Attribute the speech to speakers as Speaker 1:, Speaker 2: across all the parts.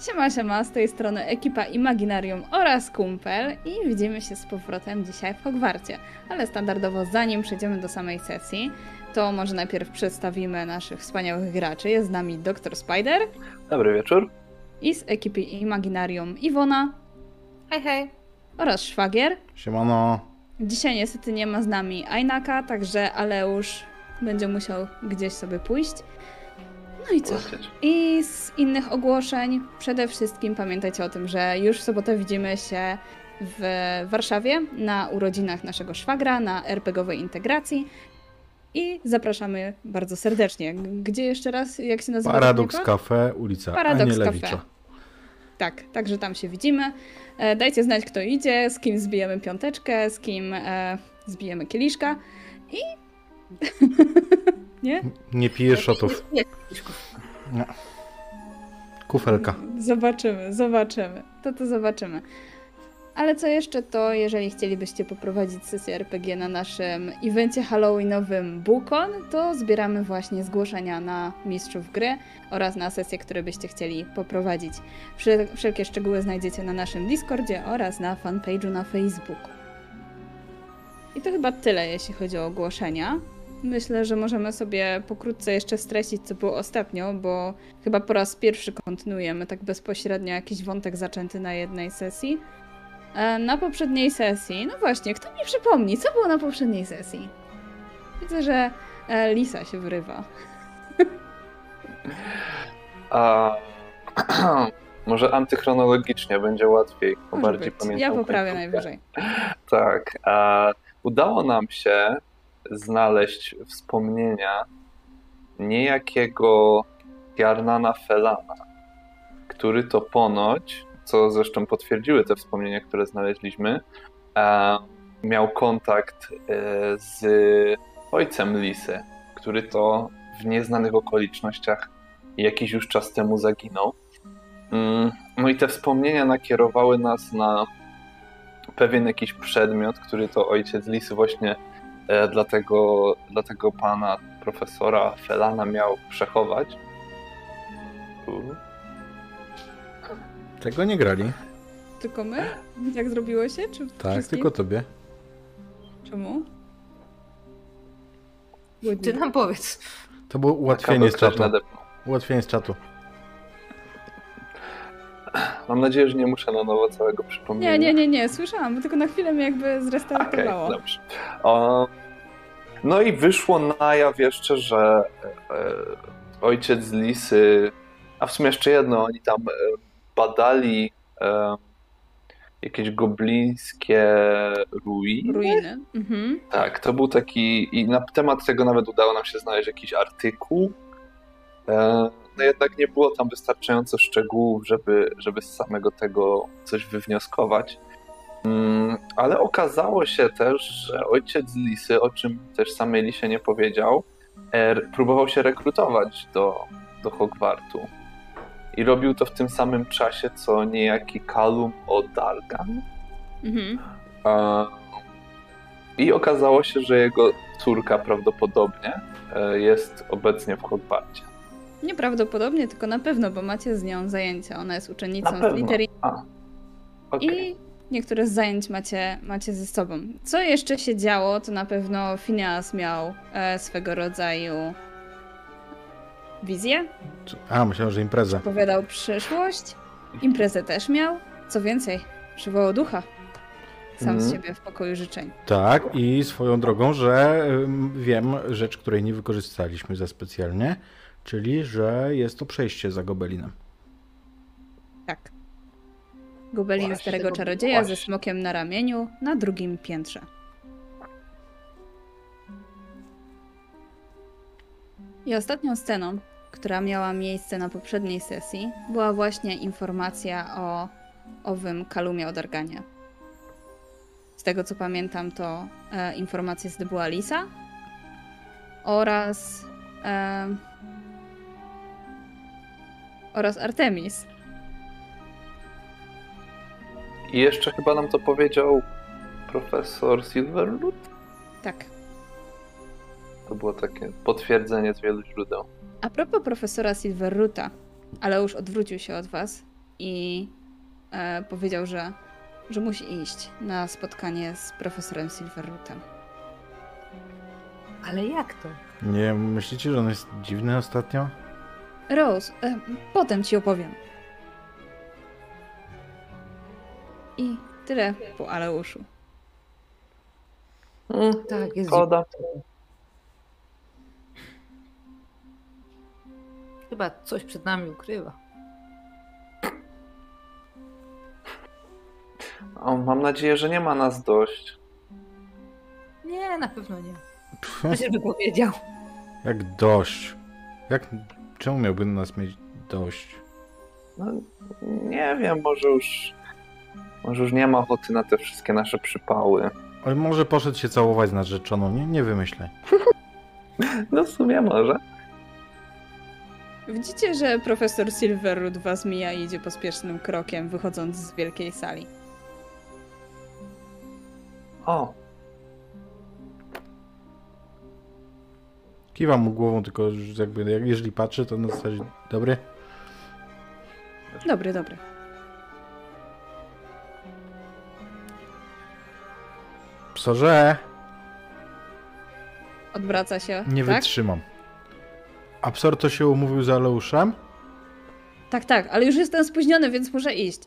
Speaker 1: Siema, siema, z tej strony ekipa Imaginarium oraz kumpel i widzimy się z powrotem dzisiaj w Hogwarcie. Ale standardowo zanim przejdziemy do samej sesji, to może najpierw przedstawimy naszych wspaniałych graczy. Jest z nami Dr. Spider
Speaker 2: Dobry wieczór.
Speaker 1: i z ekipy Imaginarium Iwona
Speaker 3: Hej, hej.
Speaker 1: oraz Szwagier.
Speaker 4: Siemano.
Speaker 1: Dzisiaj niestety nie ma z nami Ainaka, także Aleusz będzie musiał gdzieś sobie pójść. No i co?
Speaker 2: Lecieć.
Speaker 1: I z innych ogłoszeń, przede wszystkim pamiętajcie o tym, że już w sobotę widzimy się w Warszawie na urodzinach naszego szwagra, na RPGowej integracji. I zapraszamy bardzo serdecznie. Gdzie jeszcze raz, jak się nazywa?
Speaker 4: Paradox
Speaker 1: Dominika?
Speaker 4: Cafe, ulica
Speaker 1: Paradox Cafe.
Speaker 4: Anielewicza.
Speaker 1: Tak, także tam się widzimy. E, Dajcie znać, kto idzie, z kim zbijemy piąteczkę, z kim e, zbijemy kieliszka i... Nie?
Speaker 4: Nie pijesz szotów.
Speaker 3: Nie,
Speaker 4: Kufelka.
Speaker 1: Zobaczymy, zobaczymy. To to zobaczymy. Ale co jeszcze, to jeżeli chcielibyście poprowadzić sesję RPG na naszym evencie halloweenowym Bukon, to zbieramy właśnie zgłoszenia na mistrzów gry oraz na sesje, które byście chcieli poprowadzić. Wszel- Wszelkie szczegóły znajdziecie na naszym Discordzie oraz na fanpage'u na Facebooku. I to chyba tyle, jeśli chodzi o ogłoszenia. Myślę, że możemy sobie pokrótce jeszcze streścić, co było ostatnio, bo chyba po raz pierwszy kontynuujemy tak bezpośrednio jakiś wątek zaczęty na jednej sesji. E, Na poprzedniej sesji, no właśnie, kto mi przypomni, co było na poprzedniej sesji? Widzę, że e, Lisa się wyrywa.
Speaker 2: A może antychronologicznie będzie łatwiej, bo
Speaker 1: Może
Speaker 2: bardziej
Speaker 1: być.
Speaker 2: pamiętam.
Speaker 1: Ja poprawię
Speaker 2: końcówkę.
Speaker 1: najwyżej.
Speaker 2: Tak. A udało nam się znaleźć wspomnienia niejakiego Jarnana Felana, który to ponoć, co zresztą potwierdziły te wspomnienia, które znaleźliśmy, e, miał kontakt e, z ojcem Lisy, który to w nieznanych okolicznościach jakiś już czas temu zaginął. Mm, No i te wspomnienia nakierowały nas na pewien jakiś przedmiot, który to ojciec Lisy właśnie e, dla, tego, dla tego pana profesora Felana miał przechować. U.
Speaker 4: Tego nie grali.
Speaker 1: Tylko my? Jak zrobiło się? Czy
Speaker 4: Tak,
Speaker 1: wszystkim?
Speaker 4: tylko tobie.
Speaker 1: Czemu?
Speaker 3: ty nam powiedz.
Speaker 4: To było ułatwienie z
Speaker 2: Kabel ktoś
Speaker 4: czatu.
Speaker 2: nadepnął.
Speaker 4: Ułatwienie z czatu.
Speaker 2: Mam nadzieję, że nie muszę na nowo całego przypomnieć.
Speaker 1: Nie, nie, nie, nie, słyszałam, bo tylko na chwilę mnie jakby
Speaker 2: Okej,
Speaker 1: zrestartowało.
Speaker 2: dobrze. O, no i wyszło na jaw jeszcze, że e, ojciec Lisy, a w sumie jeszcze jedno, oni tam e, badali e, jakieś goblińskie ruiny.
Speaker 1: Ruiny. Mhm.
Speaker 2: Tak, to był taki, i na temat tego nawet udało nam się znaleźć jakiś artykuł. E, No jednak nie było tam wystarczająco szczegółów, żeby, żeby z samego tego coś wywnioskować. Mm, Ale okazało się też, że ojciec Lisy, o czym też samej Lisie nie powiedział, er, próbował się rekrutować do, do Hogwartu. I robił to w tym samym czasie, co niejaki Kalum O'Dargan.
Speaker 1: Mhm.
Speaker 2: E, I okazało się, że jego córka prawdopodobnie e, jest obecnie w Hogwarcie.
Speaker 1: Nieprawdopodobnie, tylko na pewno, bo macie z nią zajęcia. Ona jest uczennicą
Speaker 2: Na
Speaker 1: z
Speaker 2: pewno.
Speaker 1: litery
Speaker 2: A. Okej.
Speaker 1: i niektóre z zajęć macie, macie ze sobą. Co jeszcze się działo, to na pewno Phineas miał e, swego rodzaju wizję,
Speaker 4: Czy- A, myślałem, że impreza.
Speaker 1: opowiadał przyszłość, imprezę też miał. Co więcej, przywołał ducha sam z
Speaker 2: Mhm.
Speaker 1: siebie w pokoju życzeń.
Speaker 4: Tak, i swoją drogą, że ym, wiem rzecz, której nie wykorzystaliśmy za specjalnie, czyli, że jest to przejście za Gobelinem.
Speaker 1: Tak. Gobelin
Speaker 2: Właśnie,
Speaker 1: starego
Speaker 2: Gobelin,
Speaker 1: czarodzieja ze
Speaker 2: właśnie.
Speaker 1: smokiem na ramieniu na drugim piętrze. I ostatnią sceną, która miała miejsce na poprzedniej sesji, była właśnie informacja o owym kalumie od Argania. Z tego co pamiętam, to e, informację zdobyła Lisa oraz e, oraz Artemis.
Speaker 2: I jeszcze chyba nam to powiedział profesor Silverwood.
Speaker 1: Tak.
Speaker 2: To było takie potwierdzenie z wielu źródeł.
Speaker 1: A propos profesora Silverruta, ale już odwrócił się od was, i e, powiedział, że, że musi iść na spotkanie z profesorem Silverrootem.
Speaker 3: Ale jak to?
Speaker 4: Nie myślicie, że on jest dziwny ostatnio?
Speaker 1: Rose, e, potem ci opowiem. I tyle po Aleuszu.
Speaker 3: Mm, tak, jest.
Speaker 2: Szkoda.
Speaker 3: Chyba coś przed nami ukrywa.
Speaker 2: O, mam nadzieję, że nie ma nas dość.
Speaker 3: Nie, na pewno nie.
Speaker 4: Pff,
Speaker 3: Przecież by powiedział.
Speaker 4: jak dość. Jak, czemu miałby nas mieć dość?
Speaker 2: No, nie wiem, może już. Może już nie ma ochoty na te wszystkie nasze przypały.
Speaker 4: Ale może poszedł się całować z narzeczoną, nie, nie wymyślaj.
Speaker 2: No w sumie może.
Speaker 1: Widzicie, że profesor Silverroot was mija i idzie pospiesznym krokiem, wychodząc z wielkiej sali.
Speaker 2: O,
Speaker 4: Kiwam mu głową, tylko że jakby, jak- jeżeli patrzy, to na zasadzie dobry.
Speaker 1: Dobry, dobry.
Speaker 4: Psorze,
Speaker 1: Odwraca się.
Speaker 4: nie
Speaker 1: tak?
Speaker 4: wytrzymam. A psor to się umówił z Aleuszem?
Speaker 1: tak, tak, ale już jestem spóźniony, więc muszę iść.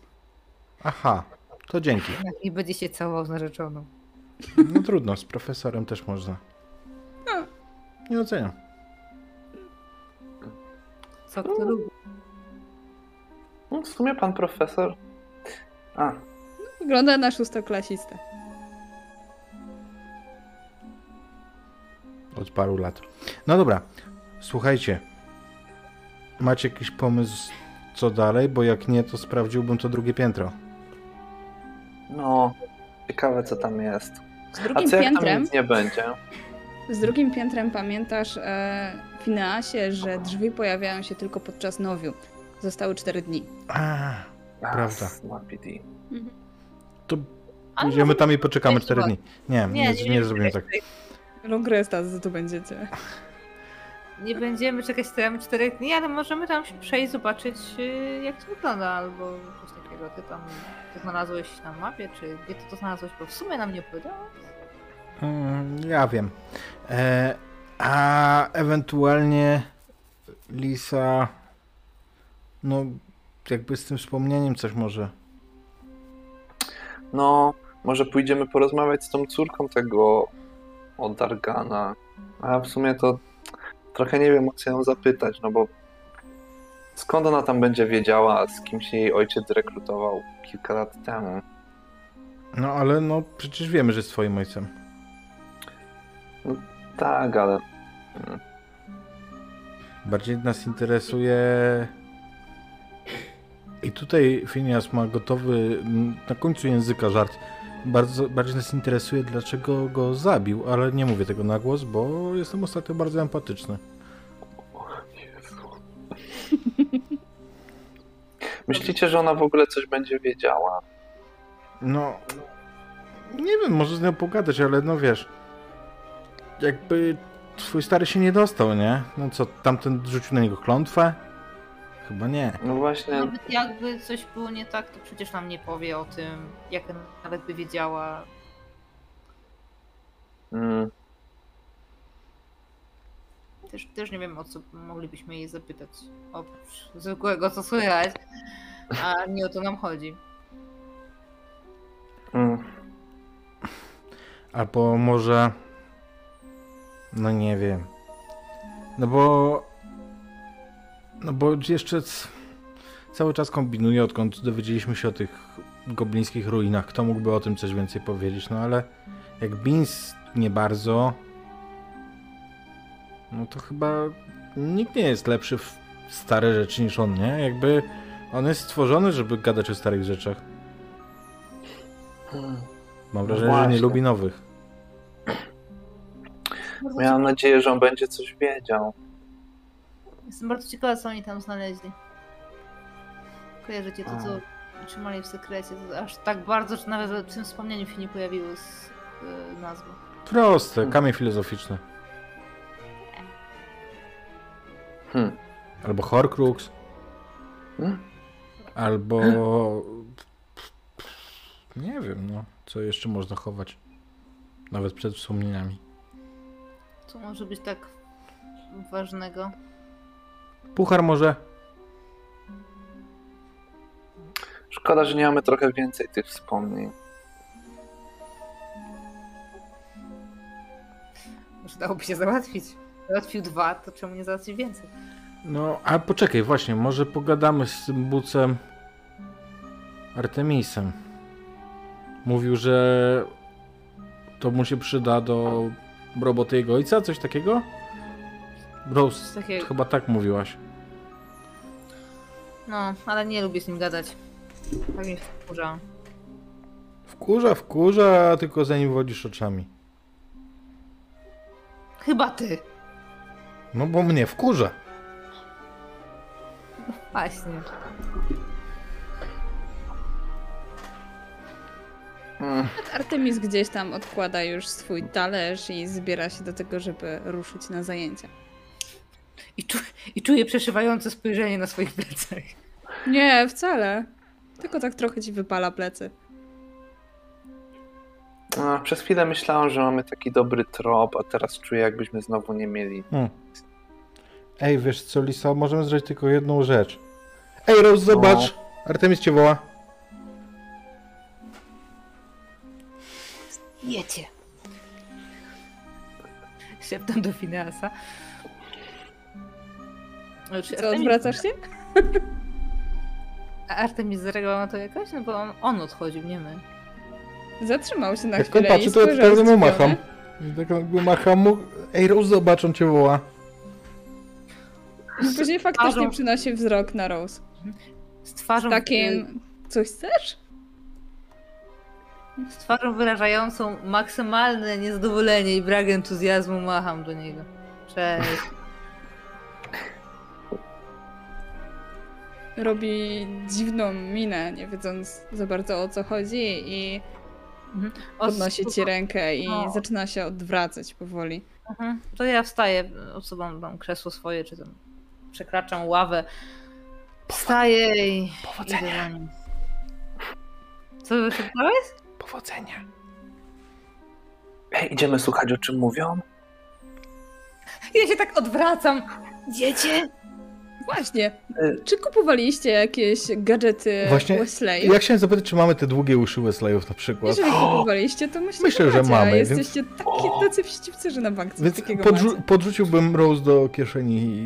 Speaker 4: Aha, to dzięki.
Speaker 3: Jak nie będzie się całował z narzeczoną.
Speaker 4: No trudno, z profesorem też można.
Speaker 1: No.
Speaker 4: Nie oceniam.
Speaker 3: Co kto lubi?
Speaker 2: no w sumie pan profesor. A,
Speaker 1: Wygląda na szóstoklasistę.
Speaker 4: Od paru lat. No dobra, słuchajcie. Macie jakiś pomysł, co dalej? Bo jak nie, to sprawdziłbym to drugie piętro.
Speaker 2: no. Ciekawe, co tam jest.
Speaker 1: Z
Speaker 2: A
Speaker 1: drugim
Speaker 2: co jak tam
Speaker 1: piętrem.
Speaker 2: nic nie będzie?
Speaker 1: Z drugim piętrem pamiętasz e, w Ineasie, że drzwi pojawiają się tylko podczas nowiu. Zostały 4 dni.
Speaker 4: A,
Speaker 2: A,
Speaker 4: Prawda.
Speaker 2: Snapy D.
Speaker 4: no to
Speaker 3: Ale
Speaker 4: pójdziemy
Speaker 3: może-
Speaker 4: tam i poczekamy
Speaker 3: nie,
Speaker 4: 4 dni. Nie, nie, nie, zrobimy tak.
Speaker 1: Long resta, tu będziecie.
Speaker 3: Nie będziemy czekać tam czterech dni, ale możemy tam się przejść, zobaczyć y, jak to wygląda, albo coś takiego. Ty tam to znalazłeś na mapie, czy gdzie ty to znalazłeś, bo w sumie nam nie powiedziałeś.
Speaker 4: Mm, Ja wiem. E, a ewentualnie Lisa. No, jakby z tym wspomnieniem coś może.
Speaker 2: No, może pójdziemy porozmawiać z tą córką tego Odargana. A w sumie to trochę nie wiem, o co ją zapytać, no bo skąd ona tam będzie wiedziała, z kim się jej ojciec rekrutował kilka lat temu?
Speaker 4: No, ale no, przecież wiemy, że jest twoim ojcem.
Speaker 2: Tak, ale
Speaker 4: Bardziej nas interesuje. I tutaj Phineas ma gotowy mm, na końcu języka żart. Bardzo, bardziej nas interesuje, dlaczego go zabił, ale nie mówię tego na głos, bo jestem ostatnio bardzo empatyczny.
Speaker 2: myślicie, że ona w ogóle coś będzie wiedziała?
Speaker 4: No, nie wiem, może z nią pogadać, ale no wiesz, jakby twój stary się nie dostał, nie? No co, tamten rzucił na niego klątwę? Chyba nie.
Speaker 2: No właśnie,
Speaker 3: Nawet jakby coś było nie tak, to przecież nam nie powie o tym, jak nawet by wiedziała.
Speaker 2: mm,
Speaker 3: Też, też nie wiem, o co moglibyśmy jej zapytać. Oprócz zwykłego, co słychać. A nie o to nam chodzi.
Speaker 2: mm,
Speaker 4: Albo może... No nie wiem. No bo... No bo jeszcze c- cały czas kombinuję, odkąd dowiedzieliśmy się o tych goblińskich ruinach. Kto mógłby o tym coś więcej powiedzieć? No ale jak Beans nie bardzo, no to chyba nikt nie jest lepszy w stare rzeczy niż on, nie? Jakby on jest stworzony, żeby gadać o starych rzeczach.
Speaker 2: mm. No
Speaker 4: Mam wrażenie, że nie
Speaker 2: właśnie.
Speaker 4: lubi nowych.
Speaker 3: Bardzo
Speaker 2: Miałam nadzieję, że on będzie coś wiedział.
Speaker 3: ciekawa- Jestem bardzo ciekawa, co oni tam znaleźli. Kojarzycie to, co trzymali w sekrecie. To aż tak bardzo, że nawet w tym wspomnieniu się nie pojawiło z y, nazwy.
Speaker 4: Proste,
Speaker 2: Hmm.
Speaker 4: kamień filozoficzny.
Speaker 2: Hmm.
Speaker 4: Albo Horcrux.
Speaker 2: Hmm?
Speaker 4: Albo. Nie wiem, no. Co jeszcze można chować? Nawet przed wspomnieniami.
Speaker 3: Co może być tak ważnego?
Speaker 4: Puchar może.
Speaker 2: Szkoda, że nie mamy trochę więcej tych wspomnień.
Speaker 3: Może dałoby się załatwić. Załatwił dwa, to czemu nie załatwić więcej?
Speaker 4: No, a poczekaj, właśnie, może pogadamy z tym bucem Artemisem. Mówił, że to mu się przyda do roboty jego ojca, coś takiego?
Speaker 3: Coś
Speaker 4: Rose,
Speaker 3: takiego.
Speaker 4: chyba tak mówiłaś.
Speaker 3: No, ale nie lubię z nim gadać. Tak mnie wkurza.
Speaker 4: Wkurza, wkurza, tylko za nim wodzisz oczami.
Speaker 3: Chyba ty!
Speaker 4: No bo mnie wkurza.
Speaker 3: Właśnie.
Speaker 2: Mm,
Speaker 1: Artemis gdzieś tam odkłada już swój talerz i zbiera się do tego, żeby ruszyć na zajęcia.
Speaker 3: I, czu- I czuję przeszywające spojrzenie na swoich plecach.
Speaker 1: Nie, wcale. Tylko tak trochę ci wypala plecy.
Speaker 2: no, przez chwilę myślałam, że mamy taki dobry trop, a teraz czuję, jakbyśmy znowu nie mieli.
Speaker 4: Hmm. Ej, wiesz co, Lisa, możemy zrobić tylko jedną rzecz. Ej,
Speaker 1: No.
Speaker 4: Rose, zobacz! Artemis cię woła.
Speaker 3: Jecie. Szeptam do Fineasa. No, Czy
Speaker 1: Co,
Speaker 3: Artemis,
Speaker 1: odwracasz się?
Speaker 3: a Artemis zareagował na to jakoś? No bo on, on odchodził, nie my.
Speaker 1: Zatrzymał się na
Speaker 4: Jak on
Speaker 1: chwilę
Speaker 4: patrzy,
Speaker 1: i
Speaker 4: to ja
Speaker 1: spojrzał
Speaker 4: tak mu
Speaker 1: zdziwiony.
Speaker 4: macham. Tak jakby macham mu. Ej, Rose, zobacz, on cię woła.
Speaker 1: Później faktycznie
Speaker 3: Twarzą.
Speaker 1: przynosi wzrok na Rose.
Speaker 3: Z twarzą,
Speaker 1: Takim, coś chcesz?
Speaker 3: z twarzą wyrażającą maksymalne niezadowolenie i brak entuzjazmu macham do niego. Cześć.
Speaker 1: Robi dziwną minę, nie wiedząc za bardzo o co chodzi i podnosi ci rękę i
Speaker 3: No.
Speaker 1: zaczyna się odwracać powoli.
Speaker 3: Mhm. To ja wstaję, odsuwam tam krzesło swoje, czy tam przekraczam ławę. Wstaję i idę za nim. Co wy szeptałeś?
Speaker 2: Powodzenia. Ej, idziemy słuchać, o czym mówią?
Speaker 3: Ja się tak odwracam. Dziecię?
Speaker 1: Właśnie,
Speaker 2: Y-
Speaker 1: czy kupowaliście jakieś gadżety
Speaker 4: E, Właśnie,
Speaker 1: Wesley?
Speaker 4: Ja chciałem zapytać, czy mamy te długie uszy Wesleyów na przykład.
Speaker 1: Jeżeli kupowaliście, to myślę,
Speaker 4: Myślę, że
Speaker 1: macie, a
Speaker 4: mamy, więc-
Speaker 1: Jesteście takie tacy wścibcy, że na bank coś
Speaker 4: Więc
Speaker 1: takiego
Speaker 4: podrzu-
Speaker 1: macie.
Speaker 4: podrzuciłbym Rose do kieszeni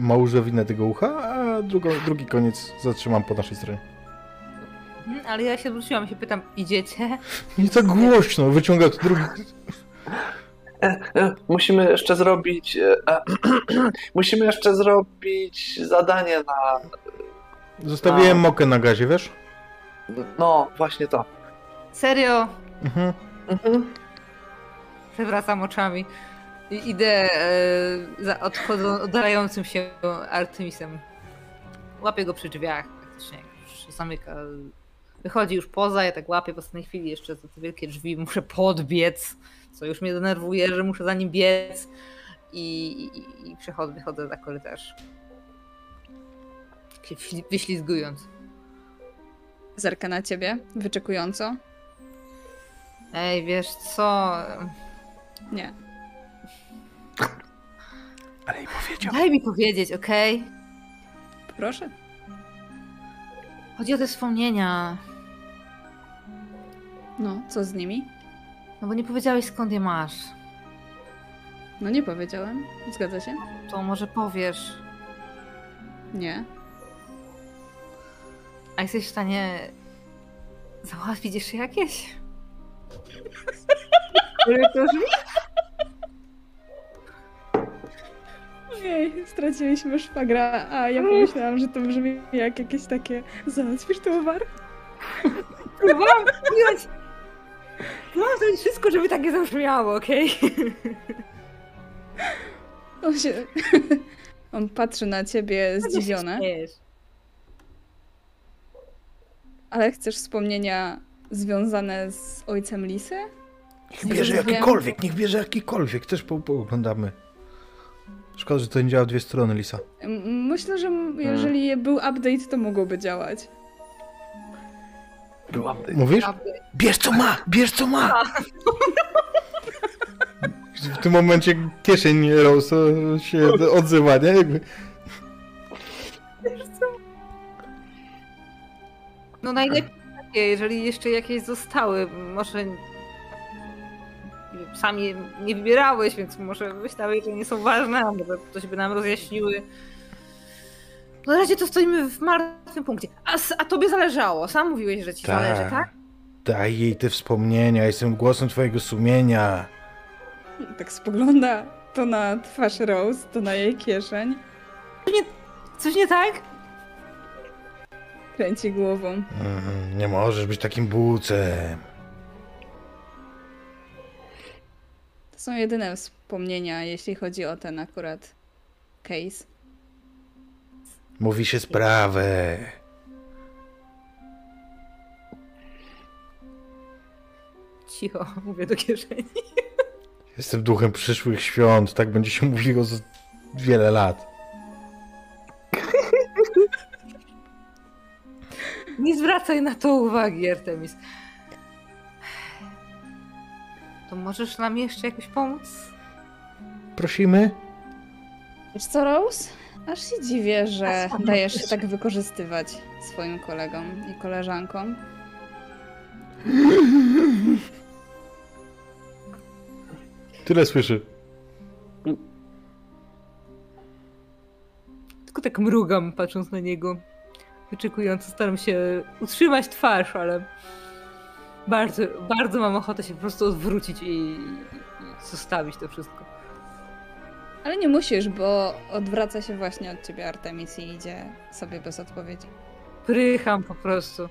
Speaker 4: małżowinę tego ucha, a drugo- drugi koniec zatrzymam po naszej stronie.
Speaker 3: Mhm, Ale ja się zwróciłam i się pytam, idziecie?
Speaker 4: Nie tak głośno, wyciąga to drugi.
Speaker 2: E, Musimy jeszcze zrobić. e, e, musimy jeszcze zrobić zadanie na.
Speaker 4: Zostawiłem mokę na gazie, wiesz?
Speaker 2: No, właśnie to.
Speaker 3: Serio?
Speaker 4: Mhm.
Speaker 2: Mhm.
Speaker 3: Przewracam oczami. I idę e, za odchodzą, oddalającym się Artemisem. Łapię go przy drzwiach praktycznie, jak już zamyka. Wychodzi już poza, ja tak łapię w ostatniej chwili jeszcze za te wielkie drzwi, muszę podbiec, co już mnie denerwuje, że muszę za nim biec. I, i, i przechodzę, wychodzę za korytarz. Się wśli- Wyślizgując.
Speaker 1: Zerka na ciebie, wyczekująco.
Speaker 3: Ej, wiesz co?
Speaker 1: Nie.
Speaker 2: Ale i powiedział.
Speaker 3: Daj mi powiedzieć, okej?
Speaker 1: Proszę.
Speaker 3: Chodzi o te wspomnienia.
Speaker 1: No, co z nimi?
Speaker 3: No bo nie powiedziałeś skąd je masz.
Speaker 1: No nie powiedziałem. Zgadza się?
Speaker 3: To może powiesz.
Speaker 1: Nie.
Speaker 3: A jesteś w stanie załatwić jeszcze jakieś?
Speaker 1: Ojej, straciliśmy szwagra, a ja pomyślałam, że to brzmi jak jakieś takie załatwisz towar.
Speaker 3: Próbowałam ująć. Próbowałam zrobić wszystko, żeby tak nie zabrzmiało, okej?
Speaker 1: On się... On patrzy na ciebie zdziwiony,
Speaker 3: Wiesz.
Speaker 1: ale chcesz wspomnienia związane z ojcem Lisy?
Speaker 4: Niech bierze jakikolwiek, niech bierze jakikolwiek, też po- pooglądamy. Szkoda, że to nie działa w dwie strony, Lisa.
Speaker 1: M- Myślę, że m- jeżeli był update, to mogłoby działać.
Speaker 2: Był update.
Speaker 4: Mówisz?
Speaker 3: Update.
Speaker 4: Bierz co ma! Bierz co ma! W tym momencie kieszeń Rose się odzywa, nie? Jakby...
Speaker 3: No najlepiej, takie, jeżeli jeszcze jakieś zostały, może sam je nie wybierałeś, więc może myślałeś, że nie są ważne, a może ktoś by nam rozjaśniły. No na razie to stoimy w martwym punkcie. A, s- a tobie zależało, sam mówiłeś, że ci zależy, tak?
Speaker 4: Daj jej te wspomnienia, jestem głosem twojego sumienia.
Speaker 1: Tak spogląda to na twarz Rose, to na jej kieszeń.
Speaker 3: Coś nie tak?
Speaker 1: Kręci głową.
Speaker 4: Mm, nie możesz być takim bucem.
Speaker 1: To są jedyne wspomnienia, jeśli chodzi o ten akurat case.
Speaker 4: Mówi się sprawę.
Speaker 3: Cicho, mówię do kieszeni.
Speaker 4: Jestem duchem przyszłych świąt, tak będzie się mówiło z wiele lat.
Speaker 3: Nie zwracaj na to uwagi, Artemis. To możesz nam jeszcze jakoś pomóc?
Speaker 4: Prosimy?
Speaker 1: Wiesz co, Rose? Aż się dziwię, że dajesz się tak wykorzystywać swoim kolegom i koleżankom.
Speaker 4: Tyle słyszy.
Speaker 3: Tylko tak mrugam, patrząc na niego. Wyczekując, staram się utrzymać twarz, ale bardzo, bardzo mam ochotę się po prostu odwrócić i, i i zostawić to wszystko.
Speaker 1: Ale nie musisz, bo odwraca się właśnie od ciebie Artemis i idzie sobie bez odpowiedzi.
Speaker 3: Prycham po prostu.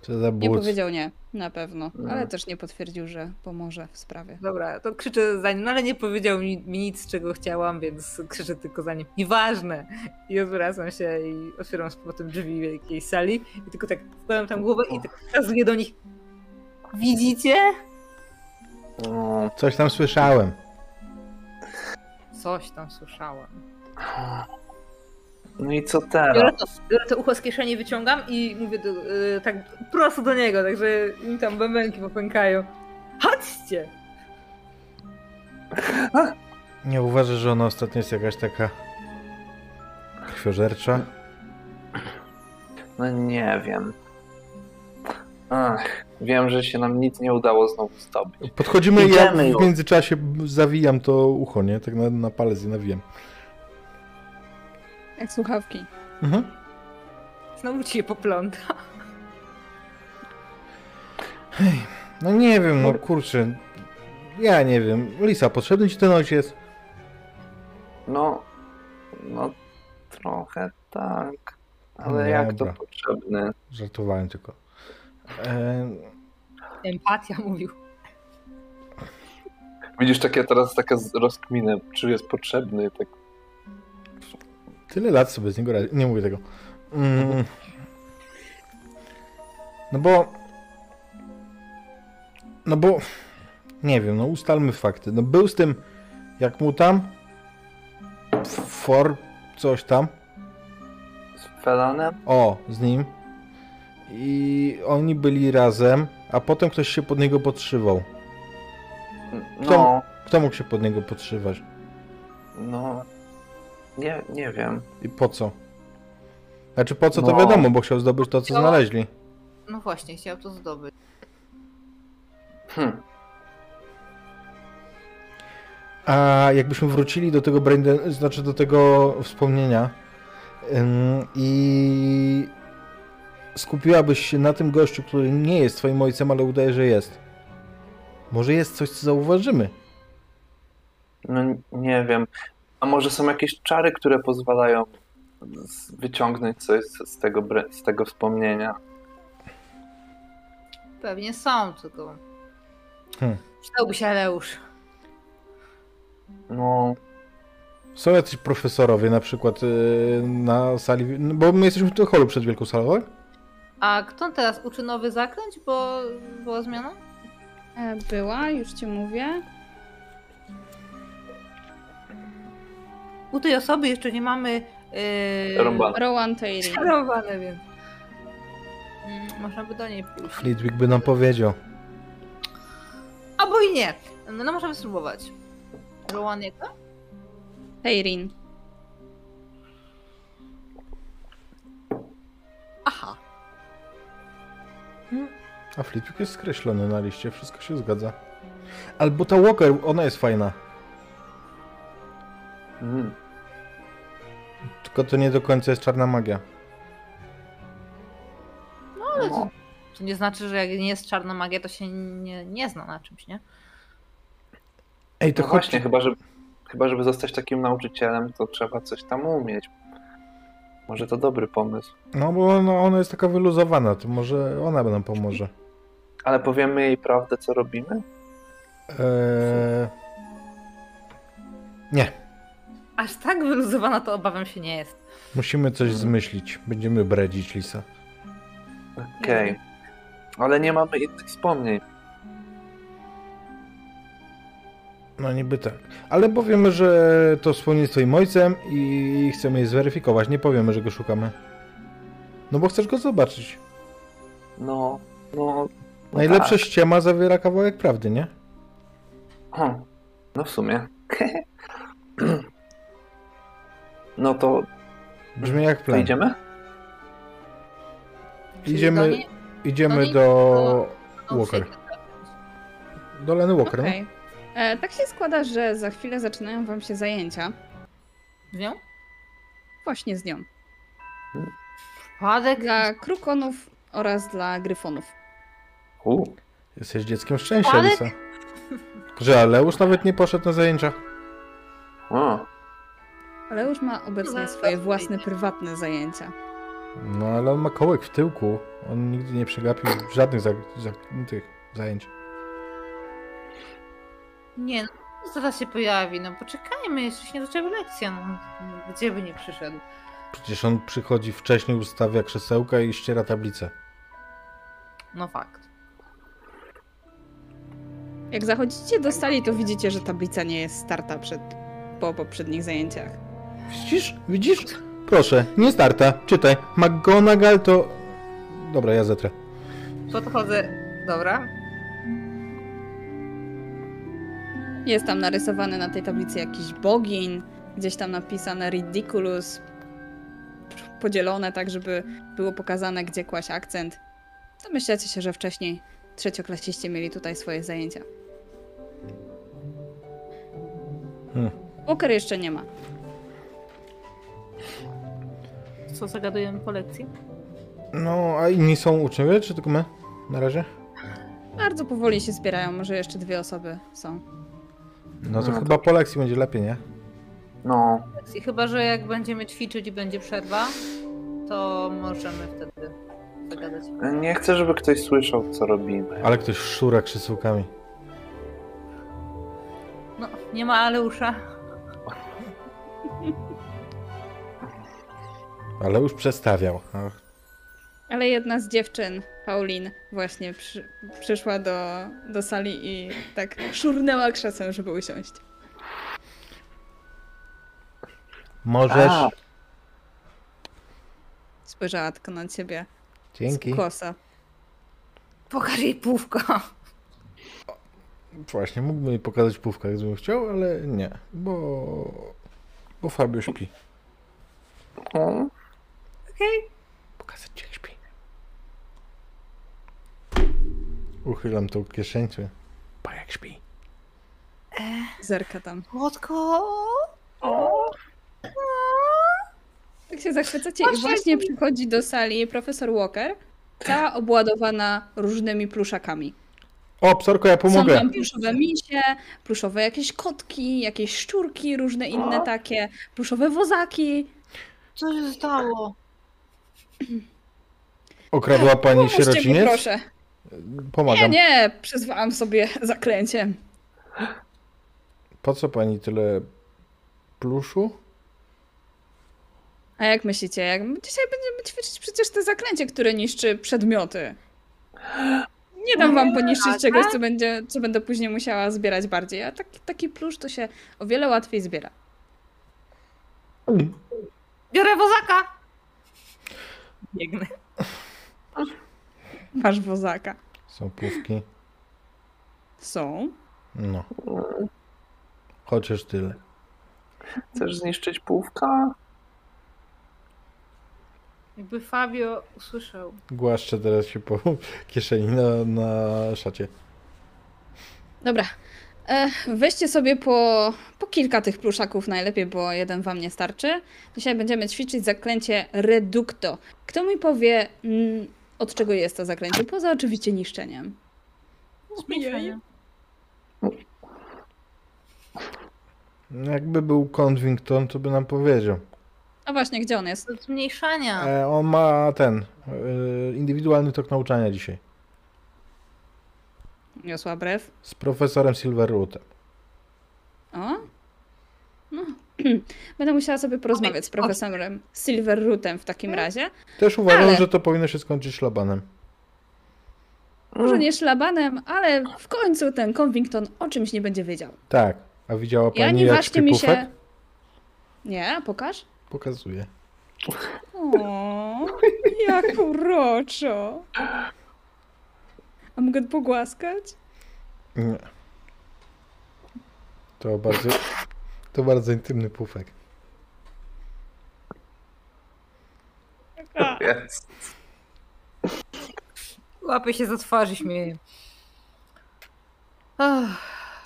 Speaker 4: Co za
Speaker 1: Nie
Speaker 4: buc.
Speaker 1: powiedział nie, na pewno, ale
Speaker 2: Mhm.
Speaker 1: też nie potwierdził, że pomoże w sprawie.
Speaker 3: Dobra, to krzyczę za nim, no ale nie powiedział mi, mi nic, czego chciałam, więc krzyczę tylko za nim. Nieważne! I odwracam się i otwieram z powrotem drzwi wielkiej sali i tylko tak wkładam tam głowę i tak wskazuję do nich. Widzicie?
Speaker 2: Mm.
Speaker 4: Coś tam słyszałem.
Speaker 3: Coś tam słyszałam.
Speaker 2: No i co teraz?
Speaker 3: Biorę to, biorę to ucho z kieszeni, wyciągam i mówię do, y, tak prosto do niego, także mi tam bębenki popękają. Chodźcie!
Speaker 4: Nie uważasz, że ona ostatnio jest jakaś taka krwiożercza?
Speaker 2: No nie wiem. Ach, wiem, że się nam nic nie udało znowu zdobyć.
Speaker 4: Podchodzimy i ja
Speaker 2: Idziemy
Speaker 4: w
Speaker 2: już.
Speaker 4: międzyczasie zawijam to ucho, nie? Tak na, na palec je nawijam.
Speaker 1: Jak słuchawki.
Speaker 4: Mhm.
Speaker 3: Znowu ci je popląta.
Speaker 4: No nie wiem, no kurczę. Ja nie wiem. Lisa, potrzebny ci ten ojciec?
Speaker 2: No, no trochę tak. Ale
Speaker 4: No
Speaker 2: jak to
Speaker 4: dobra.
Speaker 2: potrzebne?
Speaker 4: Żartowałem tylko. E,
Speaker 3: Empatia mówił.
Speaker 2: Widzisz, takie teraz taka z- rozkminę, czy jest potrzebny, tak
Speaker 4: tyle lat sobie z niego radzi. Nie mówię tego. Mm. No bo... No bo... Nie wiem, no ustalmy fakty. No był z tym, jak mu tam... For... coś tam.
Speaker 2: z felanem?
Speaker 4: O, z nim. I oni byli razem, a potem ktoś się pod niego podszywał.
Speaker 2: No,
Speaker 4: Kto mógł się pod niego podszywać?
Speaker 2: no, nie, nie wiem.
Speaker 4: I po co? Znaczy po co to
Speaker 2: No.
Speaker 4: wiadomo, bo chciał zdobyć to, co
Speaker 3: No.
Speaker 4: znaleźli.
Speaker 3: No właśnie, chciał to zdobyć.
Speaker 2: Hm.
Speaker 4: A jakbyśmy wrócili do tego braindan, znaczy do tego wspomnienia ym, i skupiłabyś się na tym gościu, który nie jest twoim ojcem, ale udaje, że jest. Może jest coś, co zauważymy.
Speaker 2: No nie wiem. A może są jakieś czary, które pozwalają z- wyciągnąć coś z z tego, bre- z tego wspomnienia?
Speaker 3: Pewnie są, tylko...
Speaker 4: Hmm.
Speaker 3: Przydałby się Aleusz.
Speaker 2: No,
Speaker 4: Są jacyś profesorowie na przykład yy, na sali, no bo my jesteśmy w tym holu przed wielką salą, tak?
Speaker 3: A kto teraz uczy nowy zakręć, bo była zmiana?
Speaker 1: E, Była, już ci mówię.
Speaker 3: U tej osoby jeszcze nie mamy... Yy...
Speaker 2: Rąbane.
Speaker 1: Rowan Taylor.
Speaker 3: Czarowane, więc... Mm, Można by do niej pójść.
Speaker 4: Flitwick by nam powiedział.
Speaker 3: Albo i nie. No, no możemy spróbować. Rowan jak to?
Speaker 1: Hejrin.
Speaker 3: Aha.
Speaker 4: A Flitwick jest skreślony na liście, wszystko się zgadza. Albo ta Walker, ona jest fajna.
Speaker 2: Mm.
Speaker 4: Tylko to nie do końca jest czarna magia.
Speaker 3: Ale to, to nie znaczy, że jak nie jest czarna magia, to się nie, nie zna na czymś, nie?
Speaker 4: Ej, to
Speaker 2: No
Speaker 4: chodź.
Speaker 2: właśnie, chyba żeby, chyba żeby zostać takim nauczycielem, to trzeba coś tam umieć. Może to dobry pomysł.
Speaker 4: No bo ona, ona jest taka wyluzowana, to może ona nam pomoże.
Speaker 2: Ale powiemy jej prawdę, co robimy?
Speaker 4: Eee... Nie,
Speaker 3: Aż tak wyluzowana to obawiam się nie jest.
Speaker 4: musimy coś zmyślić. Będziemy bredzić Lisa.
Speaker 2: Okej. Ale nie mamy innych wspomnień.
Speaker 4: No niby tak. Ale powiemy, że to wspólnie z twoim ojcem i chcemy je zweryfikować. Nie powiemy, że go szukamy. No bo chcesz go zobaczyć.
Speaker 2: No, no. no
Speaker 4: Najlepsza ściema zawiera kawałek prawdy, nie?
Speaker 2: Tak. Hm. No w sumie. no to
Speaker 4: Brzmi jak
Speaker 2: to
Speaker 4: plan.
Speaker 2: idziemy?
Speaker 3: Czyli do
Speaker 4: Idziemy,
Speaker 3: niej- do
Speaker 4: idziemy
Speaker 3: niej-
Speaker 4: do
Speaker 3: no,
Speaker 4: Walker.
Speaker 3: przy-
Speaker 4: Do Leny Walker, no.
Speaker 1: Okej. E, Tak się składa, że za chwilę zaczynają wam się zajęcia
Speaker 3: z nią?
Speaker 1: właśnie z nią.
Speaker 3: Przypadek
Speaker 1: Dla krukonów oraz dla gryfonów.
Speaker 2: U.
Speaker 4: Jesteś dzieckiem szczęścia,
Speaker 3: Ale-
Speaker 4: Lisa. Że Aleusz nawet nie poszedł na zajęcia.
Speaker 2: O.
Speaker 1: Ale już ma obecnie swoje własne, prywatne zajęcia.
Speaker 4: No ale on ma kołek w tyłku. On nigdy nie przegapił żadnych za, za, tych zajęć.
Speaker 3: Nie, no, zaraz się pojawi, no poczekajmy, jeszcze się nie zaczęła lekcja, no gdzie by nie przyszedł.
Speaker 4: Przecież on przychodzi wcześniej, ustawia krzesełka i ściera tablicę.
Speaker 3: No fakt.
Speaker 1: Jak zachodzicie do sali, to widzicie, że tablica nie jest starta przed, po poprzednich zajęciach.
Speaker 4: Widzisz? Widzisz? Proszę, nie starta. Czytaj. McGonagall to... Dobra, ja zetrę.
Speaker 3: Podchodzę, dobra,
Speaker 1: Jest tam narysowany na tej tablicy jakiś bogin, gdzieś tam napisane ridiculous, podzielone tak, żeby było pokazane, gdzie kłaść akcent. Domyślacie się, że wcześniej trzecioklasiści mieli tutaj swoje zajęcia.
Speaker 4: Hmm.
Speaker 1: Walker jeszcze nie ma.
Speaker 3: co zagadujemy po lekcji?
Speaker 4: No, a inni są uczniowie, czy tylko my? Na razie?
Speaker 1: Bardzo powoli się zbierają, może jeszcze dwie osoby są.
Speaker 4: No to
Speaker 2: No,
Speaker 4: chyba po lekcji będzie lepiej, nie?
Speaker 2: No.
Speaker 3: Lekcji, chyba, że jak będziemy ćwiczyć i będzie przerwa, to możemy wtedy zagadać.
Speaker 2: Nie chcę, żeby ktoś słyszał, co robimy.
Speaker 4: Ale ktoś szura krzesełkami.
Speaker 3: No, nie ma Aleusza.
Speaker 4: Ale już przestawiał. Ach,
Speaker 1: Ale jedna z dziewczyn, Paulin, właśnie przy, przyszła do, do sali i tak szurnęła krzesłem, żeby usiąść.
Speaker 4: Możesz.
Speaker 2: A.
Speaker 1: Spojrzała tylko na ciebie.
Speaker 4: Dzięki.
Speaker 1: Z kosa.
Speaker 3: Pokaż jej półko.
Speaker 4: Właśnie, mógłbym jej pokazać pówkę, gdybym chciał, ale nie, bo... Bo Fabio śpi.
Speaker 2: O.
Speaker 4: Pokazać, gdzie śpi. Uchylam tą kieszeńcę. Pa jak śpi.
Speaker 1: Zerka tam.
Speaker 3: Płotko!
Speaker 1: Tak się zachwycacie i właśnie przychodzi do sali profesor Walker, cała obładowana różnymi pluszakami.
Speaker 4: O, psorko, ja
Speaker 1: Są
Speaker 4: pomogę.
Speaker 1: tam pluszowe misie, pluszowe jakieś kotki, jakieś szczurki, różne inne takie, pluszowe wozaki.
Speaker 3: Co się stało?
Speaker 4: Okradła pani
Speaker 1: Pomóżcie mi,
Speaker 4: sierociniec?
Speaker 1: proszę. Nie,
Speaker 4: Pomagam.
Speaker 1: nie, przyzwałam sobie zaklęciem.
Speaker 4: Po co pani tyle pluszu?
Speaker 1: A jak myślicie, jak dzisiaj będziemy ćwiczyć przecież te zaklęcie, które niszczy przedmioty. Nie dam wam poniszczyć czegoś, co, będzie, co będę później musiała zbierać bardziej, a taki, taki plusz to się o wiele łatwiej zbiera.
Speaker 3: Biorę wozaka! Biegnę.
Speaker 1: Masz wozaka.
Speaker 4: Są płówki.
Speaker 1: Są.
Speaker 4: No. Chociaż tyle.
Speaker 2: Chcesz zniszczyć półka?
Speaker 3: Jakby Fabio usłyszał.
Speaker 4: Głaszczę teraz się po kieszeni na, na szacie.
Speaker 1: Dobra. E, weźcie sobie po, po kilka tych pluszaków najlepiej, bo jeden wam nie starczy. Dzisiaj będziemy ćwiczyć zaklęcie Reducto. Kto mi powie, mm, od czego jest to zaklęcie? Poza oczywiście niszczeniem.
Speaker 3: Zmieniaj.
Speaker 4: Jakby był Convington, to by nam powiedział.
Speaker 1: A właśnie, gdzie on jest?
Speaker 3: Od zmniejszania.
Speaker 4: E, on ma ten e, indywidualny tok nauczania dzisiaj.
Speaker 1: Niosła brew.
Speaker 4: Z profesorem Silverrootem.
Speaker 1: O? No. Będę musiała sobie porozmawiać z profesorem Silverrootem w takim razie.
Speaker 4: Też uważam,
Speaker 1: Ale-
Speaker 4: że to powinno się skończyć szlabanem.
Speaker 1: Może nie szlabanem, ale w końcu ten Convington o czymś nie będzie wiedział.
Speaker 4: Tak. A widziała
Speaker 1: I
Speaker 4: pani
Speaker 1: ani
Speaker 4: jak
Speaker 1: właśnie
Speaker 4: śpi
Speaker 1: mi
Speaker 4: pufek?
Speaker 1: się... Nie, pokaż.
Speaker 4: Pokazuje.
Speaker 1: O, jak uroczo. A mogę pogłaskać?
Speaker 4: Nie. To bardzo, to bardzo intymny pufek.
Speaker 1: A,
Speaker 2: Jest.
Speaker 3: Łapie się za twarz i śmieje. Ach,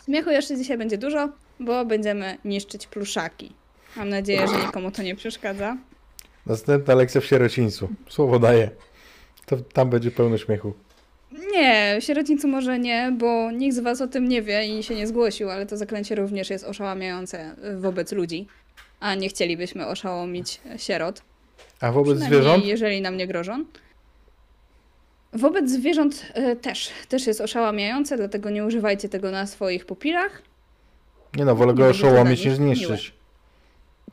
Speaker 1: Śmiechu jeszcze dzisiaj będzie dużo, bo będziemy niszczyć pluszaki. Mam nadzieję, że nikomu to nie przeszkadza.
Speaker 4: Następna lekcja w sierocińcu. Słowo daję. To tam będzie pełno śmiechu.
Speaker 1: Nie, w sierocińcu może nie, bo nikt z was o tym nie wie i się nie zgłosił, ale to zaklęcie również jest oszałamiające y, wobec ludzi, a nie chcielibyśmy oszałomić e, sierot.
Speaker 4: A wobec
Speaker 1: Przynajmniej
Speaker 4: zwierząt?
Speaker 1: Jeżeli nam nie grożą. Wobec zwierząt e, też, też jest oszałamiające, dlatego nie używajcie tego na swoich pupilach.
Speaker 4: Nie no, wolę
Speaker 1: Nie
Speaker 4: go
Speaker 1: będzie to
Speaker 4: oszołomić
Speaker 1: dla
Speaker 4: niż
Speaker 1: nich
Speaker 4: zniszczyć.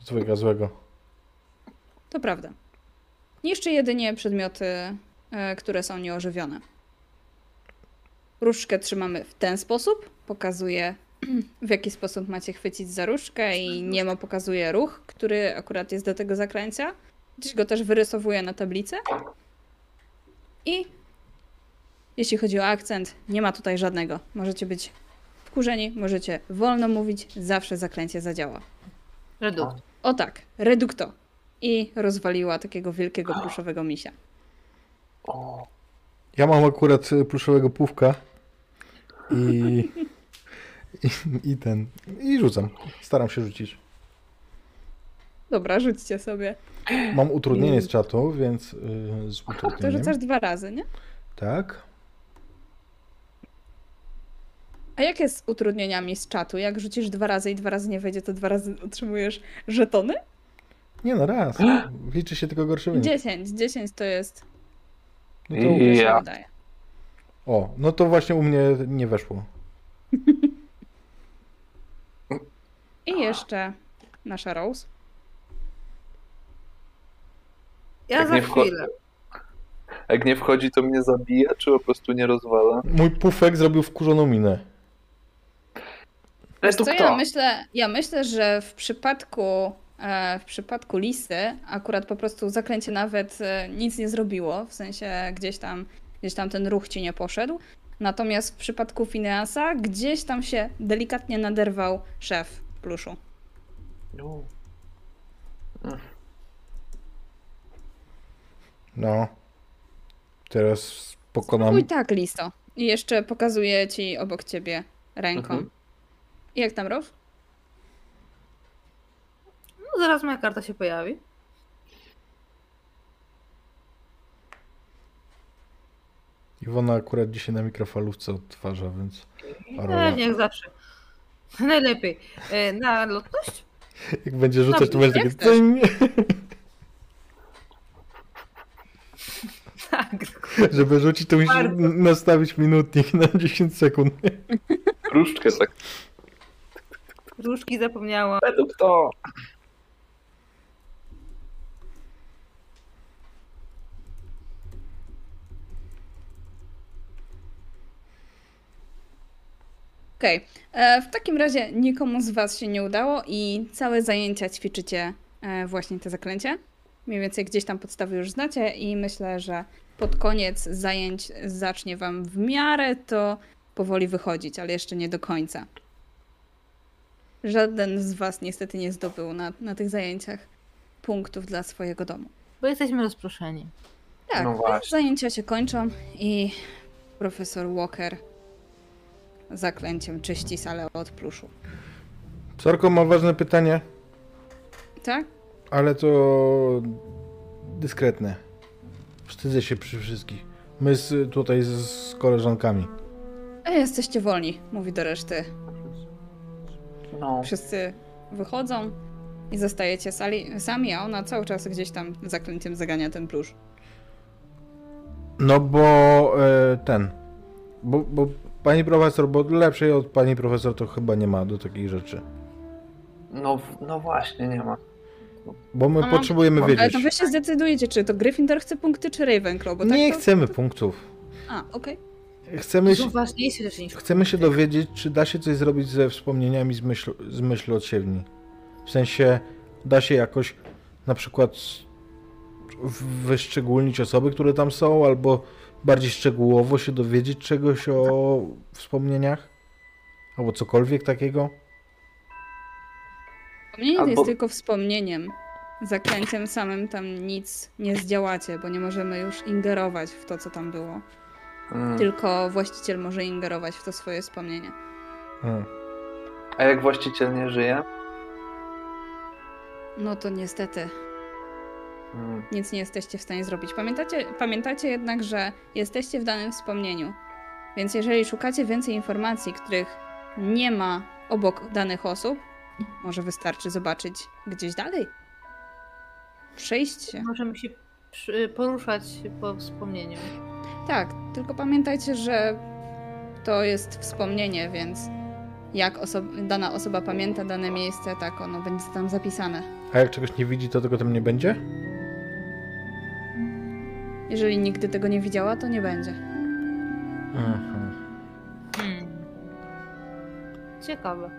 Speaker 4: Złego, złego.
Speaker 1: To prawda. Niszczy jedynie przedmioty, e, które są nieożywione. Różdżkę trzymamy w ten sposób. Pokazuje, w jaki sposób macie chwycić za różdżkę i niemo pokazuje ruch, który akurat jest do tego zakręcia. Gdzieś go też wyrysowuje na tablicy. I jeśli chodzi o akcent, nie ma tutaj żadnego. Możecie być wkurzeni, możecie wolno mówić, zawsze zakręcie zadziała.
Speaker 3: Redukt.
Speaker 1: O tak, redukto. I rozwaliła takiego wielkiego pluszowego misia.
Speaker 2: O,
Speaker 4: Ja mam akurat y, pluszowego pufka i, i, i ten. I rzucam. Staram się rzucić.
Speaker 1: Dobra, rzućcie sobie.
Speaker 4: Mam utrudnienie z czatu, więc y, z
Speaker 1: To
Speaker 4: utrudnieniem.
Speaker 1: rzucasz dwa razy, nie?
Speaker 4: Tak.
Speaker 1: A jak jest z utrudnieniami z czatu? Jak rzucisz dwa razy i dwa razy nie wejdzie, to dwa razy otrzymujesz żetony?
Speaker 4: Nie no, raz. Liczy się tylko gorszy wynik.
Speaker 1: Dziesięć, dziesięć to jest.
Speaker 4: No
Speaker 1: to
Speaker 4: to,
Speaker 1: się
Speaker 2: Ja.
Speaker 1: udaje.
Speaker 4: o, no to właśnie u mnie nie weszło.
Speaker 1: I jeszcze nasza Rose.
Speaker 3: Ja
Speaker 2: Tak
Speaker 3: za
Speaker 2: nie wcho-
Speaker 3: chwilę.
Speaker 2: jak nie wchodzi, to mnie zabija, czy po prostu nie rozwala?
Speaker 4: Mój pufek zrobił wkurzoną minę.
Speaker 1: Wiesz co, ja myślę, ja myślę, że w przypadku, e, w przypadku lisy akurat po prostu zaklęcie nawet e, nic nie zrobiło, w sensie gdzieś tam, gdzieś tam ten ruch ci nie poszedł. Natomiast w przypadku Fineasa gdzieś tam się delikatnie naderwał szef pluszu.
Speaker 2: U.
Speaker 4: No. Teraz pokonam.
Speaker 1: Uj tak, listo. I jeszcze pokazuje ci obok ciebie ręką.
Speaker 2: Mhm.
Speaker 1: I jak tam row?
Speaker 3: No, zaraz moja karta się pojawi.
Speaker 4: Iwona akurat dzisiaj na mikrofalówce odtwarza, więc. Parowa.
Speaker 3: Pewnie, jak E, zawsze. Najlepiej. E, Na lotność?
Speaker 4: Jak będzie rzucać, to
Speaker 3: Dobrze,
Speaker 4: będzie
Speaker 1: jak
Speaker 4: takie.
Speaker 1: chcesz.
Speaker 4: "Cyń",
Speaker 3: Tak.
Speaker 4: Żeby rzucić, to musisz
Speaker 3: Bardzo.
Speaker 4: nastawić minutnik na 10 sekund.
Speaker 2: Różdżkę tak.
Speaker 3: Różki zapomniałam.
Speaker 2: Według to.
Speaker 1: Okej. E, W takim razie nikomu z was się nie udało i całe zajęcia ćwiczycie e, właśnie te zaklęcie. Mniej więcej gdzieś tam podstawy już znacie i myślę, że pod koniec zajęć zacznie wam w miarę to powoli wychodzić, ale jeszcze nie do końca. Żaden z was niestety nie zdobył na, na tych zajęciach punktów dla swojego domu.
Speaker 3: Bo jesteśmy rozproszeni.
Speaker 1: Tak,
Speaker 2: No właśnie.
Speaker 1: zajęcia się kończą i profesor Walker zaklęciem czyści salę od pluszu.
Speaker 4: Sorko, mam ważne pytanie,
Speaker 1: Tak?
Speaker 4: ale to dyskretne. Wstydzę się przy wszystkich. My z, tutaj z, z koleżankami.
Speaker 1: E, jesteście wolni, mówi do reszty.
Speaker 2: No.
Speaker 1: Wszyscy wychodzą i zostajecie sali, sami, a ona cały czas gdzieś tam zaklęciem zagania ten plusz.
Speaker 4: No bo e, ten. Bo, bo pani profesor, bo lepszej od pani profesor to chyba nie ma do takich rzeczy.
Speaker 2: No, w- no właśnie, nie ma.
Speaker 4: Bo my
Speaker 1: Aha.
Speaker 4: potrzebujemy
Speaker 2: Ale to
Speaker 1: Ale
Speaker 4: wiedzieć.
Speaker 1: to wy się zdecydujecie, czy to Gryffindor chce punkty, czy Ravenclaw, bo tak
Speaker 4: Nie
Speaker 1: to...
Speaker 4: chcemy punktów.
Speaker 1: A, okej.
Speaker 4: Chcemy No się,
Speaker 3: Są ważniejsze rzeczy niż
Speaker 4: chcemy się dowiedzieć, czy da się coś zrobić ze wspomnieniami z, myśl, z myśli od siewni. W sensie, da się jakoś na przykład w- wyszczególnić osoby, które tam są, albo bardziej szczegółowo się dowiedzieć czegoś o wspomnieniach? Albo cokolwiek takiego?
Speaker 1: Wspomnienie to
Speaker 2: Albo-
Speaker 1: jest tylko wspomnieniem. Zaklęciem samym tam nic nie zdziałacie, bo nie możemy już ingerować w to, co tam było.
Speaker 2: Mm.
Speaker 1: Tylko właściciel może ingerować w to swoje wspomnienie.
Speaker 4: Hmm.
Speaker 2: A jak właściciel nie żyje?
Speaker 1: No to niestety
Speaker 2: Mm.
Speaker 1: nic nie jesteście w stanie zrobić. Pamiętacie, pamiętacie jednak, że jesteście w danym wspomnieniu. Więc jeżeli szukacie więcej informacji, których nie ma obok danych osób, może wystarczy zobaczyć gdzieś dalej. Przejść się.
Speaker 3: Możemy się przy- poruszać po wspomnieniu.
Speaker 1: Tak, tylko pamiętajcie, że to jest wspomnienie, więc jak oso- dana osoba pamięta dane miejsce, tak ono będzie tam zapisane.
Speaker 4: A jak czegoś nie widzi, to tego tam nie będzie?
Speaker 1: Jeżeli nigdy tego nie widziała, to nie będzie.
Speaker 3: Hmm. Ciekawe.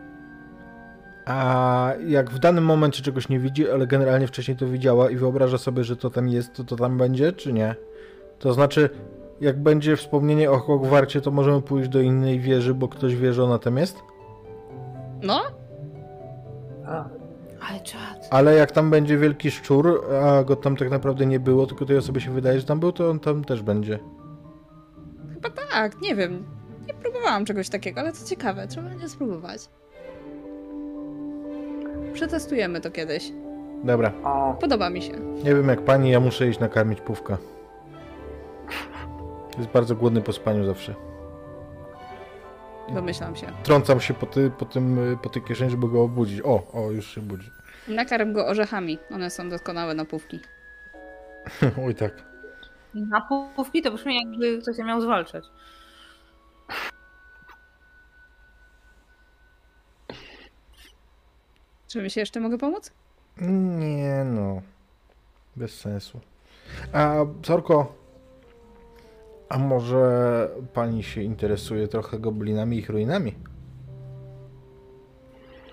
Speaker 4: A jak w danym momencie czegoś nie widzi, ale generalnie wcześniej to widziała i wyobraża sobie, że to tam jest, to to tam będzie, czy nie? To znaczy, jak będzie wspomnienie o Hogwarcie, to możemy pójść do innej wieży, bo ktoś wie, że ona tam jest?
Speaker 1: No,
Speaker 2: A,
Speaker 3: Ale czad.
Speaker 4: Ale jak tam będzie wielki szczur, a go tam tak naprawdę nie było, tylko tej osobie się wydaje, że tam był, to on tam też będzie.
Speaker 1: chyba tak, nie wiem. Nie próbowałam czegoś takiego, ale to ciekawe, trzeba będzie spróbować. Przetestujemy to kiedyś.
Speaker 4: Dobra,
Speaker 2: o,
Speaker 1: Podoba mi się.
Speaker 4: nie wiem jak pani, ja muszę iść nakarmić pówka. Jest bardzo głodny po spaniu zawsze.
Speaker 1: Domyślam się.
Speaker 4: Trącam się po, ty, po, tym, y, po tej kieszeni, żeby go obudzić. O, o, już się budzi.
Speaker 1: Nakarm go orzechami. One są doskonałe napówki.
Speaker 4: Oj tak.
Speaker 3: Na półki to brzmi jakby ktoś się miał zwalczać.
Speaker 1: Czy mi się jeszcze mogę pomóc?
Speaker 4: Nie no. Bez sensu. A Sorko, a może pani się interesuje trochę goblinami i ich ruinami?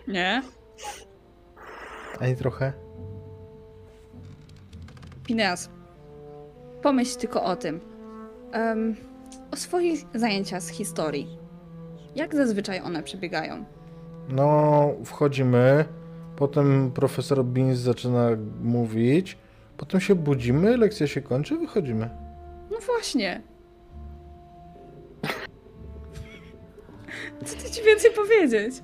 Speaker 1: Nie.
Speaker 4: Ani trochę?
Speaker 1: Pineas, pomyśl tylko o tym. Em, o swoich zajęciach z historii. Jak zazwyczaj one przebiegają?
Speaker 4: No, wchodzimy, potem profesor Beans zaczyna mówić, potem się budzimy, lekcja się kończy, wychodzimy.
Speaker 1: No właśnie. Co ty ci więcej powiedzieć?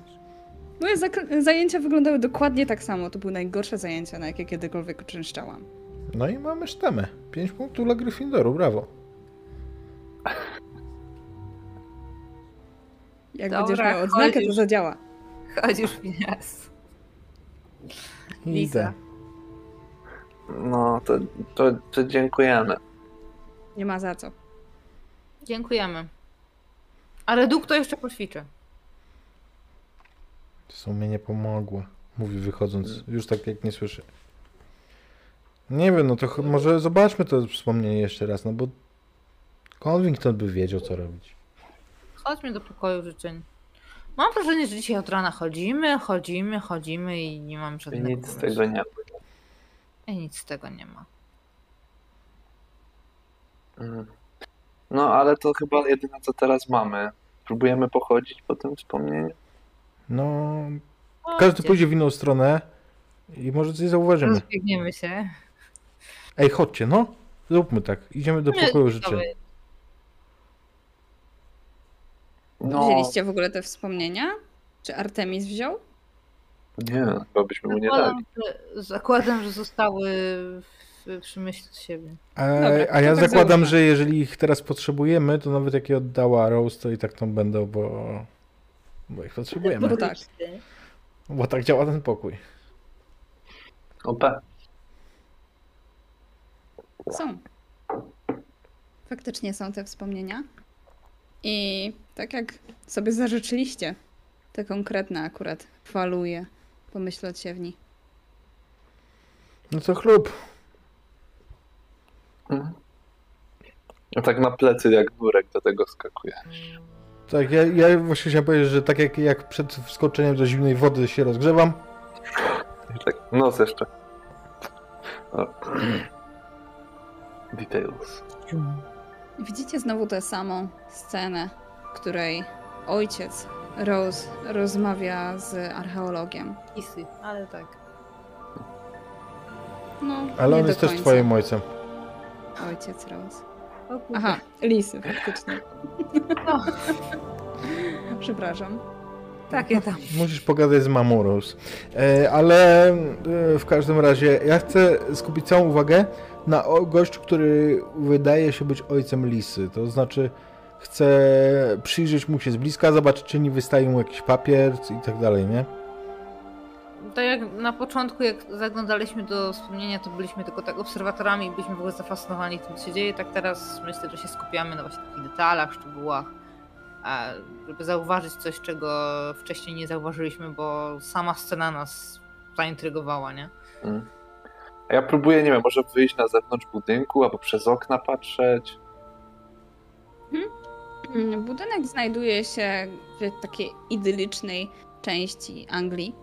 Speaker 1: Moje zakl- zajęcia wyglądały dokładnie tak samo. To były najgorsze zajęcia, na jakie kiedykolwiek uczęszczałam.
Speaker 4: No i mamy sztamę. 5 punktów dla Gryffindoru, brawo.
Speaker 1: Jak
Speaker 3: Dobra,
Speaker 1: będziesz miał odznakę, to
Speaker 3: chodzisz.
Speaker 1: zadziała.
Speaker 3: Chodź już w nas. Liza.
Speaker 4: Idę.
Speaker 2: no to, to, to dziękujemy.
Speaker 1: Nie ma za co.
Speaker 3: Dziękujemy. Ale duk to jeszcze poćwiczę.
Speaker 4: To są mnie nie pomogła. Mówi
Speaker 1: Mm.
Speaker 4: wychodząc, już tak jak nie słyszy. Nie wiem, no to ch- może zobaczmy to wspomnienie jeszcze raz, no bo Convington by wiedział, co robić.
Speaker 3: Chodźmy do pokoju życzeń. Mam wrażenie, że dzisiaj od rana chodzimy, chodzimy, chodzimy i nie mam
Speaker 2: I
Speaker 3: żadnego
Speaker 2: nic z
Speaker 3: pomysłu.
Speaker 2: tego nie ma.
Speaker 3: I nic z tego nie ma.
Speaker 2: Mm. No, ale to chyba jedyne, co teraz mamy. Próbujemy pochodzić po tym wspomnieniu.
Speaker 4: No,
Speaker 3: O,
Speaker 4: każdy
Speaker 3: gdzie-
Speaker 4: pójdzie w inną stronę i może coś
Speaker 1: Mm.
Speaker 4: zauważymy.
Speaker 3: Rozbiegniemy się.
Speaker 4: Ej, chodźcie, no. Zróbmy tak. Idziemy do
Speaker 3: My-
Speaker 4: pokoju rzeczy.
Speaker 3: Dobra,
Speaker 2: No,
Speaker 1: Wzięliście w ogóle te wspomnienia? Czy Artemis wziął?
Speaker 2: No, nie, chyba byśmy mu nie dali.
Speaker 3: Zakładam, że, zakładam, że zostały w, przy myśli od siebie.
Speaker 4: A,
Speaker 1: Dobra,
Speaker 4: E, a
Speaker 1: to
Speaker 4: ja
Speaker 1: tak
Speaker 4: zakładam,
Speaker 1: załóżmy.
Speaker 4: że jeżeli ich teraz potrzebujemy, to nawet jak je oddała Rose, to i tak tam będą, bo, bo ich
Speaker 1: No
Speaker 4: potrzebujemy.
Speaker 1: bo tak.
Speaker 4: Bo tak działa ten pokój.
Speaker 2: OP.
Speaker 1: Są. Faktycznie są te wspomnienia. I tak jak sobie zażyczyliście, te konkretne akurat faluje pomyśl od siewni.
Speaker 4: No to chlub.
Speaker 2: Mhm. A tak na plecy jak wórek do tego skakuje.
Speaker 4: Tak, ja, ja właśnie chciałem powiedzieć, że tak jak, jak przed wskoczeniem do zimnej wody się rozgrzewam,
Speaker 2: I tak, nos jeszcze. O. Details.
Speaker 1: Widzicie znowu tę samą scenę, w której ojciec Rose rozmawia z archeologiem.
Speaker 3: Kisy, ale tak.
Speaker 1: No,
Speaker 4: ale
Speaker 1: nie
Speaker 4: on
Speaker 1: do
Speaker 4: jest też
Speaker 1: końca.
Speaker 4: twoim ojcem.
Speaker 1: Ojciec Rose.
Speaker 3: O kurde.
Speaker 1: Aha, lisy faktycznie.
Speaker 3: No.
Speaker 1: Przepraszam.
Speaker 3: Takie tam.
Speaker 4: Musisz pogadać z mamą Rose. E, ale e, w każdym razie ja chcę skupić całą uwagę na o- gościu, który wydaje się być ojcem Lisy. To znaczy chcę przyjrzeć mu się z bliska, zobaczyć czy nie wystaje mu jakiś papier i tak dalej, nie?
Speaker 3: Tak jak na początku, jak zaglądaliśmy do wspomnienia, to byliśmy tylko tak obserwatorami i byliśmy w ogóle zafascynowani tym, co się dzieje. Tak teraz myślę, że się skupiamy na właśnie takich detalach, szczegółach, a żeby zauważyć coś, czego wcześniej nie zauważyliśmy, bo sama scena nas zaintrygowała, nie?
Speaker 2: Mm. A ja próbuję, nie wiem, może wyjść na zewnątrz budynku albo przez okna patrzeć.
Speaker 1: Mm, Budynek znajduje się w takiej idyllicznej części Anglii.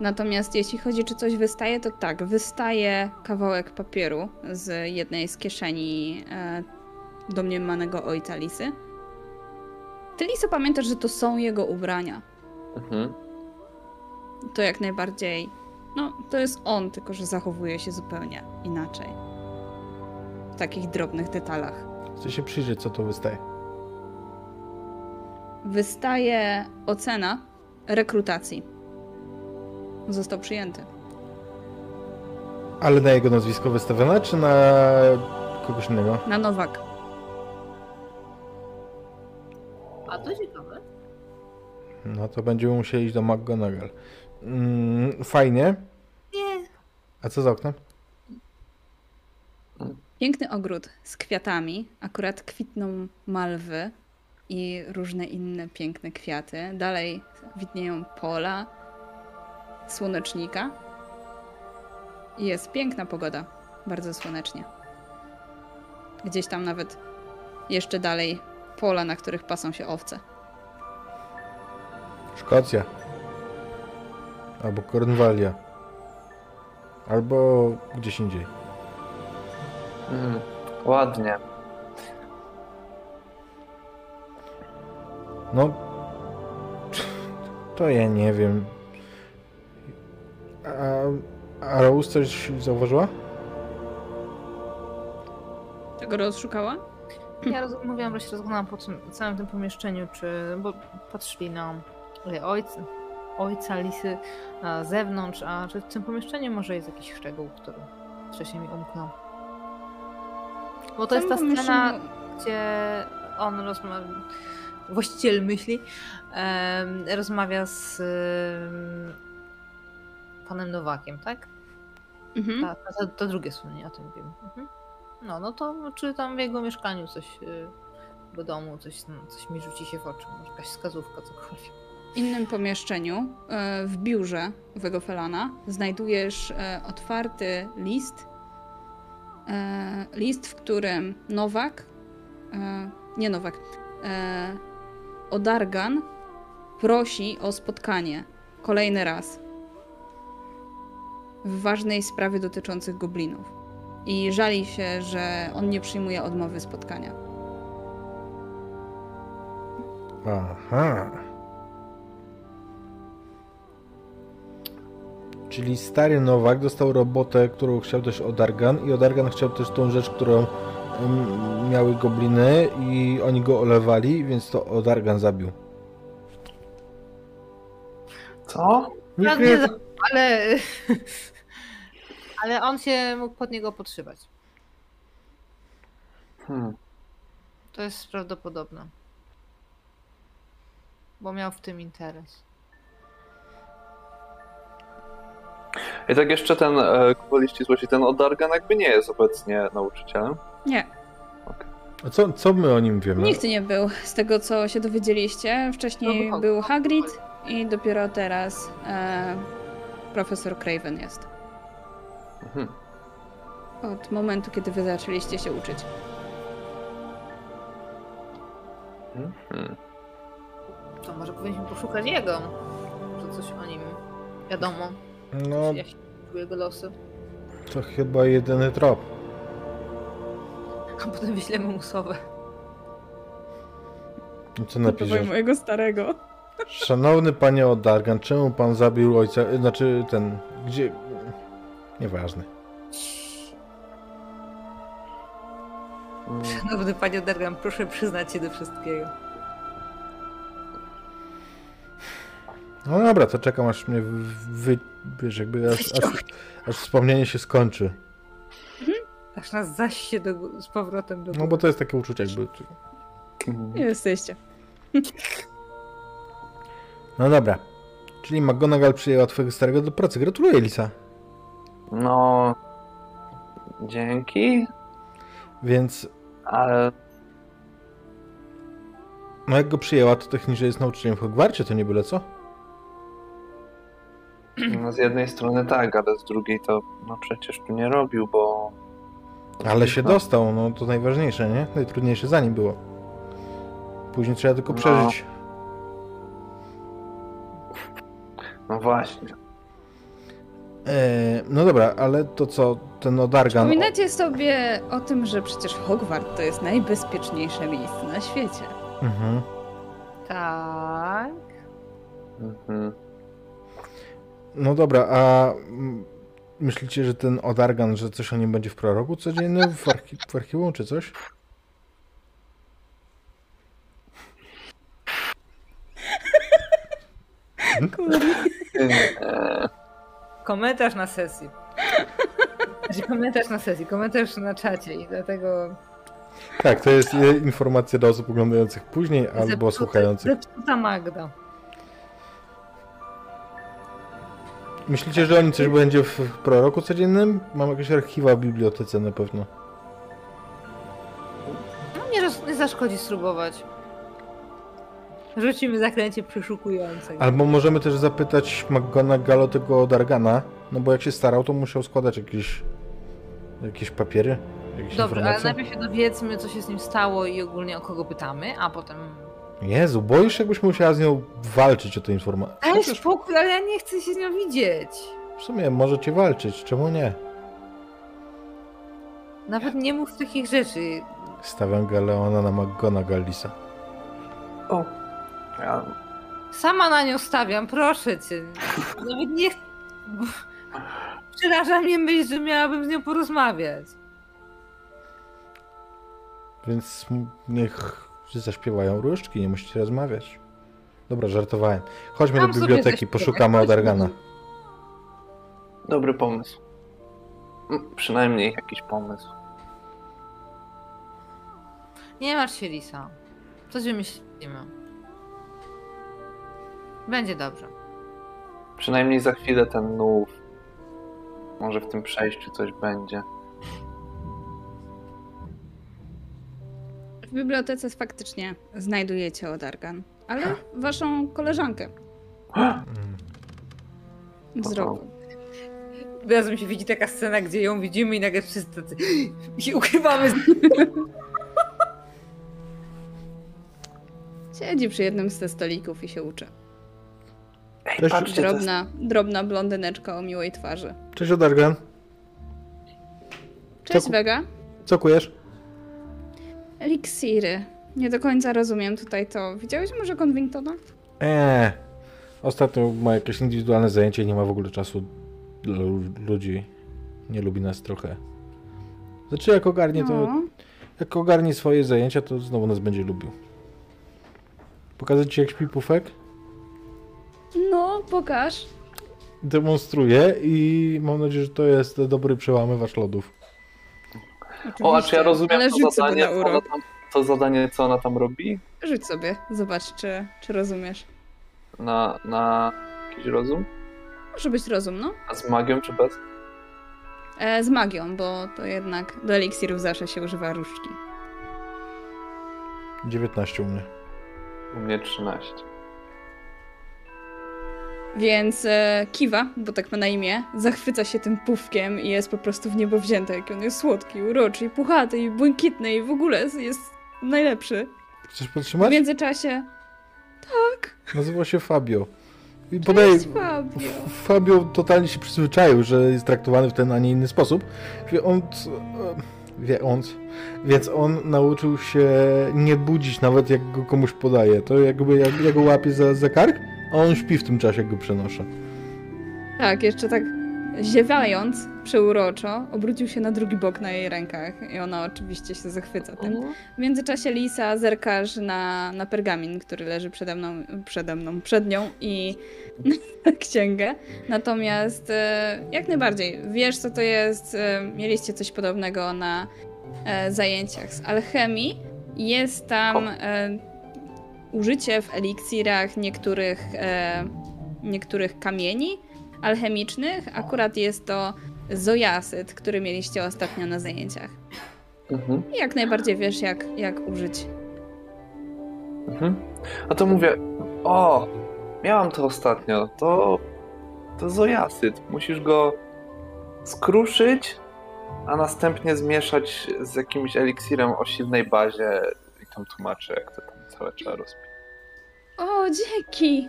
Speaker 1: Natomiast jeśli chodzi, czy coś wystaje, to tak, wystaje kawałek papieru z jednej z kieszeni e, domniemanego ojca Lisy. Ty, Liso, pamiętasz, że to są jego ubrania.
Speaker 2: Mhm.
Speaker 1: To jak najbardziej, no, to jest on, tylko że zachowuje się zupełnie inaczej. W takich drobnych detalach.
Speaker 4: Chcę się przyjrzeć co tu wystaje.
Speaker 1: wystaje ocena rekrutacji. Został przyjęty.
Speaker 4: Ale na jego nazwisko wystawione czy na kogoś innego?
Speaker 1: Na Nowak.
Speaker 3: A to ciekawe.
Speaker 4: No to będziemy musieli iść do McGonagall. Mm, fajnie.
Speaker 3: Nie.
Speaker 4: A co za oknem?
Speaker 1: Piękny ogród z kwiatami. Akurat kwitną malwy i różne inne piękne kwiaty. Dalej widnieją pola słonecznika. I Jest piękna pogoda. Bardzo słonecznie. Gdzieś tam nawet jeszcze dalej pola, na których pasą się owce.
Speaker 4: Szkocja. Albo Kornwalia. Albo gdzieś indziej.
Speaker 2: Mm. Ładnie.
Speaker 4: No. To ja nie wiem. A, a Rose coś zauważyła?
Speaker 1: Tego rozszukała?
Speaker 3: Ja roz- mówiłam, że się rozglądałam po tym, całym tym pomieszczeniu, czy, bo patrzyli na y, ojca, ojca Lisy na zewnątrz, a czy w tym pomieszczeniu może jest jakiś szczegół, który wcześniej mi umknął. Bo to jest ta
Speaker 1: Tam
Speaker 3: scena,
Speaker 1: pomieszczeniu-
Speaker 3: gdzie on rozmawia, właściciel myśli, em, rozmawia z em, panem Nowakiem, tak?
Speaker 1: Mhm.
Speaker 3: Tak, to, to drugie słynie, o tym wiem. Mhm. No, no to czy tam w jego mieszkaniu coś, y, do domu, coś, no, coś mi rzuci się w oczy, może jakaś wskazówka, cokolwiek.
Speaker 1: innym pomieszczeniu, e, w biurze owego Felana, znajdujesz e, otwarty list. E, List, w którym Nowak, e, nie Nowak, e, Odargan prosi o spotkanie kolejny raz. w ważnej sprawie dotyczących goblinów. I żali się, że on nie przyjmuje odmowy spotkania.
Speaker 4: Aha. Czyli stary Nowak dostał robotę, którą chciał też od Argan i od Argan chciał też tą rzecz, którą mm, miały gobliny i oni go olewali, więc to Odargan zabił.
Speaker 2: Co?
Speaker 3: No,
Speaker 4: Nikt
Speaker 3: nie,
Speaker 4: nie...
Speaker 3: ale... ale on się mógł pod niego podszywać.
Speaker 2: Hmm.
Speaker 3: To jest prawdopodobne. Bo miał w tym interes.
Speaker 2: I tak jeszcze ten, e, gwoli ścisłości, ten Odargan jakby nie jest obecnie nauczycielem.
Speaker 1: Nie,
Speaker 4: A Co, co my o nim wiemy?
Speaker 1: nikt nie był z tego, co się dowiedzieliście. Wcześniej
Speaker 3: No,
Speaker 1: był Hagrid i dopiero teraz e, profesor Craven jest.
Speaker 2: Mhm.
Speaker 1: Od momentu, kiedy wy zaczęliście się uczyć.
Speaker 2: Mhm.
Speaker 3: To może powinniśmy poszukać jego. Może coś o nim wiadomo.
Speaker 4: No,
Speaker 3: Ja się czuję jego losy.
Speaker 4: to chyba jedyny trop.
Speaker 3: A potem wyślemy mu sowę.
Speaker 4: No Co napiszesz?
Speaker 1: mojego starego.
Speaker 4: Szanowny panie Odargan, czemu pan zabił ojca, y, znaczy ten, gdzie... Nieważne.
Speaker 2: Mm.
Speaker 3: Szanowny panie Dergan, proszę przyznać się do wszystkiego.
Speaker 4: No dobra, to czekam aż mnie w- wy... wiesz, jakby aż, aż, aż wspomnienie się skończy.
Speaker 3: Aż nas zaś się do, gó- z powrotem do
Speaker 4: No bo to jest takie uczucie jakby...
Speaker 1: Nie jesteście.
Speaker 4: No dobra. Czyli McGonagall przyjęła twojego starego do pracy. Gratuluję, Lisa.
Speaker 2: No. Dzięki,
Speaker 4: Więc
Speaker 2: ale
Speaker 4: no jak go przyjęła, to technicznie jest nauczycielem w Hogwarcie, to nie byle co?
Speaker 1: Mhm.
Speaker 2: no, z jednej strony tak, ale z drugiej to no przecież tu nie robił, bo.
Speaker 4: Ale się
Speaker 2: No.
Speaker 4: dostał, no to najważniejsze, nie? Najtrudniejsze za nim było. Później trzeba tylko
Speaker 2: No.
Speaker 4: przeżyć.
Speaker 2: No właśnie.
Speaker 4: Eee, no dobra, ale to co, ten
Speaker 3: no-
Speaker 4: Odargan... O,
Speaker 1: Przypominacie sobie o tym, że przecież Hogwart to jest najbezpieczniejsze miejsce na świecie.
Speaker 4: mhm.
Speaker 3: Tak.
Speaker 2: Mhm.
Speaker 4: No dobra, a mm, myślicie, że ten Odargan, że coś o nim będzie w proroku codziennym, w, archi- w archiwum czy coś?
Speaker 2: Eee,
Speaker 3: Komentarz na sesji. Znaczy, komentarz na sesji, komentarz na czacie i dlatego
Speaker 4: Tak, to jest e, informacja dla osób oglądających później albo
Speaker 3: Zepsuty-
Speaker 4: słuchających.
Speaker 3: Zepsuta Magda.
Speaker 4: Myślicie, że o nim coś będzie w w proroku codziennym? Mam jakieś archiwa w bibliotece na pewno.
Speaker 3: No nie, roz- nie zaszkodzi spróbować. Rzucimy zaklęcie przeszukujące.
Speaker 4: Albo możemy też zapytać McGonagall o tego Odargana, no bo jak się starał, to musiał składać jakieś, jakieś papiery, jakieś
Speaker 3: Dobra, ale
Speaker 4: informacje.
Speaker 3: najpierw się dowiedzmy, co się z nim stało i ogólnie o kogo pytamy, a potem...
Speaker 4: Jezu, boisz się, jakbyś musiała z nią walczyć o tę informację.
Speaker 3: Ale spokój, ale ja nie chcę się z nią widzieć.
Speaker 4: W sumie możecie walczyć, czemu nie?
Speaker 3: Nawet nie mów takich rzeczy.
Speaker 4: Stawiam Galeona na McGonagallisa.
Speaker 2: ja-
Speaker 3: Sama na nią stawiam, proszę cię. Nawet nie... ch- bo- Przeraża mnie myśl, że miałabym z nią porozmawiać.
Speaker 4: Więc m- niech zaśpiewają różdżki, nie musicie rozmawiać. Dobra, żartowałem. Chodźmy
Speaker 3: Tam
Speaker 4: do
Speaker 3: sobie
Speaker 4: biblioteki,
Speaker 3: zaśpiewaj,
Speaker 4: poszukamy
Speaker 3: chodźmy.
Speaker 4: Odargana.
Speaker 2: Dobry pomysł. Mm, Przynajmniej jakiś pomysł.
Speaker 3: Nie martw się, Lisa. Coś wymyślimy. Będzie dobrze.
Speaker 2: Przynajmniej za chwilę ten nów. Może w tym przejściu coś będzie.
Speaker 1: W bibliotece faktycznie znajdujecie Odargan, ale waszą koleżankę
Speaker 4: Mm.
Speaker 1: z roku.
Speaker 3: Teraz mi się widzi taka scena, gdzie ją widzimy i nagle wszyscy tacy i się ukrywamy.
Speaker 1: Siedzi przy jednym ze stolików i się uczy.
Speaker 2: Ej,
Speaker 4: Też-
Speaker 2: patrzcie, to jest
Speaker 1: Drobna, drobna blondyneczka o miłej twarzy.
Speaker 4: Cześć Odargan,
Speaker 1: Cześć
Speaker 4: Czeku-
Speaker 1: Vega.
Speaker 4: co kujesz?
Speaker 1: Eliksiry. Nie do końca rozumiem tutaj to. Widziałeś może Convingtona?
Speaker 4: Eee, ostatnio ma jakieś indywidualne zajęcie i nie ma w ogóle czasu dla lu- ludzi. Nie lubi nas trochę. Znaczy jak ogarnie to,
Speaker 1: No.
Speaker 4: jak ogarnie swoje zajęcia, to znowu nas będzie lubił. Pokazać ci jak śpi pufek?
Speaker 1: no, pokaż.
Speaker 4: Demonstruję i mam nadzieję, że to jest dobry przełamywacz lodów.
Speaker 2: O, a czy ja
Speaker 1: Oczywiście.
Speaker 2: rozumiem
Speaker 1: Ale
Speaker 2: to
Speaker 1: rzuć sobie
Speaker 2: zadanie,
Speaker 1: na
Speaker 2: co ona
Speaker 1: urok.
Speaker 2: tam, to zadanie, co ona tam robi?
Speaker 1: Rzuć sobie, zobacz, czy, czy rozumiesz.
Speaker 2: Na, na jakiś rozum?
Speaker 1: Może być rozum, no?
Speaker 2: A z magią czy bez?
Speaker 1: E, z magią, bo to jednak do eliksirów zawsze się używa różdżki.
Speaker 4: 19 u mnie.
Speaker 2: U mnie 13.
Speaker 1: Więc e, Kiwa, bo tak ma na imię, zachwyca się tym pufkiem i jest po prostu w niebo wzięta, jak on jest słodki, uroczy i puchaty i błękitny i w ogóle jest- jest najlepszy.
Speaker 4: Chcesz
Speaker 1: W
Speaker 4: podtrzymać?
Speaker 1: międzyczasie... Tak,
Speaker 4: Nazywa się Fabio. I
Speaker 1: to
Speaker 4: podaję,
Speaker 1: jest Fabio.
Speaker 4: Fabio totalnie się przyzwyczaił, że jest traktowany w ten, a nie inny sposób. Wie on, c- e, wie on, c- więc on nauczył się nie budzić, nawet jak go komuś podaje. To jakby jak, ja go łapię za, za kark, a on śpi w tym czasie, jak go przenoszę.
Speaker 1: Tak, jeszcze tak ziewając przeuroczo, obrócił się na drugi bok na jej rękach i ona oczywiście się zachwyca tym. W międzyczasie Lisa zerkasz na, na pergamin, który leży przede mną, przede mną, przed nią i księgę. Natomiast e, jak najbardziej, wiesz co to jest, e, mieliście coś podobnego na e, zajęciach z alchemii. Jest tam e, użycie w eliksirach niektórych, e, niektórych kamieni alchemicznych. Akurat jest to zojasyt, który mieliście ostatnio na zajęciach.
Speaker 2: Mhm.
Speaker 1: I Jak najbardziej wiesz, jak, jak użyć.
Speaker 2: Mhm. A to mówię, o, miałam to ostatnio, to, to zojasyt. Musisz go skruszyć, a następnie zmieszać z jakimś eliksirem o silnej bazie i tam tłumaczę, jak to tam całe trzeba rozpić.
Speaker 1: O, dzięki!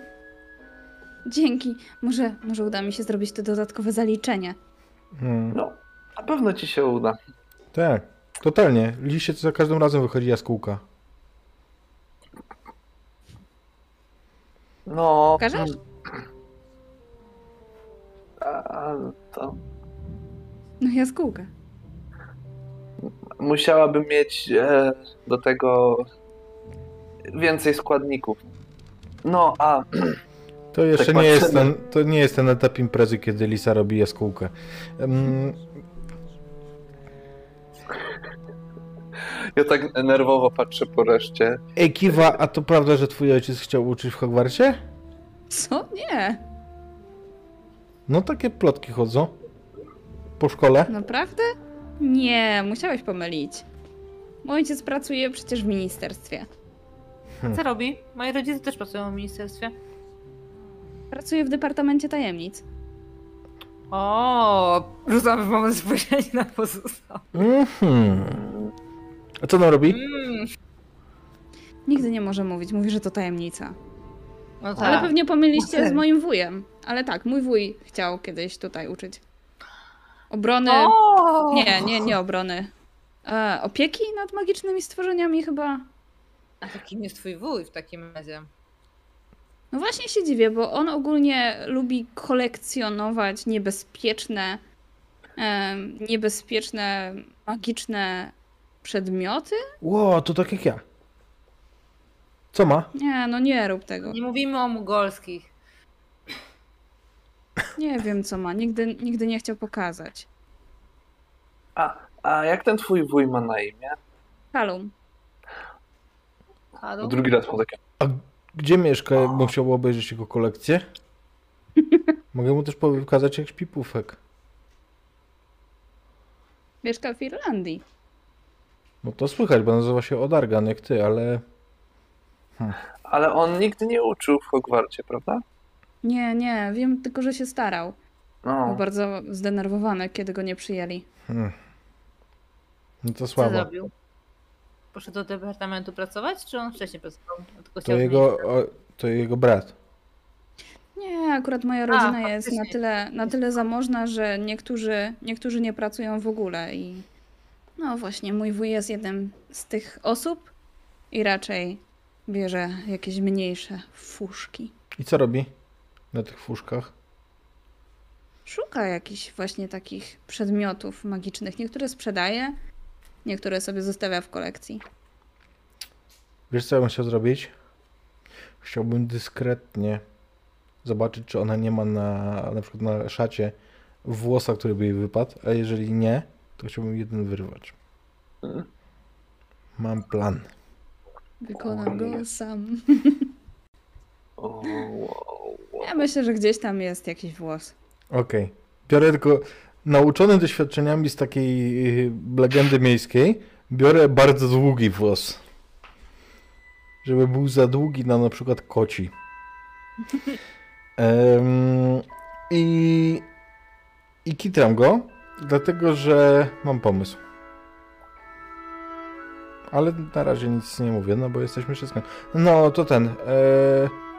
Speaker 1: Dzięki. Może, może uda mi się zrobić to dodatkowe zaliczenie.
Speaker 4: Hmm.
Speaker 2: No, na pewno ci się uda.
Speaker 4: Tak, totalnie. Liście to za każdym razem wychodzi jaskółka.
Speaker 2: No.
Speaker 1: Pokażesz?
Speaker 2: A, to
Speaker 1: No jaskółkę.
Speaker 2: musiałabym mieć e, do tego więcej składników. No, a
Speaker 4: To jeszcze
Speaker 2: Tak
Speaker 4: nie, jest
Speaker 2: patrzymy.
Speaker 4: ten, to nie jest ten etap imprezy, kiedy Lisa robi jaskółkę. Mm,
Speaker 2: ja tak nerwowo patrzę po reszcie.
Speaker 4: Ej, Kiwa, a to prawda, że twój ojciec chciał uczyć w Hogwarcie?
Speaker 1: Co? Nie.
Speaker 4: No takie plotki chodzą. Po szkole?
Speaker 1: Naprawdę? Nie, musiałeś pomylić. Mój ojciec pracuje przecież w ministerstwie.
Speaker 3: Co robi? Moi rodzice też pracują w ministerstwie.
Speaker 1: Pracuje w Departamencie Tajemnic.
Speaker 3: O, rzucam w moment spojrzenia na pozostałe.
Speaker 4: Mhm. A co nam robi?
Speaker 3: Mm.
Speaker 1: Nigdy nie może mówić, mówi, że to tajemnica.
Speaker 3: No tak.
Speaker 1: Ale pewnie pomyliście z
Speaker 3: Okej.
Speaker 1: moim wujem. Ale tak, mój wuj chciał kiedyś tutaj uczyć. Obrony.
Speaker 3: O!
Speaker 1: Nie, nie, nie obrony. E, opieki nad magicznymi stworzeniami chyba.
Speaker 3: A to kim jest twój wuj w takim razie?
Speaker 1: No właśnie się dziwię, bo on ogólnie lubi kolekcjonować niebezpieczne, em, niebezpieczne, magiczne przedmioty.
Speaker 4: Ło, to tak jak ja. Co ma?
Speaker 1: Nie, no nie rób tego.
Speaker 3: Nie mówimy o mugolskich.
Speaker 1: Nie wiem co ma, nigdy, nigdy nie chciał pokazać.
Speaker 2: A, a jak ten twój wuj ma na imię?
Speaker 1: Halum.
Speaker 3: Halo?
Speaker 2: No, Drugi raz po takie.
Speaker 4: A gdzie mieszka? jak Musiał obejrzeć jego kolekcję. Mogę mu też pokazać, jak śpi pufek.
Speaker 1: Mieszka w Irlandii.
Speaker 4: No to słychać, bo nazywa się Odargan jak ty, ale
Speaker 2: Ale on nigdy nie uczył w Hogwarcie, prawda?
Speaker 1: Nie, nie, wiem tylko, że się starał. Był
Speaker 2: No.
Speaker 1: bardzo zdenerwowany, kiedy go nie przyjęli.
Speaker 4: hmm. no to
Speaker 3: Co
Speaker 4: słabo.
Speaker 3: zrobił? Poszedł do departamentu pracować, czy on wcześniej pracował? Tylko
Speaker 4: To
Speaker 3: chciał
Speaker 4: jego,
Speaker 3: zmienić-
Speaker 4: o, to jego brat.
Speaker 1: Nie, akurat moja rodzina jest na
Speaker 3: faktycznie.
Speaker 1: tyle, na tyle zamożna, że niektórzy, niektórzy nie pracują w ogóle i no właśnie, mój wuj jest jednym z tych osób i raczej bierze jakieś mniejsze fuszki.
Speaker 4: I co robi na tych fuszkach?
Speaker 1: Szuka jakichś właśnie takich przedmiotów magicznych. Niektóre sprzedaje, niektóre sobie zostawia w kolekcji.
Speaker 4: Wiesz, co ja bym chciał zrobić? Chciałbym dyskretnie zobaczyć, czy ona nie ma na, na przykład na szacie włosa, który by jej wypadł, a jeżeli nie, to chciałbym jeden wyrwać.
Speaker 2: Mhm.
Speaker 4: Mam plan.
Speaker 1: Wykonam go sam.
Speaker 2: O, wow, wow.
Speaker 1: Ja myślę, że gdzieś tam jest jakiś włos.
Speaker 4: Okej. Biorę tylko, nauczony doświadczeniami z takiej yy, legendy miejskiej, biorę bardzo długi włos. Żeby był za długi na na przykład koci. Em, I... I kitram go, dlatego że mam pomysł. Ale na razie nic nie mówię, no bo jesteśmy wszystko. No to ten. E,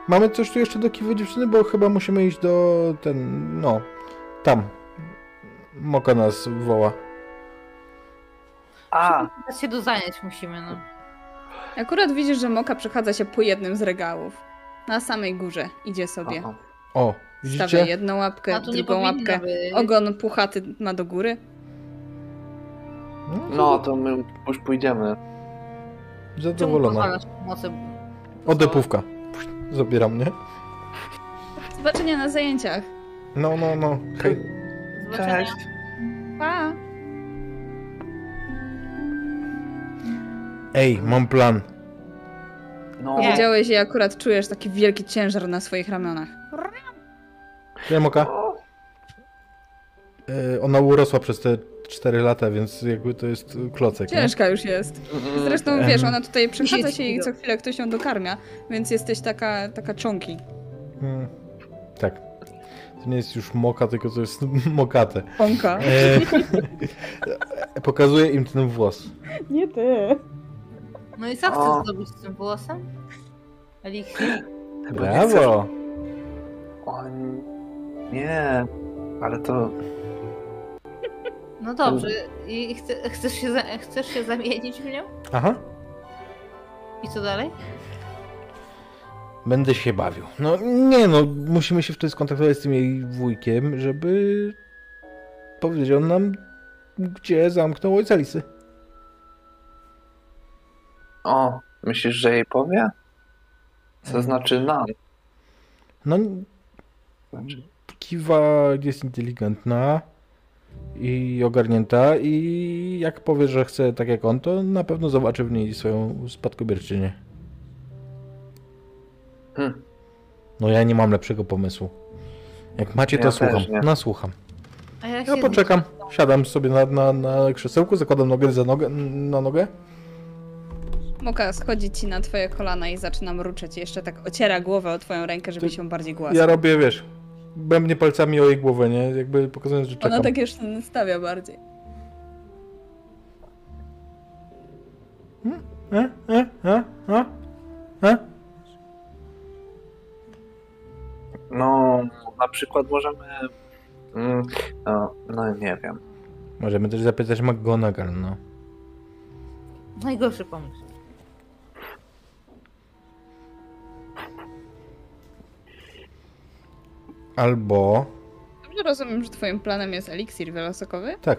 Speaker 4: mamy coś tu jeszcze do kiwy dziewczyny, bo chyba musimy iść do ten. No. Tam. Moka nas woła.
Speaker 2: A,
Speaker 3: Teraz się dozajać musimy, no.
Speaker 1: Akurat widzisz, że Moka przechadza się po jednym z regałów. Na samej górze idzie sobie.
Speaker 2: aha.
Speaker 4: O,
Speaker 1: Stawia
Speaker 4: widzicie?
Speaker 1: jedną łapkę,
Speaker 3: Na to nie
Speaker 1: drugą
Speaker 3: powinno
Speaker 1: łapkę.
Speaker 3: być.
Speaker 1: Ogon puchaty ma do góry.
Speaker 2: No, to my już pójdziemy.
Speaker 3: Czemu
Speaker 4: Zadowolona.
Speaker 3: pozwalasz pomocy?
Speaker 4: Odepówka. Zabieram, mnie.
Speaker 1: Zobaczenia na zajęciach.
Speaker 4: No, no, no. Hej.
Speaker 1: No
Speaker 3: Cześć.
Speaker 1: Pa!
Speaker 4: Ej, mam plan.
Speaker 2: No,
Speaker 1: Powiedziałeś i akurat czujesz taki wielki ciężar na swoich ramionach.
Speaker 4: Nie, Moka.
Speaker 2: O,
Speaker 4: E, ona urosła przez te 4 lata, więc jakby to jest e, klocek. nie?
Speaker 1: Ciężka już jest.
Speaker 2: mm,
Speaker 1: Zresztą
Speaker 4: Em.
Speaker 1: wiesz, ona tutaj przechadza
Speaker 3: Dziesięć
Speaker 1: się i co chwilę ktoś ją dokarmia, więc jesteś taka, taka czonki.
Speaker 4: Mm, tak. To nie jest już moka, tylko to jest mokate.
Speaker 1: Onka.
Speaker 4: E, pokazuję im ten włos.
Speaker 1: Nie ty.
Speaker 3: No i co
Speaker 2: O.
Speaker 3: chcesz zrobić z tym włosem? Eliksir?
Speaker 2: chyba nie chcesz-
Speaker 4: Brawo!
Speaker 2: O, nie, ale to...
Speaker 3: No dobrze. I chce, chcesz, się za, chcesz się zamienić w nią?
Speaker 4: Aha.
Speaker 3: I co dalej?
Speaker 4: Będę się bawił. No nie no, musimy się wtedy skontaktować z tym jej wujkiem, żeby powiedział nam, gdzie zamknął ojca Lisy.
Speaker 2: O, myślisz, że jej powie?
Speaker 1: Mm.
Speaker 2: Co znaczy nam?
Speaker 4: No, n-
Speaker 2: Znaczy,
Speaker 4: Kiwa jest inteligentna i ogarnięta i jak powie, że chce tak jak on, to na pewno zobaczy w niej swoją spadkobierczynię.
Speaker 2: hmm,
Speaker 4: No ja nie mam lepszego pomysłu. Jak macie, to
Speaker 2: Ja też
Speaker 4: słucham.
Speaker 2: nie.
Speaker 4: Nasłucham.
Speaker 3: A jak
Speaker 4: Ja
Speaker 3: się
Speaker 4: poczekam. Siadam sobie na, na, na krzesełku, zakładam nogę za nogę, na nogę.
Speaker 1: Moka schodzi ci na twoje kolana i zaczyna mruczeć. Jeszcze tak ociera głowę o twoją rękę, żeby
Speaker 4: Ty-
Speaker 1: się bardziej
Speaker 4: Ja
Speaker 1: głaszać.
Speaker 4: robię, wiesz, bębnie palcami o jej głowę, nie? Jakby pokazując, że czekam.
Speaker 1: Ona tak jeszcze stawia bardziej.
Speaker 4: E, e, e, e, e?
Speaker 2: no, na przykład możemy... Mm, no, no, nie wiem.
Speaker 4: Możemy też zapytać McGonagall, no.
Speaker 3: Najgorszy pomysł.
Speaker 4: Albo...
Speaker 1: Dobrze rozumiem, że twoim planem jest eliksir wielosokowy?
Speaker 4: Tak.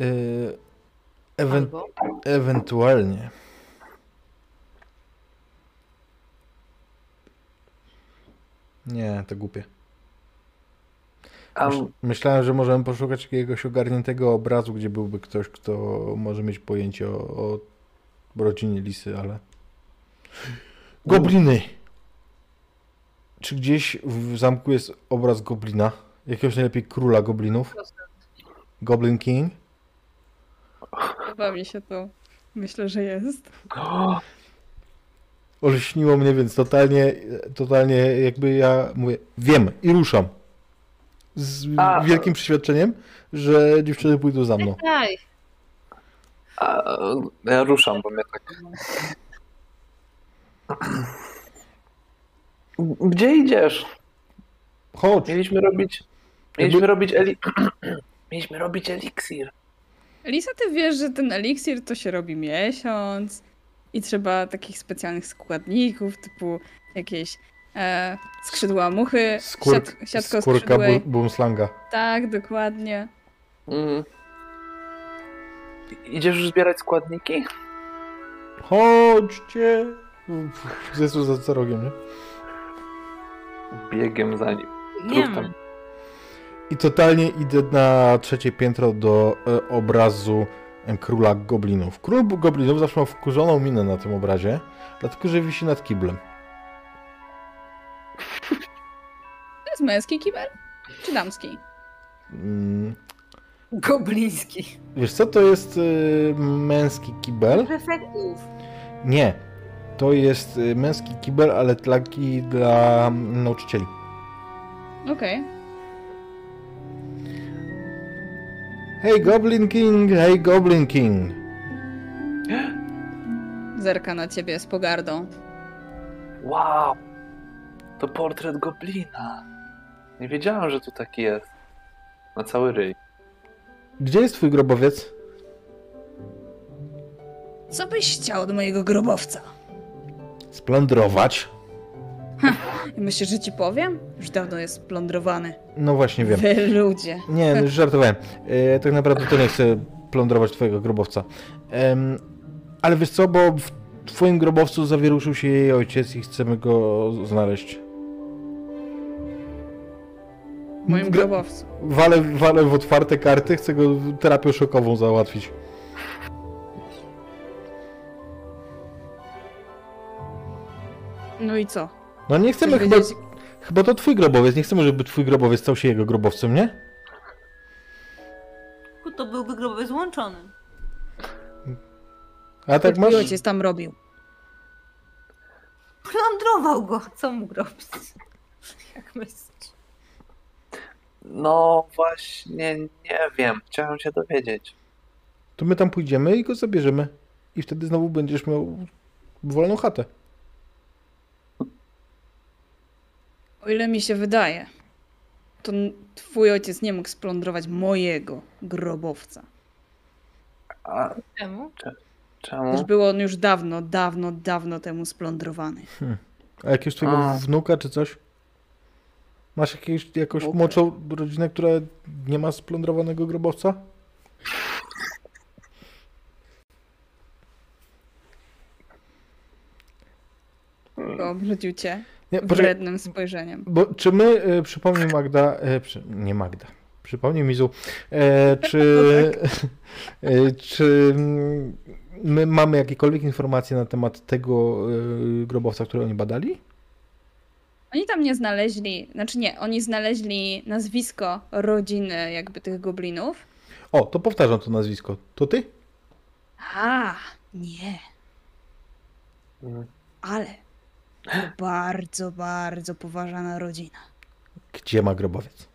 Speaker 4: Y, ewen-
Speaker 3: Albo...
Speaker 4: ewentualnie. Nie, to głupie.
Speaker 2: A,
Speaker 4: Myśl- Myślałem, że możemy poszukać jakiegoś ogarniętego obrazu, gdzie byłby ktoś, kto może mieć pojęcie o, o rodzinie lisy, ale. Gobliny! Czy gdzieś w zamku jest obraz goblina? Jakiegoś najlepiej króla goblinów? Goblin King?
Speaker 1: Podoba mi się to. Myślę, że jest.
Speaker 2: o,
Speaker 4: Olśniło mnie, więc totalnie, totalnie jakby ja mówię, wiem i ruszam. Z
Speaker 2: A.
Speaker 4: wielkim przeświadczeniem, że dziewczyny pójdą za mną.
Speaker 3: Daj.
Speaker 2: a, no ja ruszam, bo mnie tak... Gdzie idziesz?
Speaker 4: Chodź!
Speaker 2: Mieliśmy robić. Mieliśmy robić eli... Mieliśmy robić eliksir.
Speaker 1: Lisa, ty wiesz, że ten eliksir to się robi miesiąc i trzeba takich specjalnych składników, typu jakieś e, skrzydła muchy,
Speaker 4: Skórk,
Speaker 1: siat, siatko
Speaker 4: skórka
Speaker 1: skrzydłej.
Speaker 4: bu- bumslanga.
Speaker 1: Tak, dokładnie.
Speaker 2: Mm. Idziesz już zbierać składniki?
Speaker 4: Chodźcie! No. Jezus za za rogiem, nie?
Speaker 2: Biegiem za nim.
Speaker 3: Nie
Speaker 2: Trup tam.
Speaker 3: wiem.
Speaker 4: I totalnie idę na trzecie piętro do e, obrazu e, króla goblinów. Król goblinów zawsze ma wkurzoną minę na tym obrazie, dlatego że wisi nad kiblem.
Speaker 1: To jest męski kibel? Czy damski?
Speaker 4: Mm,
Speaker 3: Gobliński.
Speaker 4: Wiesz co, to jest y, męski kibel?
Speaker 3: Prefektów.
Speaker 4: Nie. To jest y, męski kibel, ale taki dla mm, nauczycieli.
Speaker 1: Okej.
Speaker 4: Hej Goblin King, hej Goblin King.
Speaker 1: Zerka na ciebie z pogardą.
Speaker 2: Wow! To portret goblina. Nie wiedziałem, że tu taki jest. Na cały ryj.
Speaker 4: Gdzie jest twój grobowiec?
Speaker 1: Co byś chciał od mojego grobowca?
Speaker 4: Splądrować?
Speaker 1: Myślisz, że ci powiem? Już dawno jest splądrowany.
Speaker 4: No właśnie wiem.
Speaker 1: Wy ludzie.
Speaker 4: Nie, no już żartowałem. E, tak naprawdę to nie chcę plądrować twojego grobowca. Em, ale wiesz co, bo w twoim grobowcu zawieruszył się jej ojciec i chcemy go znaleźć.
Speaker 1: W moim
Speaker 4: Gra-
Speaker 1: grobowcu.
Speaker 4: Walę, walę w otwarte karty, chcę go terapią szokową załatwić.
Speaker 1: No i co?
Speaker 4: No nie chcemy
Speaker 1: Chcesz
Speaker 4: chyba...
Speaker 1: wiedzieć-
Speaker 4: Chyba to twój grobowiec, nie chcemy, żeby twój grobowiec stał się jego grobowcem, nie?
Speaker 3: To byłby grobowy złączony.
Speaker 4: A tak
Speaker 1: Mój
Speaker 4: masz?
Speaker 1: ojciec tam robił.
Speaker 3: Plądrował go. Co mu robić? Jak myślisz?
Speaker 2: No właśnie, nie wiem. Chciałem się dowiedzieć.
Speaker 4: To my tam pójdziemy i go zabierzemy. I wtedy znowu będziesz miał wolną chatę.
Speaker 1: O ile mi się wydaje, to n- twój ojciec nie mógł splądrować mojego grobowca.
Speaker 2: A
Speaker 3: Czemu?
Speaker 1: Też
Speaker 2: czemu?
Speaker 1: był on już dawno, dawno, dawno temu splądrowany.
Speaker 4: A jakiegoś twojego
Speaker 2: A.
Speaker 4: wnuka czy coś? Masz jakieś, jakąś
Speaker 2: Wnuka.
Speaker 4: młodszą rodzinę, która nie ma splądrowanego grobowca?
Speaker 1: Obrzucił cię
Speaker 4: Nie, poczekaj,
Speaker 1: wrednym spojrzeniem.
Speaker 4: bo czy my, e, przypomnij Magda, e, przy, nie Magda, przypomnij Mizu, e, czy, e, czy mm, my mamy jakiekolwiek informacje na temat tego e, grobowca, który oni badali?
Speaker 1: Oni tam nie znaleźli, znaczy nie, oni znaleźli nazwisko rodziny jakby tych goblinów.
Speaker 4: O, to powtarzam to nazwisko. To ty?
Speaker 1: A, nie, ale to bardzo, bardzo poważana rodzina.
Speaker 4: Gdzie ma grobowiec?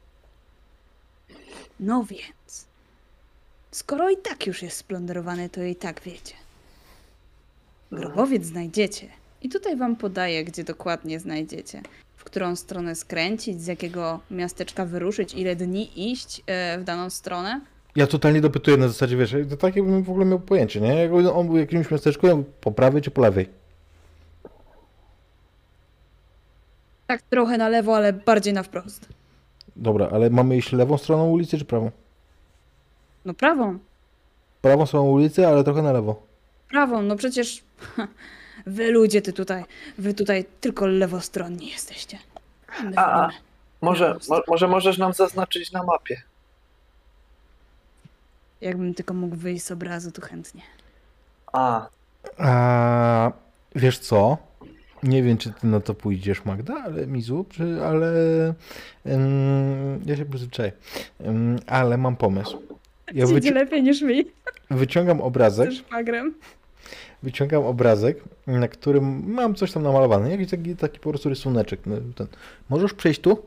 Speaker 1: No więc, skoro i tak już jest splądrowany, to i tak wiecie. Grobowiec znajdziecie. I tutaj wam podaję, gdzie dokładnie znajdziecie. W którą stronę skręcić, z jakiego miasteczka wyruszyć, ile dni iść e, w daną stronę.
Speaker 4: Ja totalnie dopytuję na zasadzie, wiesz, to takie bym w ogóle miał pojęcie, nie? Jakby on był w jakimś miasteczku, ja bym po prawej czy po lewej.
Speaker 1: Tak trochę na lewo, ale bardziej na wprost.
Speaker 4: Dobra, ale mamy iść lewą stroną ulicy czy prawą?
Speaker 1: No prawą,
Speaker 4: Prawą stroną ulicy, ale trochę na lewo.
Speaker 1: prawą, no przecież wy ludzie, ty tutaj, wy tutaj tylko lewostronni jesteście. A my
Speaker 2: A,
Speaker 1: wolimy.
Speaker 2: Może, mo, może możesz nam zaznaczyć na mapie.
Speaker 1: Jakbym tylko mógł wyjść z obrazu, to chętnie.
Speaker 2: A,
Speaker 4: A, wiesz co? Nie wiem, czy ty na to pójdziesz, Magda, ale Mizu, czy, ale... Ym, ja się przyzwyczaję. Ym, ale mam pomysł. Ja
Speaker 1: Idzie
Speaker 4: wyci-
Speaker 1: lepiej niż mi,
Speaker 4: wyciągam obrazek.
Speaker 1: ze szwagrem.
Speaker 4: wyciągam obrazek, na którym mam coś tam namalowane, jakiś taki, taki po prostu rysuneczek. no, Ten. Możesz przejść tu?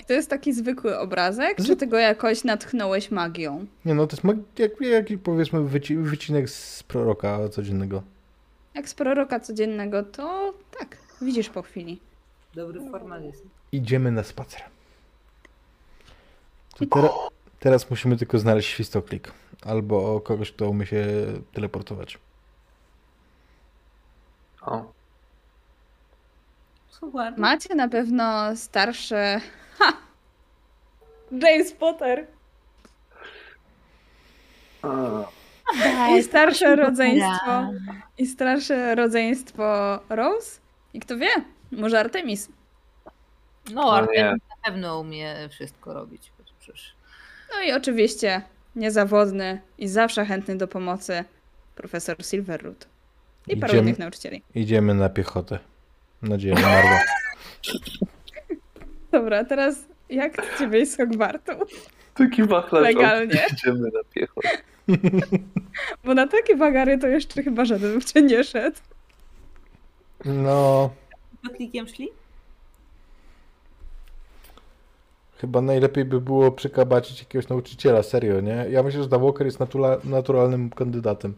Speaker 1: I to jest taki zwykły obrazek, czy
Speaker 4: Zwy-
Speaker 1: ty go jakoś natchnąłeś magią?
Speaker 4: Nie no, to jest mag- jak, jak, powiedzmy wyci- wycinek z proroka codziennego.
Speaker 1: Jak z proroka codziennego, to tak, widzisz po chwili.
Speaker 3: Dobry formalizm.
Speaker 4: Idziemy na spacer. To
Speaker 1: I-
Speaker 4: tera- teraz musimy tylko znaleźć świstoklik. Albo kogoś, kto umie się teleportować.
Speaker 2: O,
Speaker 3: Super.
Speaker 1: Macie na pewno starsze... Ha! James Potter!
Speaker 2: a,
Speaker 1: I starsze rodzeństwo... I starsze rodzeństwo Rose? I kto wie, może Artemis.
Speaker 3: No,
Speaker 2: no
Speaker 3: Artem
Speaker 2: nie.
Speaker 3: na pewno umie wszystko robić. Przecież.
Speaker 1: No i oczywiście niezawodny i zawsze chętny do pomocy profesor Silverroot. I paru
Speaker 4: Idziemy-
Speaker 1: innych nauczycieli.
Speaker 4: Idziemy na piechotę. Nadzieja nie marła.
Speaker 1: Dobra, teraz jak chcecie wyjść z Hogwartu?
Speaker 2: Taki wachlarz.
Speaker 1: Legalnie.
Speaker 2: Idziemy na piechotę.
Speaker 1: Bo na takie bagary to jeszcze chyba żaden w cię nie szedł.
Speaker 4: No,
Speaker 3: Klikiem szli?
Speaker 4: chyba najlepiej by było przykabacić jakiegoś nauczyciela, serio, nie? Ja myślę, że Walker jest natura- naturalnym kandydatem.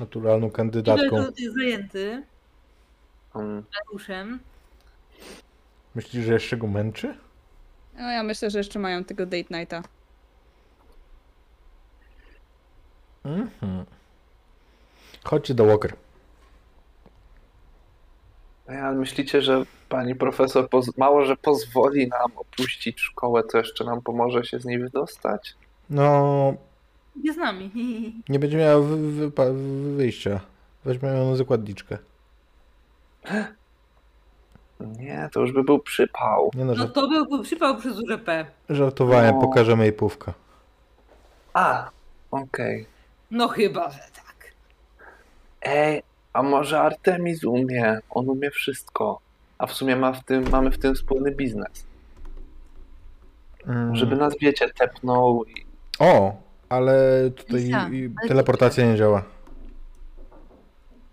Speaker 4: Naturalną kandydatką.
Speaker 3: Ile to jest zajęty
Speaker 2: Mm.
Speaker 3: Mariuszem.
Speaker 4: Myślisz, że jeszcze go męczy?
Speaker 1: No ja myślę, że jeszcze mają tego date nighta.
Speaker 4: Mhm. Chodźcie do Walker.
Speaker 2: Ej, Ale myślicie, że pani profesor poz- mało, że pozwoli nam opuścić szkołę, to jeszcze nam pomoże się z niej wydostać?
Speaker 4: No,
Speaker 3: Nie z nami.
Speaker 4: nie będzie miała wy- wypa- wy- wyjścia. Weźmy ją zakładniczkę.
Speaker 2: Nie, to już by był przypał.
Speaker 4: Nie no,
Speaker 3: No
Speaker 4: żart-
Speaker 3: to byłby przypał przez duże P.
Speaker 4: żartowałem,
Speaker 2: No.
Speaker 4: pokażemy jej pówka.
Speaker 2: A, okej.
Speaker 3: No chyba, że tak.
Speaker 2: Ej, a może Artemis umie? On umie wszystko. A w sumie ma w tym, mamy w tym wspólny biznes.
Speaker 4: Mm.
Speaker 2: Żeby nas, wiecie, tepnął i...
Speaker 4: O, ale tutaj
Speaker 3: Lisa,
Speaker 4: i-
Speaker 3: ale
Speaker 4: teleportacja nie działa.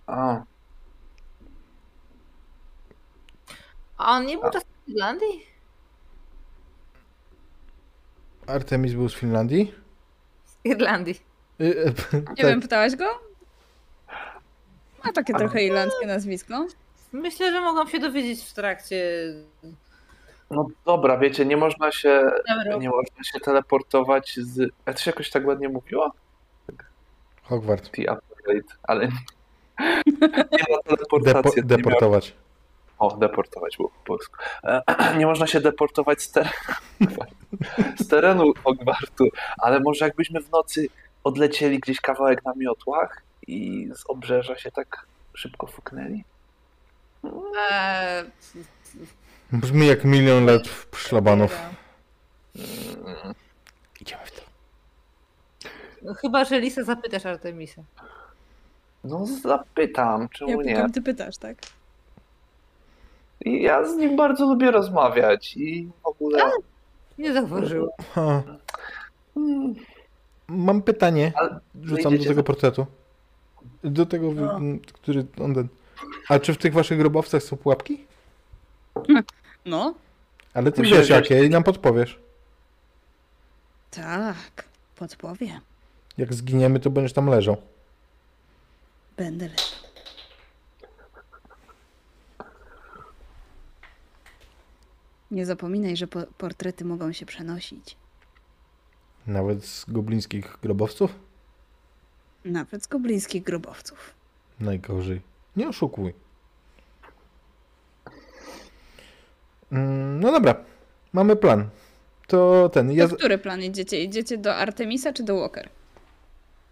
Speaker 2: A,
Speaker 3: A on nie był czasem w Irlandii?
Speaker 4: Artemis był z Finlandii?
Speaker 3: Z Irlandii.
Speaker 4: Y, y,
Speaker 1: Nie wiem, pytałaś go? Ma takie trochę irlandzkie nazwisko.
Speaker 3: Myślę, że mogłam się dowiedzieć w trakcie.
Speaker 2: no dobra, wiecie, nie można się, nie można się teleportować z... A to się jakoś tak ładnie mówiło?
Speaker 4: Hogwart.
Speaker 2: The upgrade, ale... Nie ma teleportacji.
Speaker 4: Depo- deportować.
Speaker 2: O, deportować było po polsku. E, Nie można się deportować z terenu, z terenu Hogwartu, ale może jakbyśmy w nocy odlecieli gdzieś kawałek na miotłach i z obrzeża się tak szybko fuknęli?
Speaker 3: Eee,
Speaker 4: Brzmi jak milion lat w szlabanów.
Speaker 2: Mm,
Speaker 4: Idziemy w to.
Speaker 3: No, chyba, że Lisa zapytasz Artemisa.
Speaker 2: No zapytam,
Speaker 1: Ja
Speaker 2: czemu nie?
Speaker 1: pukam, ty pytasz, tak?
Speaker 2: I ja z nim bardzo lubię rozmawiać i w ogóle...
Speaker 3: Nie zauważyłam.
Speaker 4: Ha.
Speaker 2: Mm,
Speaker 4: Mam pytanie.
Speaker 2: Ale
Speaker 4: Rzucam do
Speaker 2: wyjdziecie
Speaker 4: tego
Speaker 2: za-
Speaker 4: portretu. Do tego, wy-
Speaker 3: No.
Speaker 4: m, który on ten. A czy w tych waszych grobowcach są pułapki?
Speaker 1: No,
Speaker 4: Ale ty
Speaker 2: Musisz
Speaker 4: wiesz
Speaker 2: wziąć-
Speaker 4: jakie i nam podpowiesz.
Speaker 1: tak. Podpowiem.
Speaker 4: Jak zginiemy, to będziesz tam leżał.
Speaker 1: Będę lepiej. Nie zapominaj, że po- portrety mogą się przenosić.
Speaker 4: Nawet z goblińskich grobowców?
Speaker 1: Nawet z goblińskich grobowców.
Speaker 4: Najgorzej. Nie oszukuj. Mm, No dobra, mamy plan. To ten. Ja,
Speaker 1: Ja...
Speaker 4: z-
Speaker 1: który plan idziecie? Idziecie do Artemisa czy do Walker?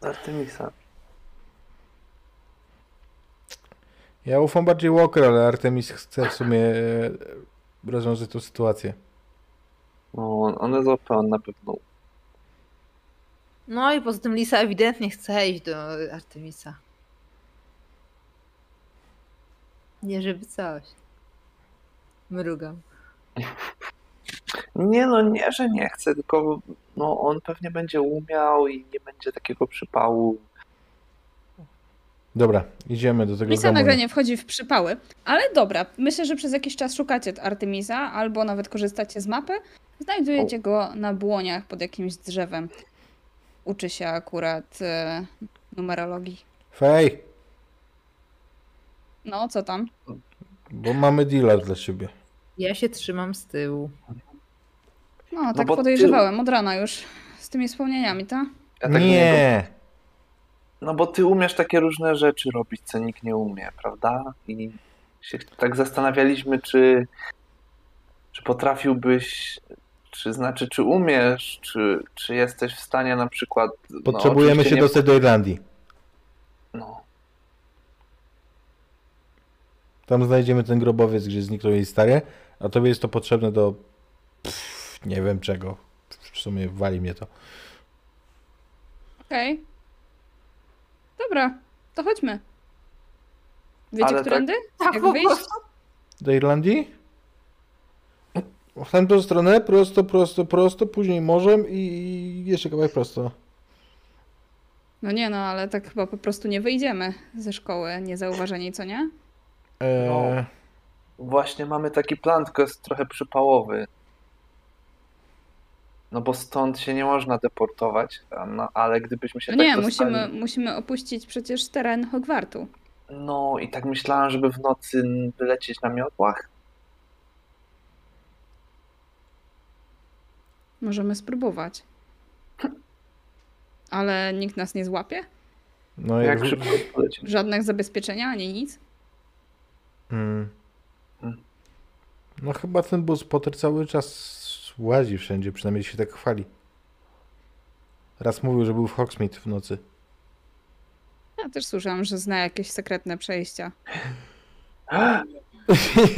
Speaker 2: Artemisa.
Speaker 4: ja ufam bardziej Walker, ale Artemis chce w sumie e, rozwiązać tą sytuację.
Speaker 2: No, on- on jest OP, on na pewno...
Speaker 3: No i poza tym Lisa ewidentnie chce iść do Artemisa. Nie żeby coś. Mrugam.
Speaker 2: Nie no, nie, że nie chcę, tylko no, on pewnie będzie umiał i nie będzie takiego przypału.
Speaker 4: Dobra, idziemy do tego
Speaker 1: Misa
Speaker 4: gamona.
Speaker 1: nagle nie wchodzi w przypały, ale dobra, myślę, że przez jakiś czas szukacie Artemisa albo nawet korzystacie z mapy. Znajdujecie go na błoniach pod jakimś drzewem. Uczy się akurat e, numerologii.
Speaker 4: Fej,
Speaker 1: No, co tam?
Speaker 4: Bo mamy deala dla siebie.
Speaker 3: Ja się trzymam z tyłu.
Speaker 1: No, tak
Speaker 2: bo ty-
Speaker 1: podejrzewałem od rana już. Z tymi wspomnieniami, tak?
Speaker 2: Ja tak do niego-
Speaker 4: nie!
Speaker 2: No bo ty umiesz takie różne rzeczy robić, co nikt nie umie, prawda? I się tak zastanawialiśmy, czy, czy potrafiłbyś, czy znaczy, czy umiesz, czy, czy jesteś w stanie na przykład. no,
Speaker 4: Potrzebujemy
Speaker 2: oczywiście
Speaker 4: się
Speaker 2: nie-
Speaker 4: dostać do Irlandii.
Speaker 2: No,
Speaker 4: Tam znajdziemy ten grobowiec, gdzie zniknął jej stary, a tobie jest to potrzebne do... Pff, nie wiem czego. W sumie wali mnie to.
Speaker 1: Okej. Dobra, to chodźmy. Wiecie,
Speaker 2: Ale tak-
Speaker 1: którędy?
Speaker 3: Tak,
Speaker 1: Jak
Speaker 3: po
Speaker 1: wyjść?
Speaker 3: prostu.
Speaker 4: Do Irlandii? W tamtą stronę, prosto, prosto, prosto, później morzem i i jeszcze kawałek prosto.
Speaker 1: No nie, no ale tak chyba po prostu nie wyjdziemy ze szkoły niezauważeni, co nie?
Speaker 4: Eee,
Speaker 2: No. właśnie mamy taki plan, tylko jest trochę przypałowy. No bo stąd się nie można deportować, a no, ale gdybyśmy się
Speaker 1: No
Speaker 2: tak
Speaker 1: nie,
Speaker 2: dostali...
Speaker 1: musimy, musimy opuścić przecież teren Hogwartu.
Speaker 2: No i tak myślałam, żeby w nocy wylecieć na miotłach.
Speaker 1: Możemy spróbować. Ale nikt nas nie złapie?
Speaker 4: No
Speaker 2: Jak
Speaker 4: jak...
Speaker 2: szybko polecieć.
Speaker 1: Żadnych zabezpieczenia ani nic?
Speaker 4: Mm. No chyba ten bus Potter cały czas łazi wszędzie, przynajmniej się tak chwali. Raz mówił, że był w Hogsmeade w nocy.
Speaker 1: Ja też słyszałam, że zna jakieś sekretne przejścia.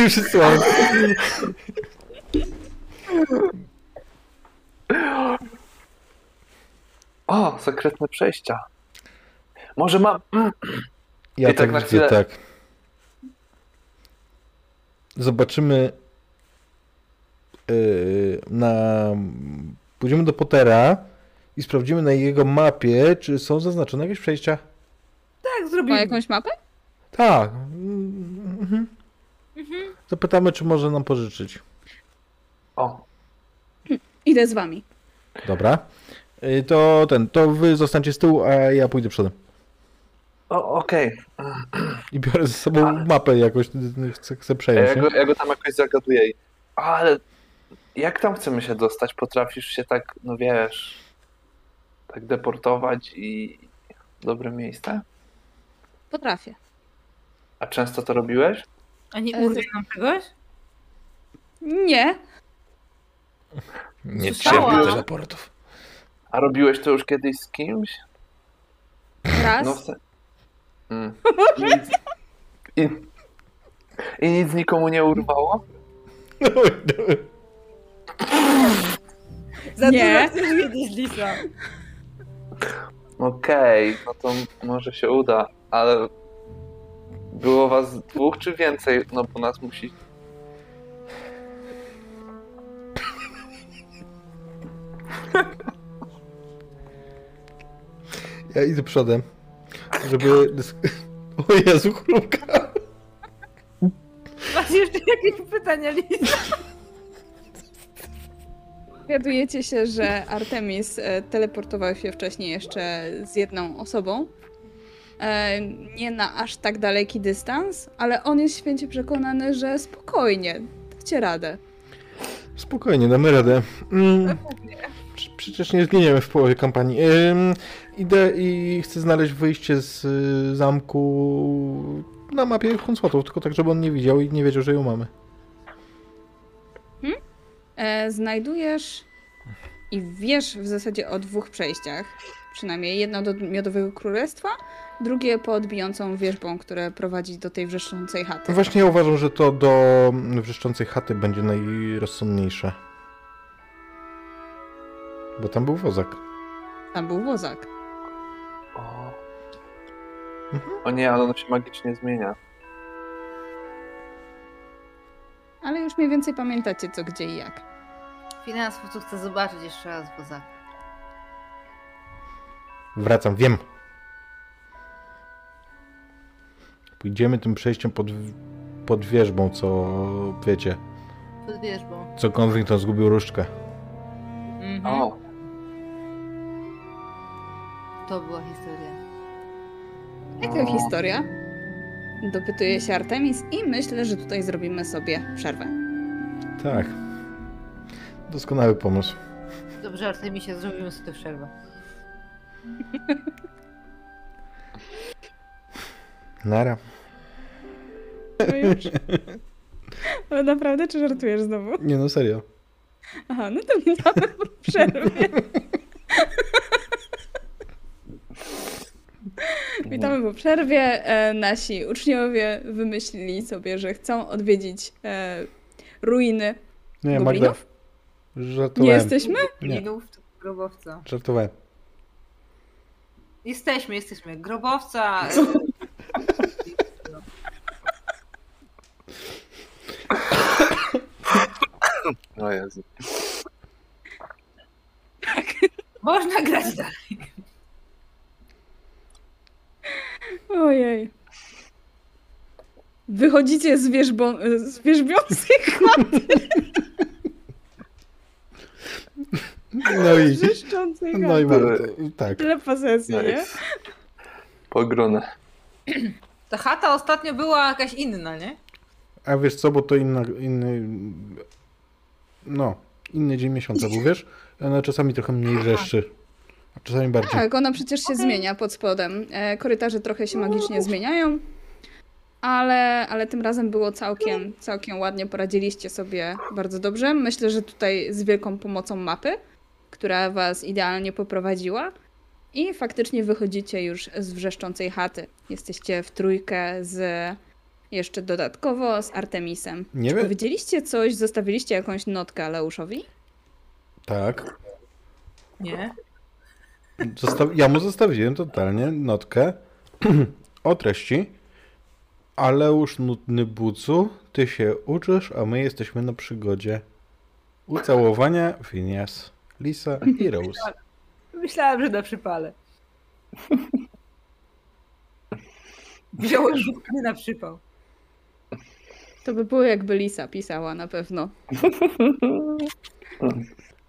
Speaker 4: I wszyscy mają...
Speaker 2: O, sekretne przejścia. Może mam. Mm,
Speaker 4: Ja
Speaker 2: I tak
Speaker 4: tak,
Speaker 2: na
Speaker 4: widzę,
Speaker 2: chwilę-
Speaker 4: tak. Zobaczymy yy, na... Pójdziemy do Pottera i sprawdzimy na jego mapie, czy są zaznaczone jakieś przejścia.
Speaker 3: Tak,
Speaker 1: Ma
Speaker 3: zrobimy.
Speaker 1: jakąś mapę?
Speaker 4: Tak. mm, Mhm. Zapytamy, czy może nam pożyczyć.
Speaker 2: O,
Speaker 1: Idę z wami.
Speaker 4: Dobra. Y, To ten, to wy zostańcie z tyłu, a ja pójdę przodem.
Speaker 2: o okej.
Speaker 4: I biorę ze sobą mapę jakoś, y, y, chcę, chcę
Speaker 2: Ja,
Speaker 4: przejąć. nie?
Speaker 2: go- ja go tam jakoś zagaduję. i- Ale jak tam chcemy się dostać? Potrafisz się tak, no wiesz, tak deportować i dobre miejsce?
Speaker 1: Potrafię.
Speaker 2: A często to robiłeś?
Speaker 3: A nie
Speaker 1: Ale-
Speaker 3: urwie nam czegoś?
Speaker 1: Nie,
Speaker 4: Nie
Speaker 3: Słyszałam.
Speaker 4: trzeba teleportów.
Speaker 2: A robiłeś to już kiedyś z kimś?
Speaker 1: raz.
Speaker 2: No w se... mm. I, nic- i, I nic nikomu nie urwało?
Speaker 3: Za
Speaker 1: Nie.
Speaker 3: dużo chcesz wiedzieć, Lisa.
Speaker 2: Okej, no to może się uda, ale było was dwóch czy więcej? No bo nas musi.
Speaker 4: Ja idę przodem, żeby... O Jezu, chrupka.
Speaker 3: Masz jeszcze jakieś pytania, Lisa?
Speaker 1: Dowiadujecie się, że Artemis e, teleportował się wcześniej jeszcze z jedną osobą. E, Nie na aż tak daleki dystans, ale on jest święcie przekonany, że spokojnie, dacie radę.
Speaker 4: Spokojnie, damy radę. Mm. Prze- Przecież nie zginiemy w połowie kampanii. Ym, idę i chcę znaleźć wyjście z y, zamku na mapie Hunsłotów, tylko tak, żeby on nie widział i nie wiedział, że ją mamy.
Speaker 1: E, Znajdujesz i wiesz w zasadzie o dwóch przejściach. Przynajmniej jedno do Miodowego Królestwa, drugie pod bijącą wierzbą, które prowadzi do tej wrzeszczącej chaty.
Speaker 4: No Właśnie ja uważam, że to do wrzeszczącej chaty będzie najrozsądniejsze. Bo tam był wozak.
Speaker 1: Tam był wozak.
Speaker 2: O.
Speaker 4: Mhm.
Speaker 2: o nie, ale ono się magicznie zmienia.
Speaker 1: Ale już mniej więcej pamiętacie co, gdzie i jak.
Speaker 3: Finansów tu chcę zobaczyć jeszcze raz, bo za...
Speaker 4: Wracam, wiem. Pójdziemy tym przejściem pod, pod wierzbą, co wiecie,
Speaker 3: Pod wierzbą.
Speaker 4: co Convington zgubił różdżkę.
Speaker 3: Mhm.
Speaker 2: O,
Speaker 3: To była historia.
Speaker 1: Jaka
Speaker 2: O.
Speaker 1: historia? Dopytuje się Artemis i myślę, że tutaj zrobimy sobie przerwę.
Speaker 4: Tak. Doskonały pomysł.
Speaker 3: Dobrze, Artemisie, zrobimy sobie przerwę.
Speaker 4: Nara.
Speaker 1: No już. Ale naprawdę, czy żartujesz znowu?
Speaker 4: Nie no, serio.
Speaker 1: Aha, no to minamy po przerwie. Witamy po przerwie. E, nasi uczniowie wymyślili sobie, że chcą odwiedzić e, ruiny
Speaker 4: Nie, Magda.
Speaker 1: goblinów. Nie
Speaker 4: Żartowałem.
Speaker 1: jesteśmy?
Speaker 4: Nie.
Speaker 3: Linów, grobowca.
Speaker 4: Żartowałem.
Speaker 3: Jesteśmy, jesteśmy. Grobowca.
Speaker 2: O Jezu.
Speaker 3: Można grać dalej.
Speaker 1: Ojej. Wychodzicie z, wierzbo, z wierzbiąskiej
Speaker 4: No i.
Speaker 1: wrzeszczącej
Speaker 4: No i
Speaker 1: chaty.
Speaker 4: Magda. Tak.
Speaker 1: Telepasesji, nie?
Speaker 2: Nice. Pogrona.
Speaker 3: Ta chata ostatnio była jakaś inna, nie?
Speaker 4: A wiesz co, bo to inna, inny. No, inny dzień miesiąca, bo wiesz, ona czasami trochę mniej wrzeszczy. A czasami bardziej.
Speaker 1: Tak, ona przecież się zmienia pod spodem. E, korytarze trochę się magicznie zmieniają, ale, ale tym razem było całkiem, całkiem ładnie. Poradziliście sobie bardzo dobrze. Myślę, że tutaj z wielką pomocą mapy, która was idealnie poprowadziła. I faktycznie wychodzicie już z wrzeszczącej chaty. Jesteście w trójkę z jeszcze dodatkowo z Artemisem.
Speaker 4: Nie wiem.
Speaker 1: Powiedzieliście coś, zostawiliście jakąś notkę Leuszowi?
Speaker 4: Tak.
Speaker 3: Nie.
Speaker 4: Zosta- ja mu zostawiłem totalnie notkę o treści. Ale już nudny bucu, ty się uczysz, a my jesteśmy na przygodzie. Ucałowania, Phineas, Lisa i Rose.
Speaker 3: Myślałam, że na przypale. Wziąłem nie na przypał.
Speaker 1: To by było jakby Lisa pisała na pewno.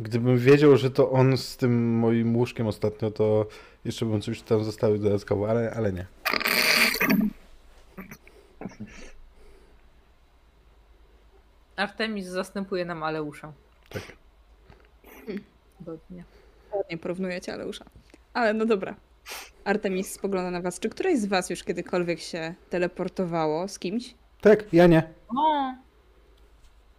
Speaker 4: Gdybym wiedział, że to on z tym moim łóżkiem ostatnio, to jeszcze bym coś tam zostawił dodatkowo, ale, ale nie.
Speaker 3: Artemis zastępuje nam Aleusza.
Speaker 4: Tak.
Speaker 3: Godnie.
Speaker 1: Nie porównujecie Aleusza. Ale no dobra. Artemis spogląda na was. Czy któreś z was już kiedykolwiek się teleportowało z kimś?
Speaker 4: Tak, ja nie.
Speaker 3: O,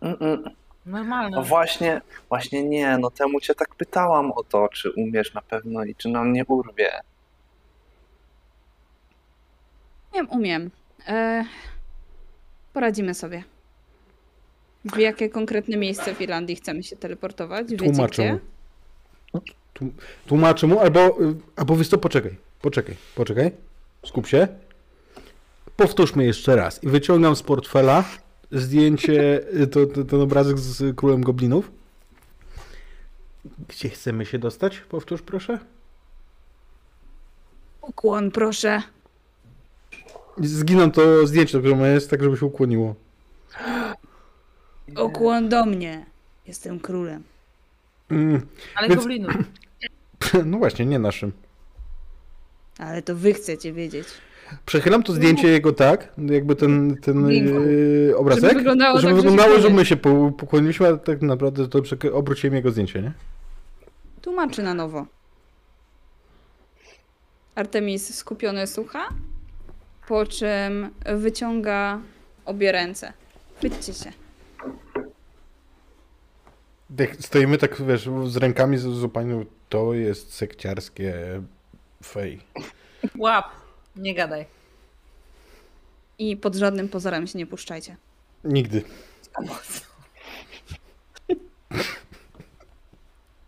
Speaker 2: Mm-mm.
Speaker 3: normalne.
Speaker 2: No właśnie, właśnie nie, no temu cię tak pytałam o to, czy umiesz na pewno i czy nam nie urwie.
Speaker 1: Nie wiem, umiem. E, poradzimy sobie. W jakie konkretne miejsce w Irlandii chcemy się teleportować? Wiecie
Speaker 4: Tłumaczę mu.
Speaker 1: gdzie?
Speaker 4: Tłum- Tłumaczę mu, albo, y, albo wiesz co, poczekaj, poczekaj, poczekaj, skup się. Powtórzmy jeszcze raz i wyciągam z portfela zdjęcie, y, to, to, ten obrazek z Królem Goblinów. Gdzie chcemy się dostać? Powtórz proszę.
Speaker 1: Ukłon, proszę.
Speaker 4: Zginam to zdjęcie, które jest, tak żeby się ukłoniło.
Speaker 1: Ukłon do mnie. Jestem królem.
Speaker 4: Mm,
Speaker 3: Ale
Speaker 4: Więc-
Speaker 3: goblinów.
Speaker 4: no właśnie, nie naszym.
Speaker 1: Ale to wy chcecie wiedzieć.
Speaker 4: Przechylam to zdjęcie jego tak, jakby ten, ten
Speaker 1: Linku.
Speaker 4: yy, obrazek,
Speaker 1: No. Żeby wyglądało
Speaker 4: żeby,
Speaker 1: tak, że się
Speaker 4: wyglądało, że
Speaker 1: kłonię.
Speaker 4: my się po- pokłoniliśmy, ale tak naprawdę to przek- obróciłem jego zdjęcie, nie?
Speaker 1: Tłumaczy na nowo. Artemis skupiony słucha, po czym wyciąga obie ręce. Chwyćcie się.
Speaker 4: Jak stoimy tak, wiesz, z rękami z- zupełnie, no, to jest sekciarskie fej.
Speaker 3: Łap. Nie gadaj.
Speaker 1: I pod żadnym pozorem się nie puszczajcie.
Speaker 4: Nigdy.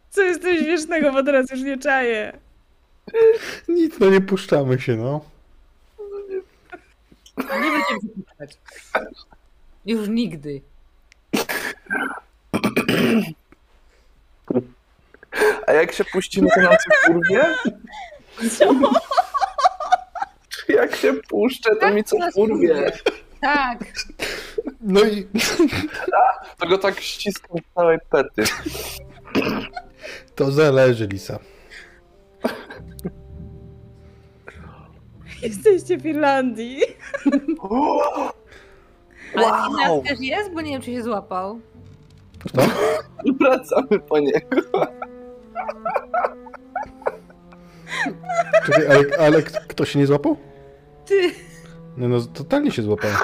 Speaker 1: Co jest coś śmiesznego, bo teraz już nie czaję.
Speaker 4: Nic, no nie puszczamy się, no.
Speaker 3: Nie będziemy się puszczać. Już nigdy.
Speaker 2: A jak się puścimy, to nam coś urwie?
Speaker 1: Co?
Speaker 2: Czy jak się puszczę, to mi coś urwie?
Speaker 3: Tak.
Speaker 4: No i
Speaker 2: To go tak ściskam w całej pety.
Speaker 4: to zależy, Lisa.
Speaker 1: Jesteście w Irlandii.
Speaker 3: Ale
Speaker 2: Wow!
Speaker 3: wow. też jest, bo nie wiem, czy się złapał.
Speaker 2: Wracamy po niego.
Speaker 4: Czekaj, ale, ale k- kto się nie złapał?
Speaker 3: Ty,
Speaker 4: Nie no, totalnie się złapałem.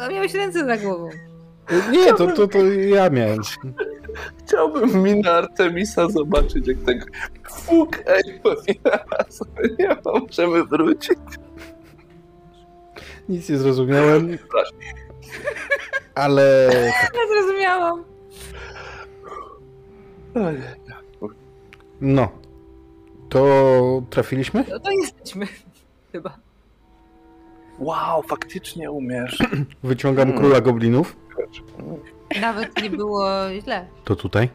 Speaker 3: a miałeś ręce za głową.
Speaker 4: E, Nie, to, to, to ja miałem.
Speaker 2: Chciałbym minę Artemisa zobaczyć, jak tego... Fuk, ej, powinna sobie, nie możemy wrócić.
Speaker 4: Nic nie zrozumiałem,
Speaker 2: Przepraszam.
Speaker 4: ale
Speaker 3: Ja zrozumiałam.
Speaker 2: Ojej.
Speaker 4: no. To trafiliśmy?
Speaker 3: No to jesteśmy. Chyba.
Speaker 2: Wow, faktycznie umiesz.
Speaker 4: Wyciągam
Speaker 2: Mm.
Speaker 4: króla goblinów.
Speaker 3: Nawet nie było źle.
Speaker 4: To tutaj.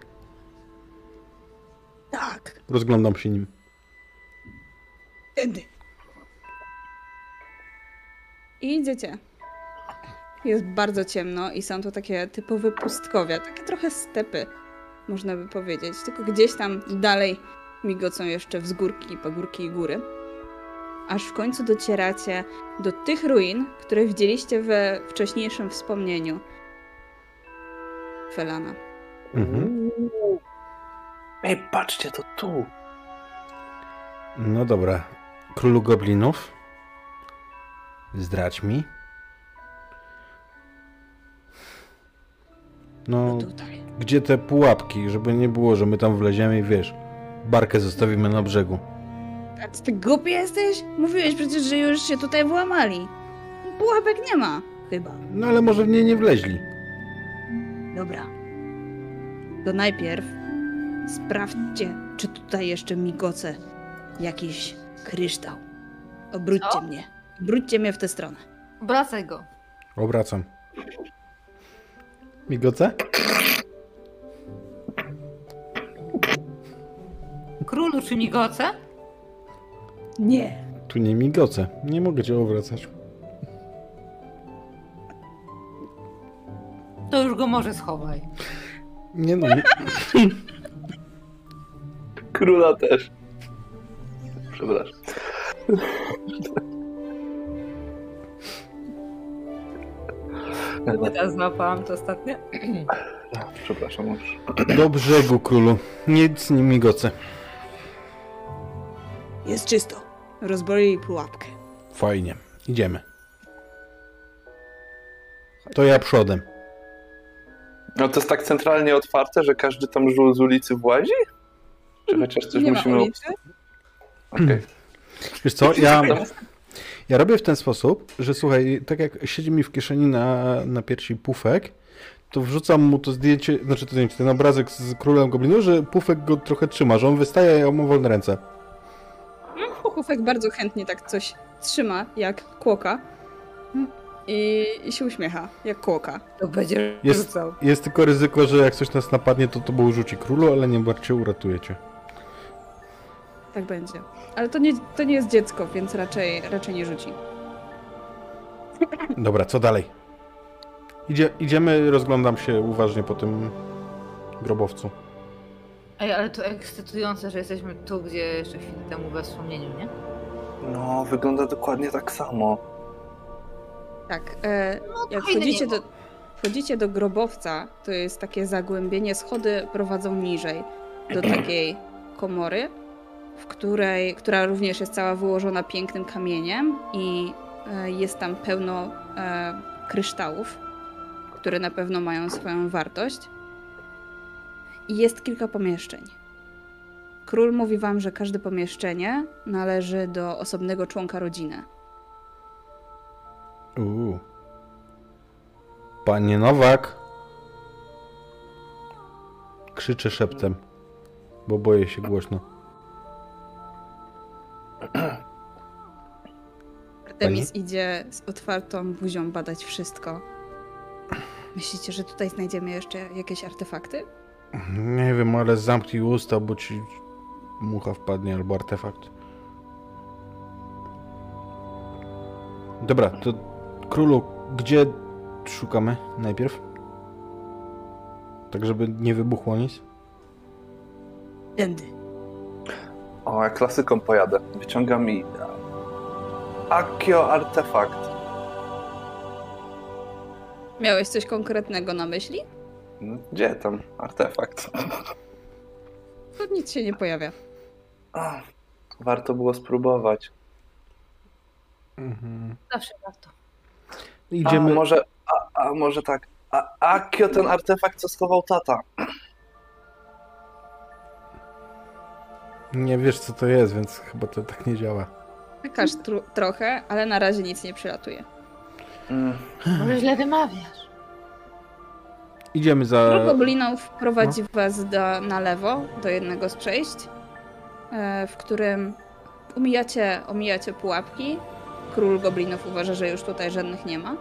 Speaker 1: Tak.
Speaker 4: Rozglądam się nim.
Speaker 1: Tędy. I idziecie. Jest bardzo ciemno i są to takie typowe pustkowia, takie trochę stepy, można by powiedzieć. Tylko gdzieś tam dalej migocą jeszcze wzgórki, pagórki i góry. Aż w końcu docieracie do tych ruin, które widzieliście we wcześniejszym wspomnieniu Felana.
Speaker 4: Mhm.
Speaker 2: Ej, patrzcie, to tu.
Speaker 4: No dobra. Królu goblinów. Zdrać mi. No,
Speaker 1: Tutaj.
Speaker 4: gdzie te pułapki, żeby nie było, że my tam wleziemy i wiesz, barkę zostawimy na brzegu.
Speaker 1: A ty głupi jesteś? Mówiłeś przecież, że już się tutaj włamali. Pułapek nie ma, chyba.
Speaker 4: No ale może w nie nie wleźli.
Speaker 1: Dobra. To najpierw sprawdźcie, czy tutaj jeszcze migoce jakiś kryształ. Obróćcie
Speaker 3: Co?
Speaker 1: mnie. Obróćcie mnie w tę stronę.
Speaker 3: Wracaj go.
Speaker 4: Obracam. Migoce?
Speaker 3: Królu czy migoce?
Speaker 1: Nie.
Speaker 4: Tu nie migoce. Nie mogę cię obracać.
Speaker 3: To już go może schowaj.
Speaker 4: Nie no, mi-
Speaker 2: Króla też. Przepraszam.
Speaker 4: tak.
Speaker 2: No,
Speaker 3: Ja złapałam to ostatnio.
Speaker 2: Przepraszam już.
Speaker 4: do brzegu królu. Nic nie migoce.
Speaker 1: Jest czysto. Rozbroili pułapkę.
Speaker 4: Fajnie. Idziemy. To ja przodem.
Speaker 2: No to jest tak centralnie otwarte, że każdy tam żul z ulicy włazi? Czy chociaż coś
Speaker 1: nie
Speaker 2: musimy...
Speaker 1: ma ulicy?
Speaker 2: Okej.
Speaker 4: Wiesz co, No, ja, ja robię w ten sposób, że słuchaj, tak jak siedzi mi w kieszeni na, na piersi pufek, to wrzucam mu to zdjęcie, znaczy to zdjęcie, ten obrazek z królem goblinu, że pufek go trochę trzyma, że on wystaje, a ja mu wolne ręce.
Speaker 1: Kufek bardzo chętnie tak coś trzyma, jak kłoka. I, i się uśmiecha, jak kłoka.
Speaker 3: To będzie
Speaker 4: Jest-
Speaker 3: rzucał.
Speaker 4: Jest tylko ryzyko, że jak coś nas napadnie, to to było rzuci królu, ale nie bardziej uratuje cię.
Speaker 1: Tak będzie. Ale to nie, to nie jest dziecko, więc raczej, raczej nie rzuci.
Speaker 4: Dobra, co dalej? Idzie, idziemy, rozglądam się uważnie po tym grobowcu.
Speaker 3: Ej, ale to ekscytujące, że jesteśmy tu, gdzie jeszcze chwilę temu we wspomnieniu, nie?
Speaker 2: No, wygląda dokładnie tak samo.
Speaker 1: Tak. E, jak
Speaker 3: fajne
Speaker 1: wchodzicie
Speaker 3: niebo.
Speaker 1: do, wchodzicie do grobowca, to jest takie zagłębienie, schody prowadzą niżej do takiej komory, w której, która również jest cała wyłożona pięknym kamieniem i e, jest tam pełno e, kryształów, które na pewno mają swoją wartość. I jest kilka pomieszczeń. Król mówi wam, że każde pomieszczenie należy do osobnego członka rodziny.
Speaker 4: Uuu. Panie Nowak! Krzyczę szeptem, bo boję się głośno.
Speaker 1: Artemis idzie z otwartą buzią badać wszystko. Myślicie, że tutaj znajdziemy jeszcze jakieś artefakty?
Speaker 4: Nie wiem, ale zamknij usta, bo ci mucha wpadnie albo artefakt. Dobra, to królu, gdzie szukamy najpierw? Tak, żeby nie wybuchło nic.
Speaker 1: Tędy.
Speaker 2: O, ja klasyką pojadę. Wyciągam i... Akio artefakt.
Speaker 1: Miałeś coś konkretnego na myśli?
Speaker 2: No, Gdzie tam artefakt?
Speaker 1: To nic się nie pojawia.
Speaker 2: Ach, Warto było spróbować.
Speaker 4: Mhm.
Speaker 3: Zawsze warto.
Speaker 4: Idziemy.
Speaker 2: A, może, a, a może tak. A Akio ten artefakt, co schował tata.
Speaker 4: Nie wiesz, co to jest, więc chyba to tak nie działa.
Speaker 1: Czekasz tru- trochę, ale na razie nic nie przylatuje.
Speaker 2: Mm.
Speaker 3: Może źle wymawiasz.
Speaker 4: Idziemy
Speaker 1: Krok
Speaker 2: No
Speaker 4: za.
Speaker 1: goblinów prowadzi was do, na lewo, do jednego z przejść, e, w którym omijacie, omijacie pułapki. Król goblinów uważa, że już tutaj żadnych nie ma.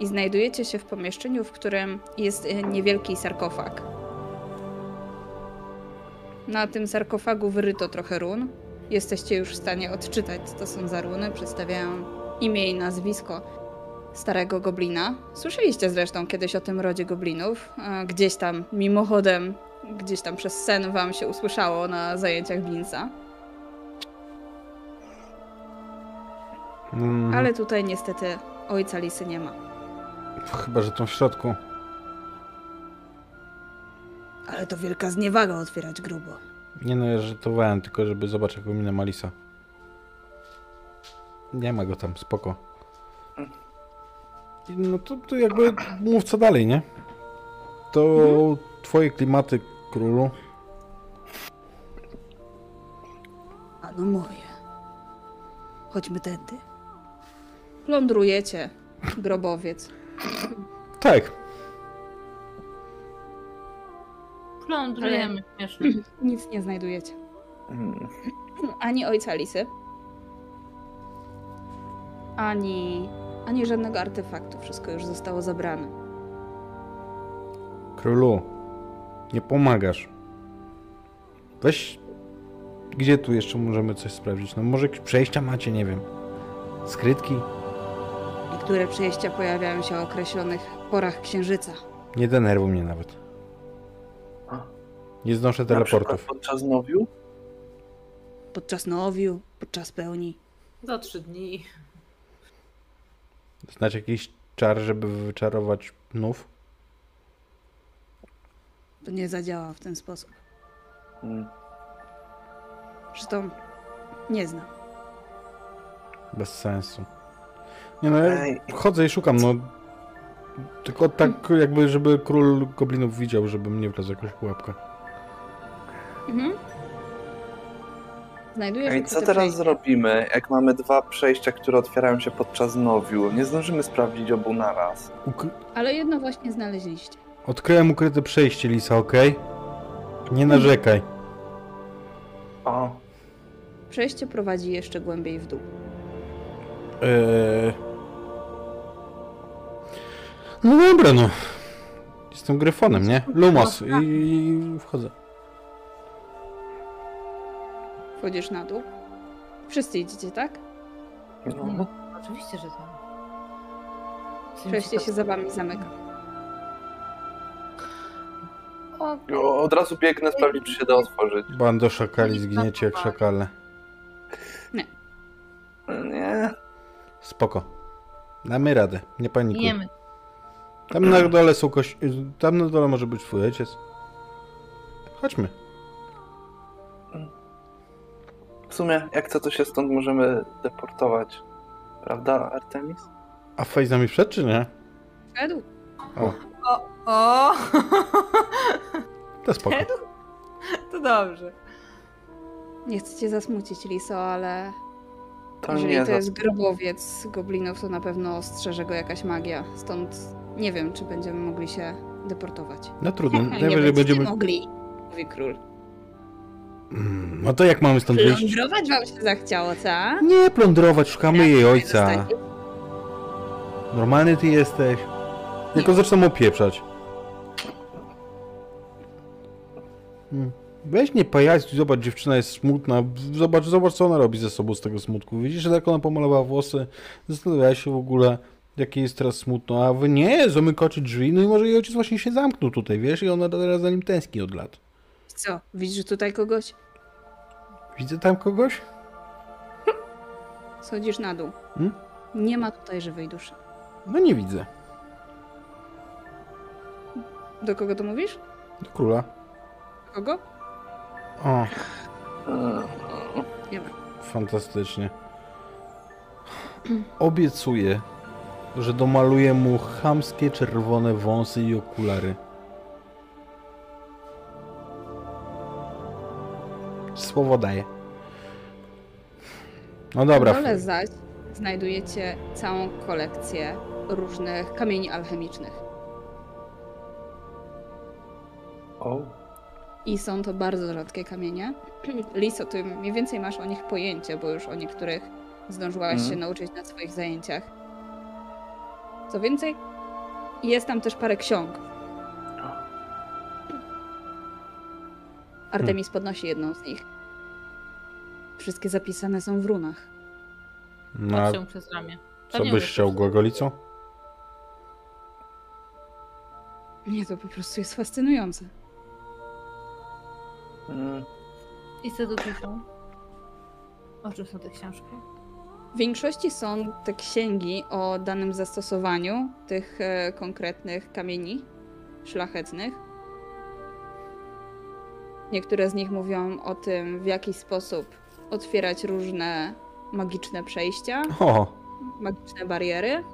Speaker 1: I znajdujecie się w pomieszczeniu, w którym jest e, niewielki sarkofag. Na tym sarkofagu wyryto trochę run. Jesteście już w stanie odczytać, co to są za runy. Przedstawiają imię i nazwisko starego goblina. Słyszeliście zresztą kiedyś o tym rodzie goblinów. E, Gdzieś tam mimochodem, gdzieś tam przez sen wam się usłyszało na zajęciach Blinsa.
Speaker 4: Mm,
Speaker 1: Ale tutaj niestety ojca Lisy nie ma.
Speaker 4: Chyba, że tą w środku.
Speaker 1: Ale to wielka zniewaga otwierać grubo.
Speaker 4: Nie no, ja żartowałem, tylko żeby zobaczyć, jak minę Malisa. Nie ma go tam, spoko.
Speaker 2: Mm.
Speaker 4: I No to, to jakby mów co dalej, nie? To
Speaker 2: Mhm.
Speaker 4: twoje klimaty, królu.
Speaker 1: A no moje. Chodźmy tędy. Plądrujecie grobowiec.
Speaker 4: Tak.
Speaker 3: Plądrujemy śmiesznie.
Speaker 1: Nic nie znajdujecie.
Speaker 2: Mm.
Speaker 1: Ani ojca Lisy. Ani, ani żadnego artefaktu. Wszystko już zostało zabrane.
Speaker 4: Królu, nie pomagasz. Weź. Gdzie tu jeszcze możemy coś sprawdzić? No może jakieś przejścia macie, nie wiem. Skrytki?
Speaker 1: Niektóre przejścia pojawiają się o określonych porach księżyca.
Speaker 4: Nie denerwuj mnie nawet. Nie znoszę
Speaker 2: Na przykład
Speaker 4: teleportów.
Speaker 2: podczas nowiu?
Speaker 1: Podczas nowiu, podczas pełni.
Speaker 3: Za trzy dni.
Speaker 4: Znacie jakiś czar, żeby wyczarować nów?
Speaker 1: To nie zadziała w ten sposób.
Speaker 2: Mm.
Speaker 1: Zresztą nie znam.
Speaker 4: Bez sensu. Nie no, ja
Speaker 2: Ej.
Speaker 4: chodzę i szukam, no. Tylko tak jakby, żeby król goblinów widział, żeby mnie wlazł jakąś pułapkę.
Speaker 1: Mhm. Znajdujesz
Speaker 2: Ej,
Speaker 1: ukryte
Speaker 2: co teraz
Speaker 1: przejście.
Speaker 2: zrobimy, jak mamy dwa przejścia, które otwierają się podczas nowiu? Nie zdążymy sprawdzić obu naraz.
Speaker 4: Uk-
Speaker 1: Ale jedno właśnie znaleźliście.
Speaker 4: Odkryłem ukryte przejście, Lisa, okej? Nie narzekaj.
Speaker 2: O,
Speaker 1: Przejście prowadzi jeszcze głębiej w dół.
Speaker 4: Eee... No dobra, no. Jestem gryfonem, nie? Lumos i, i wchodzę.
Speaker 1: Wchodzisz na dół. Wszyscy idziecie, tak?
Speaker 2: no,
Speaker 4: Mhm.
Speaker 3: Oczywiście, że tak.
Speaker 1: Przejście się za wami zamyka.
Speaker 3: O,
Speaker 2: O, od razu biegnę sprawdzić, czy się da otworzyć.
Speaker 4: Bando szakali, zginiecie jak szakale.
Speaker 2: Nie,
Speaker 4: Spoko. Damy radę, nie panikuj.
Speaker 3: Jemy.
Speaker 4: Tam na dole są koś... Tam na dole może być twój ojciec. Chodźmy.
Speaker 2: w sumie, jak co, to się stąd możemy deportować. Prawda, Artemis?
Speaker 4: A Fej z nami przed, czy nie?
Speaker 1: Według
Speaker 3: O, o.
Speaker 4: To spoko.
Speaker 3: to dobrze.
Speaker 1: nie chcecie zasmucić Liso, ale
Speaker 2: To
Speaker 1: Jeżeli
Speaker 2: nie
Speaker 1: to
Speaker 2: za-
Speaker 1: jest grobowiec goblinów, to na pewno ostrzeże go jakaś magia. Stąd nie wiem, czy będziemy mogli się deportować.
Speaker 4: No trudno,
Speaker 1: nie
Speaker 4: najwyżej będziemy...
Speaker 1: mogli, mówi król.
Speaker 3: No,
Speaker 4: Mm, No to jak mamy stąd wyjść?
Speaker 1: Plądrować wam się zachciało, co?
Speaker 4: Nie plądrować, szukamy jej ojca.
Speaker 1: Zostańcie.
Speaker 4: Normalny ty jesteś. Jako zaczną opieprzać. Mm. Weź nie pajacu, zobacz, dziewczyna jest smutna. Zobacz, zobacz, co ona robi ze sobą z tego smutku. Widzisz, że tak ona pomalowała włosy. Zastanawiała się w ogóle, jakie jest teraz smutno. A wy nie, zamykacie drzwi. No i może jej ojciec właśnie się zamknął tutaj, wiesz? I ona teraz za nim tęskni od lat.
Speaker 1: Co, widzisz tutaj kogoś?
Speaker 4: Widzę tam kogoś?
Speaker 1: Schodzisz na dół.
Speaker 4: Hmm?
Speaker 1: Nie ma tutaj żywej duszy.
Speaker 4: No nie widzę.
Speaker 1: Do kogo to mówisz?
Speaker 4: Do króla.
Speaker 1: Do kogo?
Speaker 4: O,
Speaker 2: Hmm.
Speaker 1: Nie ma.
Speaker 4: fantastycznie. Obiecuję, że domaluję mu chamskie czerwone wąsy i okulary. Słowo daję. No dobra.
Speaker 1: W dole
Speaker 4: f-
Speaker 1: zaś znajdujecie całą kolekcję różnych kamieni alchemicznych.
Speaker 2: O,
Speaker 1: I są to bardzo rzadkie kamienie. Liso, ty mniej więcej masz o nich pojęcie, bo już o niektórych zdążyłaś
Speaker 2: Mhm.
Speaker 1: się nauczyć na swoich zajęciach. Co więcej, jest tam też parę ksiąg. Artemis podnosi jedną z nich. Wszystkie zapisane są w runach.
Speaker 4: No, a
Speaker 3: Patrzę mu przez ramię.
Speaker 4: co byś chciał, Gogolicą?
Speaker 1: Nie, to po prostu jest fascynujące.
Speaker 2: mm,
Speaker 3: I co dotyczą? O czym są te książki?
Speaker 1: W większości są te księgi o danym zastosowaniu tych e, konkretnych kamieni szlachetnych. Niektóre z nich mówią o tym, w jaki sposób otwierać różne magiczne przejścia,
Speaker 4: O,
Speaker 1: magiczne bariery.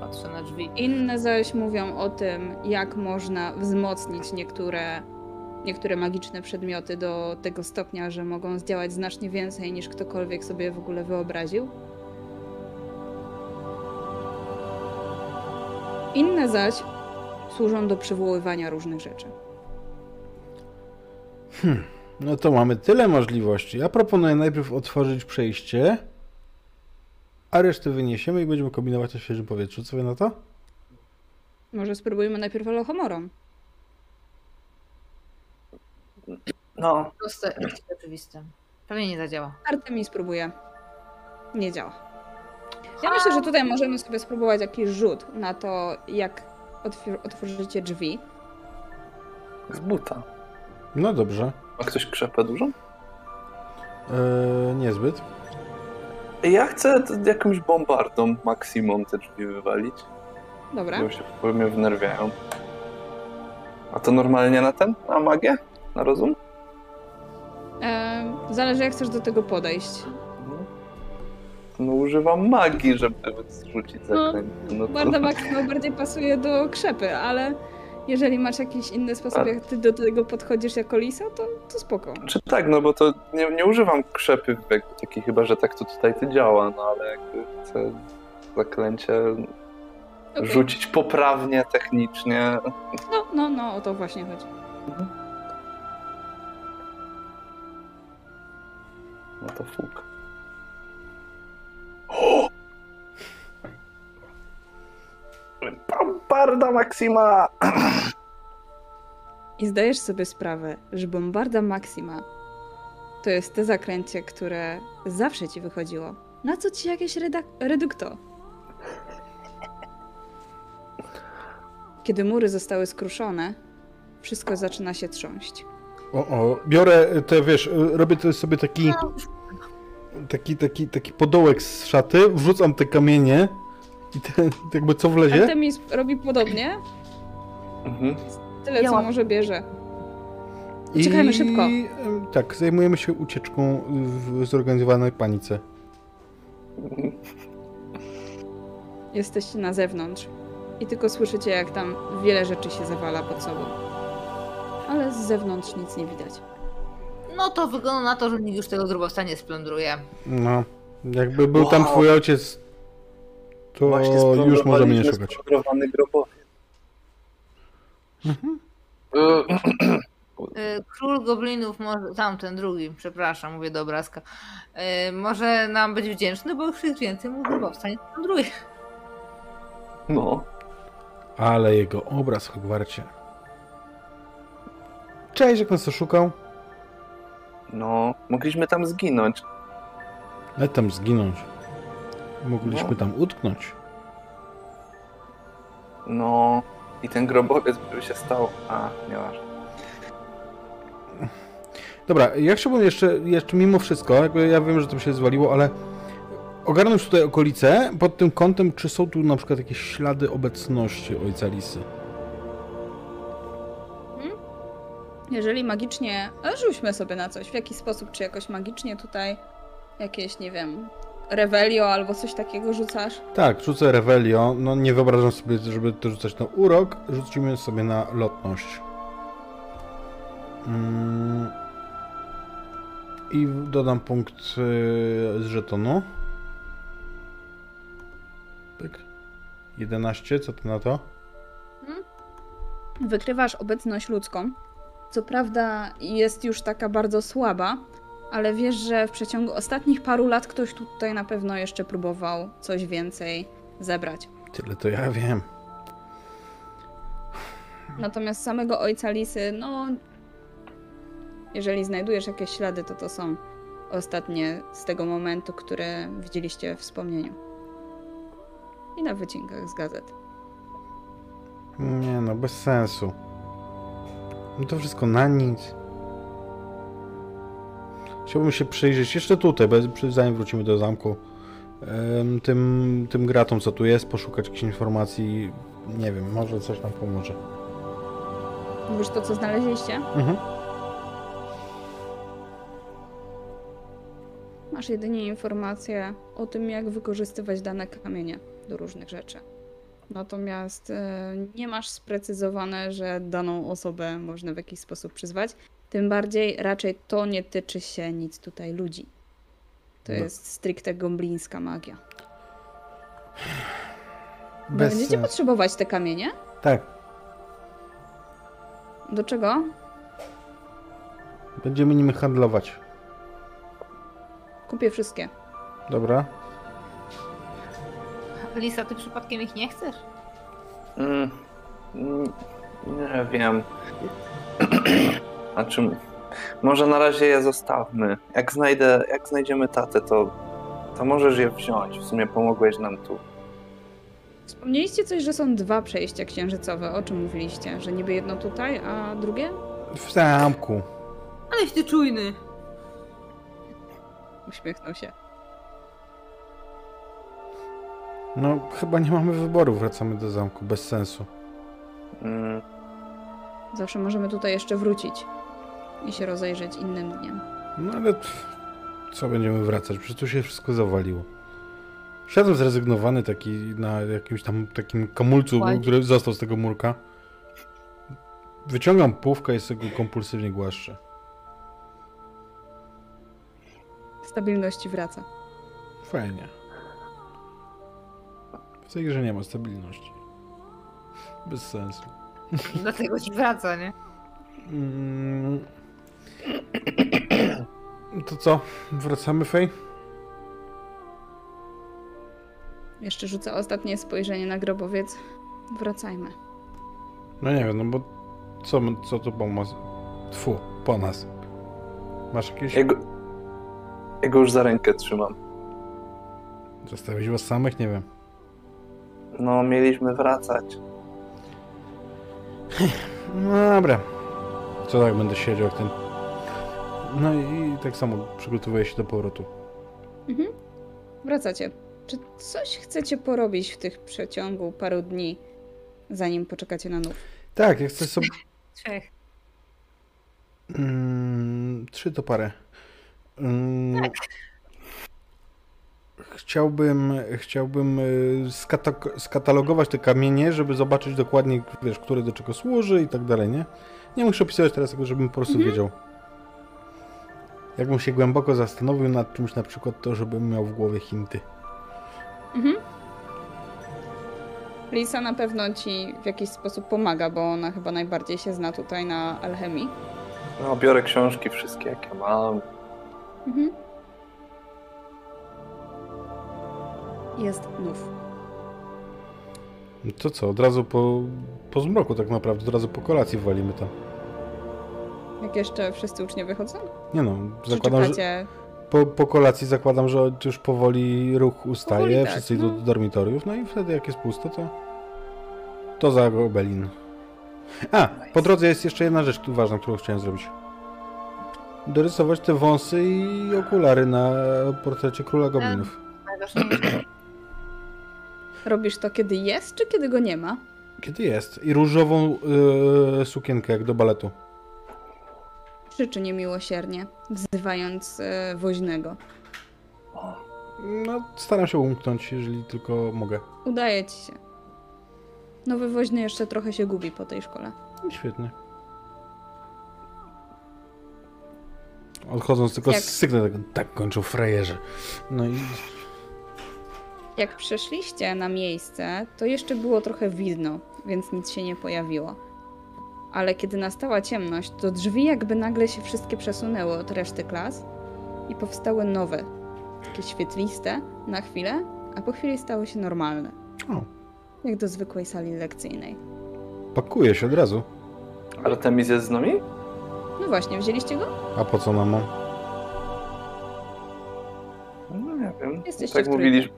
Speaker 3: Patrzę na drzwi.
Speaker 1: Inne zaś mówią o tym, jak można wzmocnić niektóre, niektóre magiczne przedmioty do tego stopnia, że mogą zdziałać znacznie więcej niż ktokolwiek sobie w ogóle wyobraził. Inne zaś służą do przywoływania różnych rzeczy.
Speaker 4: no to mamy tyle możliwości. Ja proponuję najpierw otworzyć przejście, a resztę wyniesiemy i będziemy kombinować na świeżym powietrzu. Co wy na to?
Speaker 1: Może spróbujmy najpierw alochomorą.
Speaker 2: no,
Speaker 3: Proste i oczywiste. Pewnie nie zadziała.
Speaker 1: Artemis spróbuje. Nie działa. Ja myślę, że tutaj możemy sobie spróbować jakiś rzut na to, jak otw- otworzycie drzwi.
Speaker 2: z buta.
Speaker 4: No dobrze.
Speaker 2: Ma ktoś krzepę dużą?
Speaker 4: Eee, niezbyt.
Speaker 2: Ja chcę t- jakąś bombardą maksimum te drzwi wywalić,
Speaker 1: Dobra.
Speaker 2: bo się bo mnie wnerwiają. A to normalnie na ten? Na magię? Na rozum?
Speaker 1: E, zależy, jak chcesz do tego podejść.
Speaker 2: No, no używam magii, żeby zrzucić zaklęcie. No, to-
Speaker 1: Barda Maximo bardziej pasuje do krzepy, ale jeżeli masz jakiś inny sposób,
Speaker 2: Tak.
Speaker 1: jak ty do tego podchodzisz jako lisa, to, to spoko.
Speaker 2: Czy tak, no bo to nie, nie używam krzepy jakby takiej, chyba że tak to tutaj to działa, no ale jakby chcę zaklęcie
Speaker 1: Okej.
Speaker 2: rzucić poprawnie, technicznie.
Speaker 1: No, no, no, o to właśnie chodzi.
Speaker 2: No to fuk. O! Bombarda Maxima!
Speaker 1: I zdajesz sobie sprawę, że Bombarda Maxima to jest te zakręcie, które zawsze ci wychodziło. Na co ci jakieś redak- redukto? Kiedy mury zostały skruszone, wszystko zaczyna się trząść.
Speaker 4: O, o, biorę te, wiesz, y, robię to sobie taki, taki, taki, taki podołek z szaty, wrzucam te kamienie i te, jakby co wlezie.
Speaker 1: Artemis robi podobnie,
Speaker 2: Mhm.
Speaker 1: Tyle, co
Speaker 3: Miałam.
Speaker 1: może bierze.
Speaker 4: I
Speaker 1: Uciekajmy szybko.
Speaker 4: em, Tak, zajmujemy się ucieczką w zorganizowanej panice.
Speaker 1: Jesteście na zewnątrz i tylko słyszycie, jak tam wiele rzeczy się zawala pod sobą. Ale z zewnątrz nic nie widać.
Speaker 3: No to wygląda na to, że nikt już tego drobowca nie splądruje.
Speaker 4: No, jakby był tam
Speaker 2: Wow.
Speaker 4: twój ojciec, to już możemy nie szukać.
Speaker 2: Splądrowany grobowiec. Y,
Speaker 3: Y, Król goblinów, może, tamten drugi, przepraszam, mówię do obrazka, y, może nam być wdzięczny, bo już jest więcej mu grobowca nie splądruje.
Speaker 2: No,
Speaker 4: Ale jego obraz w Hogwarcie. Cześć, jak nas to szukał?
Speaker 2: no, mogliśmy tam zginąć.
Speaker 4: Ale tam zginąć. Mogliśmy
Speaker 2: No.
Speaker 4: tam utknąć.
Speaker 2: No, i ten grobowiec by się stał. A, nieważne.
Speaker 4: Dobra, ja chciałbym jeszcze, jeszcze mimo wszystko, jakby ja wiem, że to się zwaliło, ale ogarnąć tutaj okolice pod tym kątem, czy są tu na przykład jakieś ślady obecności ojca Lisy.
Speaker 1: Jeżeli magicznie, e, rzućmy sobie na coś, w jaki sposób, czy jakoś magicznie tutaj jakieś, nie wiem, revelio albo coś takiego rzucasz?
Speaker 4: Tak, rzucę Revelio. No nie wyobrażam sobie, żeby to rzucać na urok. Rzucimy sobie na lotność. Mm. I dodam punkt y, z żetonu. Pyk. 11, co ty na to?
Speaker 1: Wykrywasz obecność ludzką. Co prawda jest już taka bardzo słaba, ale wiesz, że w przeciągu ostatnich paru lat ktoś tutaj na pewno jeszcze próbował coś więcej zebrać.
Speaker 4: Tyle to ja wiem.
Speaker 1: Natomiast samego ojca Lisy, no. Jeżeli znajdujesz jakieś ślady, to to są ostatnie z tego momentu, które widzieliście w wspomnieniu. I na wycinkach z gazet.
Speaker 4: Nie no, bez sensu. No to wszystko na nic. Chciałbym się przyjrzeć jeszcze tutaj, bez, przy- zanim wrócimy do zamku, em, tym, tym gratom, co tu jest, poszukać jakichś informacji. Nie wiem, może coś nam pomoże.
Speaker 1: Mówisz to, co znaleźliście?
Speaker 4: Mhm.
Speaker 1: Masz jedynie informacje o tym, jak wykorzystywać dane kamienie do różnych rzeczy. Natomiast e, nie masz sprecyzowane, że daną osobę można w jakiś sposób przyzwać. Tym bardziej raczej to nie tyczy się nic tutaj ludzi. To
Speaker 4: No.
Speaker 1: jest stricte goblińska magia.
Speaker 4: Bez
Speaker 1: Będziecie
Speaker 4: sensu.
Speaker 1: potrzebować te kamienie?
Speaker 4: Tak,
Speaker 1: Do czego?
Speaker 4: będziemy nimi handlować.
Speaker 1: Kupię wszystkie.
Speaker 4: Dobra?
Speaker 3: Lisa, ty przypadkiem ich nie chcesz?
Speaker 2: Mm, mm, nie wiem. A czym? Może na razie je zostawmy. Jak, znajdę, jak znajdziemy tatę, to, to możesz je wziąć. W sumie pomogłeś nam tu.
Speaker 1: Wspomnieliście coś, że są dwa przejścia księżycowe. O czym mówiliście? Że niby jedno tutaj, a drugie?
Speaker 4: W zamku.
Speaker 3: Aleś ty czujny!
Speaker 1: Uśmiechnął się.
Speaker 4: No, chyba nie mamy wyboru, wracamy do zamku, bez sensu.
Speaker 2: Mm,
Speaker 1: Zawsze możemy tutaj jeszcze wrócić i się rozejrzeć innym dniem.
Speaker 4: No ale pff, co będziemy wracać? Przecież tu się wszystko zawaliło. Siadłem zrezygnowany taki na jakimś tam takim kamulcu,
Speaker 3: Kładzie.
Speaker 4: który został z tego murka. Wyciągam półkę i sobie go kompulsywnie głaszczę.
Speaker 1: Stabilności wraca.
Speaker 4: Fajnie. W tej grze nie ma stabilności. Bez sensu.
Speaker 3: Dlatego ci wraca, nie?
Speaker 4: Mm. To co? Wracamy, Fej?
Speaker 1: Jeszcze rzucę ostatnie spojrzenie na grobowiec. Wracajmy.
Speaker 4: No nie wiem, no bo co, my- co to pomoc? Tfu, po nas. Masz jakieś...
Speaker 2: jego, jego już za rękę trzymam.
Speaker 4: Zostawić was samych? Nie wiem.
Speaker 2: No, mieliśmy wracać.
Speaker 4: No dobra. Co tak będę siedział jak ten... No i, i tak samo przygotowuję się do powrotu.
Speaker 1: Wracacie. Czy coś chcecie porobić w tych przeciągu paru dni, zanim poczekacie na nów?
Speaker 4: Tak, jak chcesz sobie...
Speaker 3: Trzech.
Speaker 4: Mm, trzy to parę. Mm, Chciałbym, chciałbym y, skatak- skatalogować te kamienie, żeby zobaczyć dokładnie, wiesz, które do czego służy i tak dalej, nie? Nie muszę opisywać teraz tego, żebym po prostu wiedział. Jakbym się głęboko zastanowił nad czymś, na przykład to, żebym miał w głowie Hinty.
Speaker 1: Lisa na pewno ci w jakiś sposób pomaga, bo ona chyba najbardziej się zna tutaj na alchemii.
Speaker 2: No, biorę książki wszystkie, jakie mam.
Speaker 1: Mhm. Jest nów.
Speaker 4: No To co, od razu po, po zmroku tak naprawdę, od razu po kolacji walimy tam.
Speaker 1: Jak jeszcze wszyscy ucznie wychodzą?
Speaker 4: Nie no,
Speaker 1: Czy
Speaker 4: zakładam, że,
Speaker 1: czekacie?
Speaker 4: Po, po kolacji zakładam, że już powoli ruch ustaje,
Speaker 1: Powoli tak,
Speaker 4: wszyscy
Speaker 1: no.
Speaker 4: idą do dormitoriów, no i wtedy jak jest pusto, to to za Gobelin. A, po drodze jest jeszcze jedna rzecz tu ważna, którą chciałem zrobić. Dorysować te wąsy i okulary na portrecie króla goblinów.
Speaker 3: Najważniejsze.
Speaker 1: Robisz to, kiedy jest, czy kiedy go nie ma?
Speaker 4: Kiedy jest? I różową y, sukienkę, jak do baletu.
Speaker 1: krzyczy niemiłosiernie, wzywając e, woźnego.
Speaker 5: No, staram się umknąć, jeżeli tylko mogę.
Speaker 1: Udaje ci się. Nowy woźny jeszcze trochę się gubi po tej szkole.
Speaker 5: Świetnie. Odchodząc tylko
Speaker 1: Jak-
Speaker 5: sygnał, tak, tak kończą frajerzy. No i
Speaker 1: Jak przeszliście na miejsce, to jeszcze było trochę widno, więc nic się nie pojawiło. Ale kiedy nastała ciemność, to drzwi jakby nagle się wszystkie przesunęły od reszty klas i powstały nowe, takie świetliste na chwilę, a po chwili stały się normalne.
Speaker 5: O.
Speaker 1: Jak do zwykłej sali lekcyjnej.
Speaker 5: pakuje się od razu.
Speaker 2: Artemis jest z nami?
Speaker 1: No właśnie, wzięliście go?
Speaker 5: A po co nam on?
Speaker 2: No nie wiem.
Speaker 1: Jesteście
Speaker 2: tak
Speaker 1: w trójkę.
Speaker 2: mówiliśmy.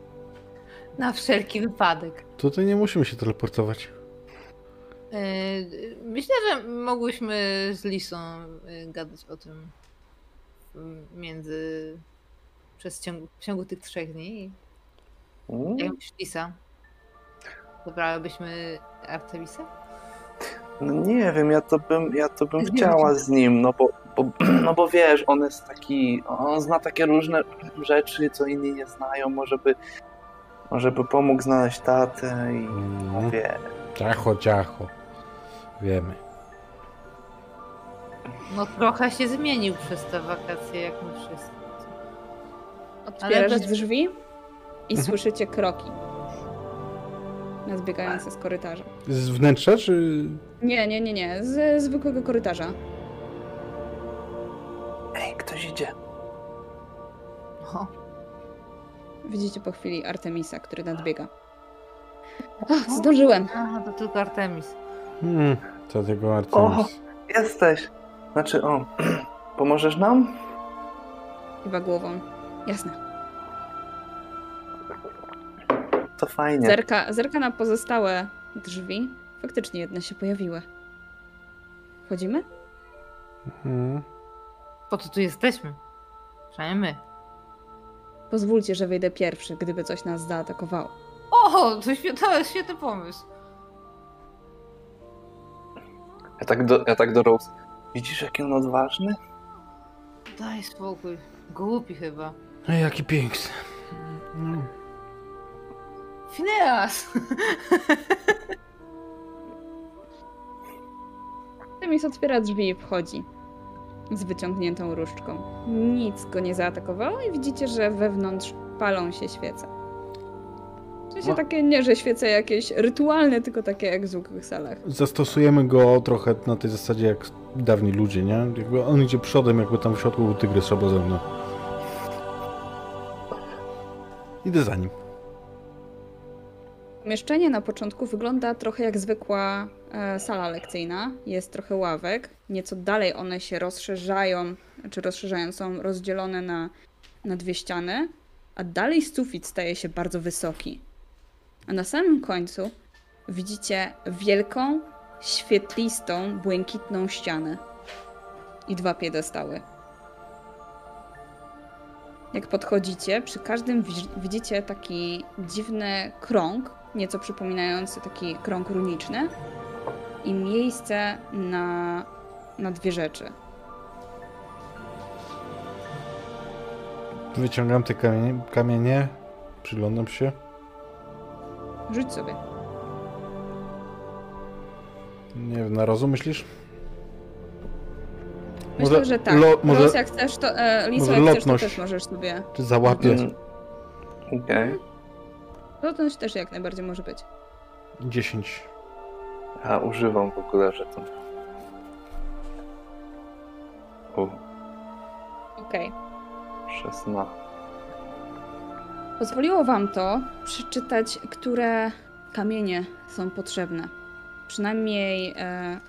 Speaker 3: Na wszelki wypadek.
Speaker 5: Tutaj nie musimy się teleportować.
Speaker 3: Yy, Myślę, że mogłyśmy z Lisą yy, gadać o tym mm, między przez ciągu, w ciągu tych trzech dni.
Speaker 2: Mm,
Speaker 3: Jak myślisz, Lisa? Wybrałybyśmy Artemisa?
Speaker 2: No nie wiem, ja to bym, ja to bym chciała z nim, no bo, bo, no bo wiesz, on jest taki, on zna takie różne rzeczy, co inni nie znają, może by, może by pomógł znaleźć tatę i
Speaker 5: No,
Speaker 4: Mhm.
Speaker 2: wie.
Speaker 5: ciacho, ciacho. Wiemy.
Speaker 3: No trochę się zmienił przez te wakacje, jak my wszyscy.
Speaker 1: Otwierasz
Speaker 3: Ale bez-
Speaker 1: drzwi i słyszycie kroki. Zbiegające z korytarza.
Speaker 5: Z wnętrza, czy...
Speaker 1: Nie, nie, nie, nie. Ze zwykłego korytarza.
Speaker 2: Ej, ktoś idzie.
Speaker 3: No,
Speaker 1: Widzicie po chwili Artemisa, który nadbiega. Ach,
Speaker 3: Mhm.
Speaker 1: zdążyłem.
Speaker 3: aha, to tylko Artemis.
Speaker 5: Hmm, co tego Artemis?
Speaker 2: Jesteś. Znaczy, o, pomożesz nam?
Speaker 1: Chyba głową. Jasne.
Speaker 2: To fajnie.
Speaker 1: Zerka, zerka na pozostałe drzwi. Faktycznie jedne się pojawiły. Wchodzimy?
Speaker 5: Hmm.
Speaker 3: Po co tu jesteśmy? Przynajmniej my.
Speaker 1: Pozwólcie, że wejdę pierwszy, gdyby coś nas zaatakowało.
Speaker 3: O, to, świe- to jest świetny pomysł.
Speaker 2: Ja tak do, ja tak do Rose. Widzisz, jaki on odważny?
Speaker 3: Daj spokój. Głupi chyba.
Speaker 5: Ej, jaki piękny. No.
Speaker 3: Fineas!
Speaker 1: Artemis otwiera drzwi i wchodzi z wyciągniętą różdżką. Nic go nie zaatakowało i widzicie, że wewnątrz palą się świece. W sensie
Speaker 5: No.
Speaker 1: takie nie, że świece jakieś rytualne, tylko takie jak w zwykłych salach.
Speaker 5: Zastosujemy go trochę na tej zasadzie jak dawni ludzie, nie? Jakby on idzie przodem, jakby tam w środku był tygrys albo ze mną. Idę za nim.
Speaker 1: Pomieszczenie na początku wygląda trochę jak zwykła e, sala lekcyjna. Jest trochę ławek. Nieco dalej one się rozszerzają, czy rozszerzają, są rozdzielone na, na dwie ściany, a dalej sufit staje się bardzo wysoki. A na samym końcu widzicie wielką, świetlistą, błękitną ścianę i dwa piedestały. Jak podchodzicie, przy każdym wi- widzicie taki dziwny krąg, nieco przypominający taki krąg runiczny i miejsce na, na dwie rzeczy.
Speaker 5: Wyciągam te kamienie, kamienie przyglądam się.
Speaker 1: Rzuć sobie.
Speaker 5: Nie wiem, na rozum myślisz?
Speaker 1: Myślę,
Speaker 5: Może
Speaker 1: że tak.
Speaker 5: lo- może-
Speaker 1: Los, jak chcesz, to, e, Liso,
Speaker 5: może
Speaker 1: jak chcesz, to
Speaker 5: lotność?
Speaker 1: też możesz sobie.
Speaker 5: Czy załapię?
Speaker 2: Mm. Okej.
Speaker 1: Lotność też jak najbardziej może być.
Speaker 5: 10.
Speaker 2: A używam w ogóle żeton. U,
Speaker 1: Okej.
Speaker 2: 16.
Speaker 1: Pozwoliło wam to przeczytać, które kamienie są potrzebne. Przynajmniej e,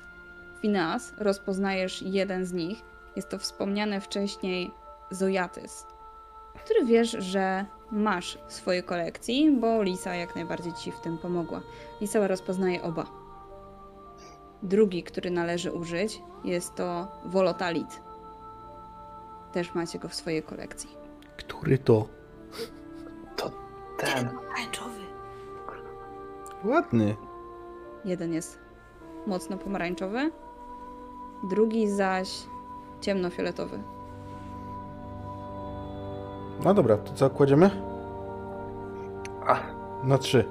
Speaker 1: Finas rozpoznajesz jeden z nich. Jest to wspomniany wcześniej Zojatys, który wiesz, że masz w swojej kolekcji, bo Lisa jak najbardziej ci w tym pomogła. Lisa rozpoznaje oba. Drugi, który należy użyć, jest to Volotalit. Też macie go w swojej kolekcji.
Speaker 5: Który to?
Speaker 2: Ten.
Speaker 3: Tańczowy.
Speaker 5: Ładny.
Speaker 1: Jeden jest mocno pomarańczowy, drugi zaś ciemnofioletowy.
Speaker 5: No dobra, to co, kładziemy?
Speaker 2: A.
Speaker 5: Na trzy.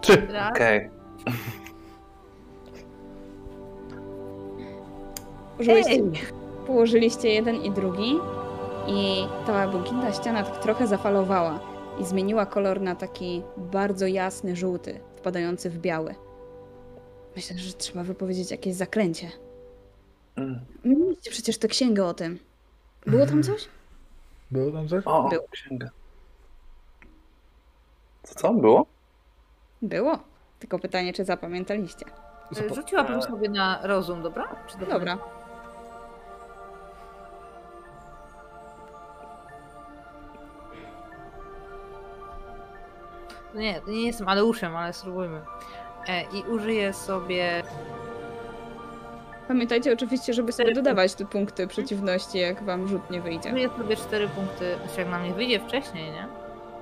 Speaker 5: Trzy!
Speaker 3: Raz,
Speaker 2: Okej.
Speaker 1: Użyliście, położyliście jeden i drugi i ta błękitna ściana tak trochę zafalowała i zmieniła kolor na taki bardzo jasny żółty, wpadający w biały. Myślę, że trzeba wypowiedzieć jakieś zaklęcie.
Speaker 2: Mm.
Speaker 1: Mieliście przecież tę księgę o tym. Było tam coś?
Speaker 5: Było tam coś?
Speaker 2: O,
Speaker 1: Był.
Speaker 2: księga. Co, co było?
Speaker 1: Było. Tylko pytanie, czy zapamiętaliście.
Speaker 3: y, Rzuciłabym sobie na rozum, dobra? Czy dobra?
Speaker 1: Dobra.
Speaker 3: No Nie, nie jestem Aleuszem, ale spróbujmy. E, I użyję sobie.
Speaker 1: Pamiętajcie oczywiście, żeby sobie dodawać te punkty przeciwności, jak wam rzut nie wyjdzie.
Speaker 3: Użyję sobie 4 punkty. Znaczy, jak na mnie wyjdzie wcześniej, nie?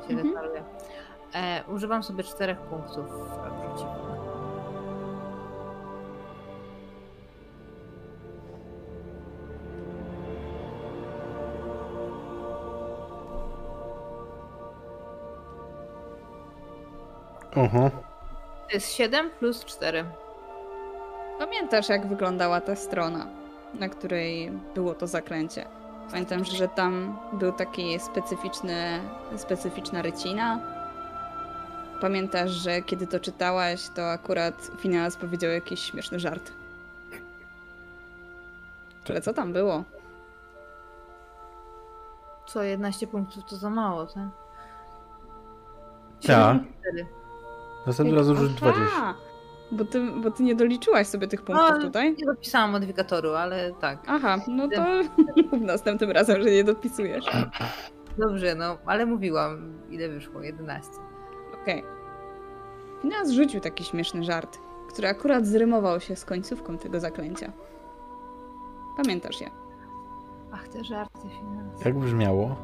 Speaker 3: Się
Speaker 1: Mhm.
Speaker 3: deklaruje. E, używam sobie 4 punktów przeciwko.
Speaker 5: Oho.
Speaker 3: To jest 7 plus 4.
Speaker 1: Pamiętasz, jak wyglądała ta strona, na której było to zaklęcie? Pamiętam, że tam był taki specyficzny, specyficzna rycina. Pamiętasz, że kiedy to czytałaś, to akurat Finans powiedział jakiś śmieszny żart. Ale co tam było?
Speaker 3: Co, 11 punktów to za mało, tak?
Speaker 5: Tak.
Speaker 3: 4.
Speaker 5: Następnym razem rzuć 20.
Speaker 1: Aha! Bo ty, bo ty nie doliczyłaś sobie tych punktów
Speaker 3: No,
Speaker 1: tutaj?
Speaker 3: Nie dopisałam modyfikatoru, ale tak.
Speaker 1: Aha, no to mów następnym razem, że nie dopisujesz.
Speaker 3: Dobrze, no, ale mówiłam, ile wyszło, 11.
Speaker 1: Okej. Finans rzucił taki śmieszny żart, który akurat zrymował się z końcówką tego zaklęcia. Pamiętasz je?
Speaker 3: Ach, te żarty finansowe.
Speaker 5: Jak brzmiało?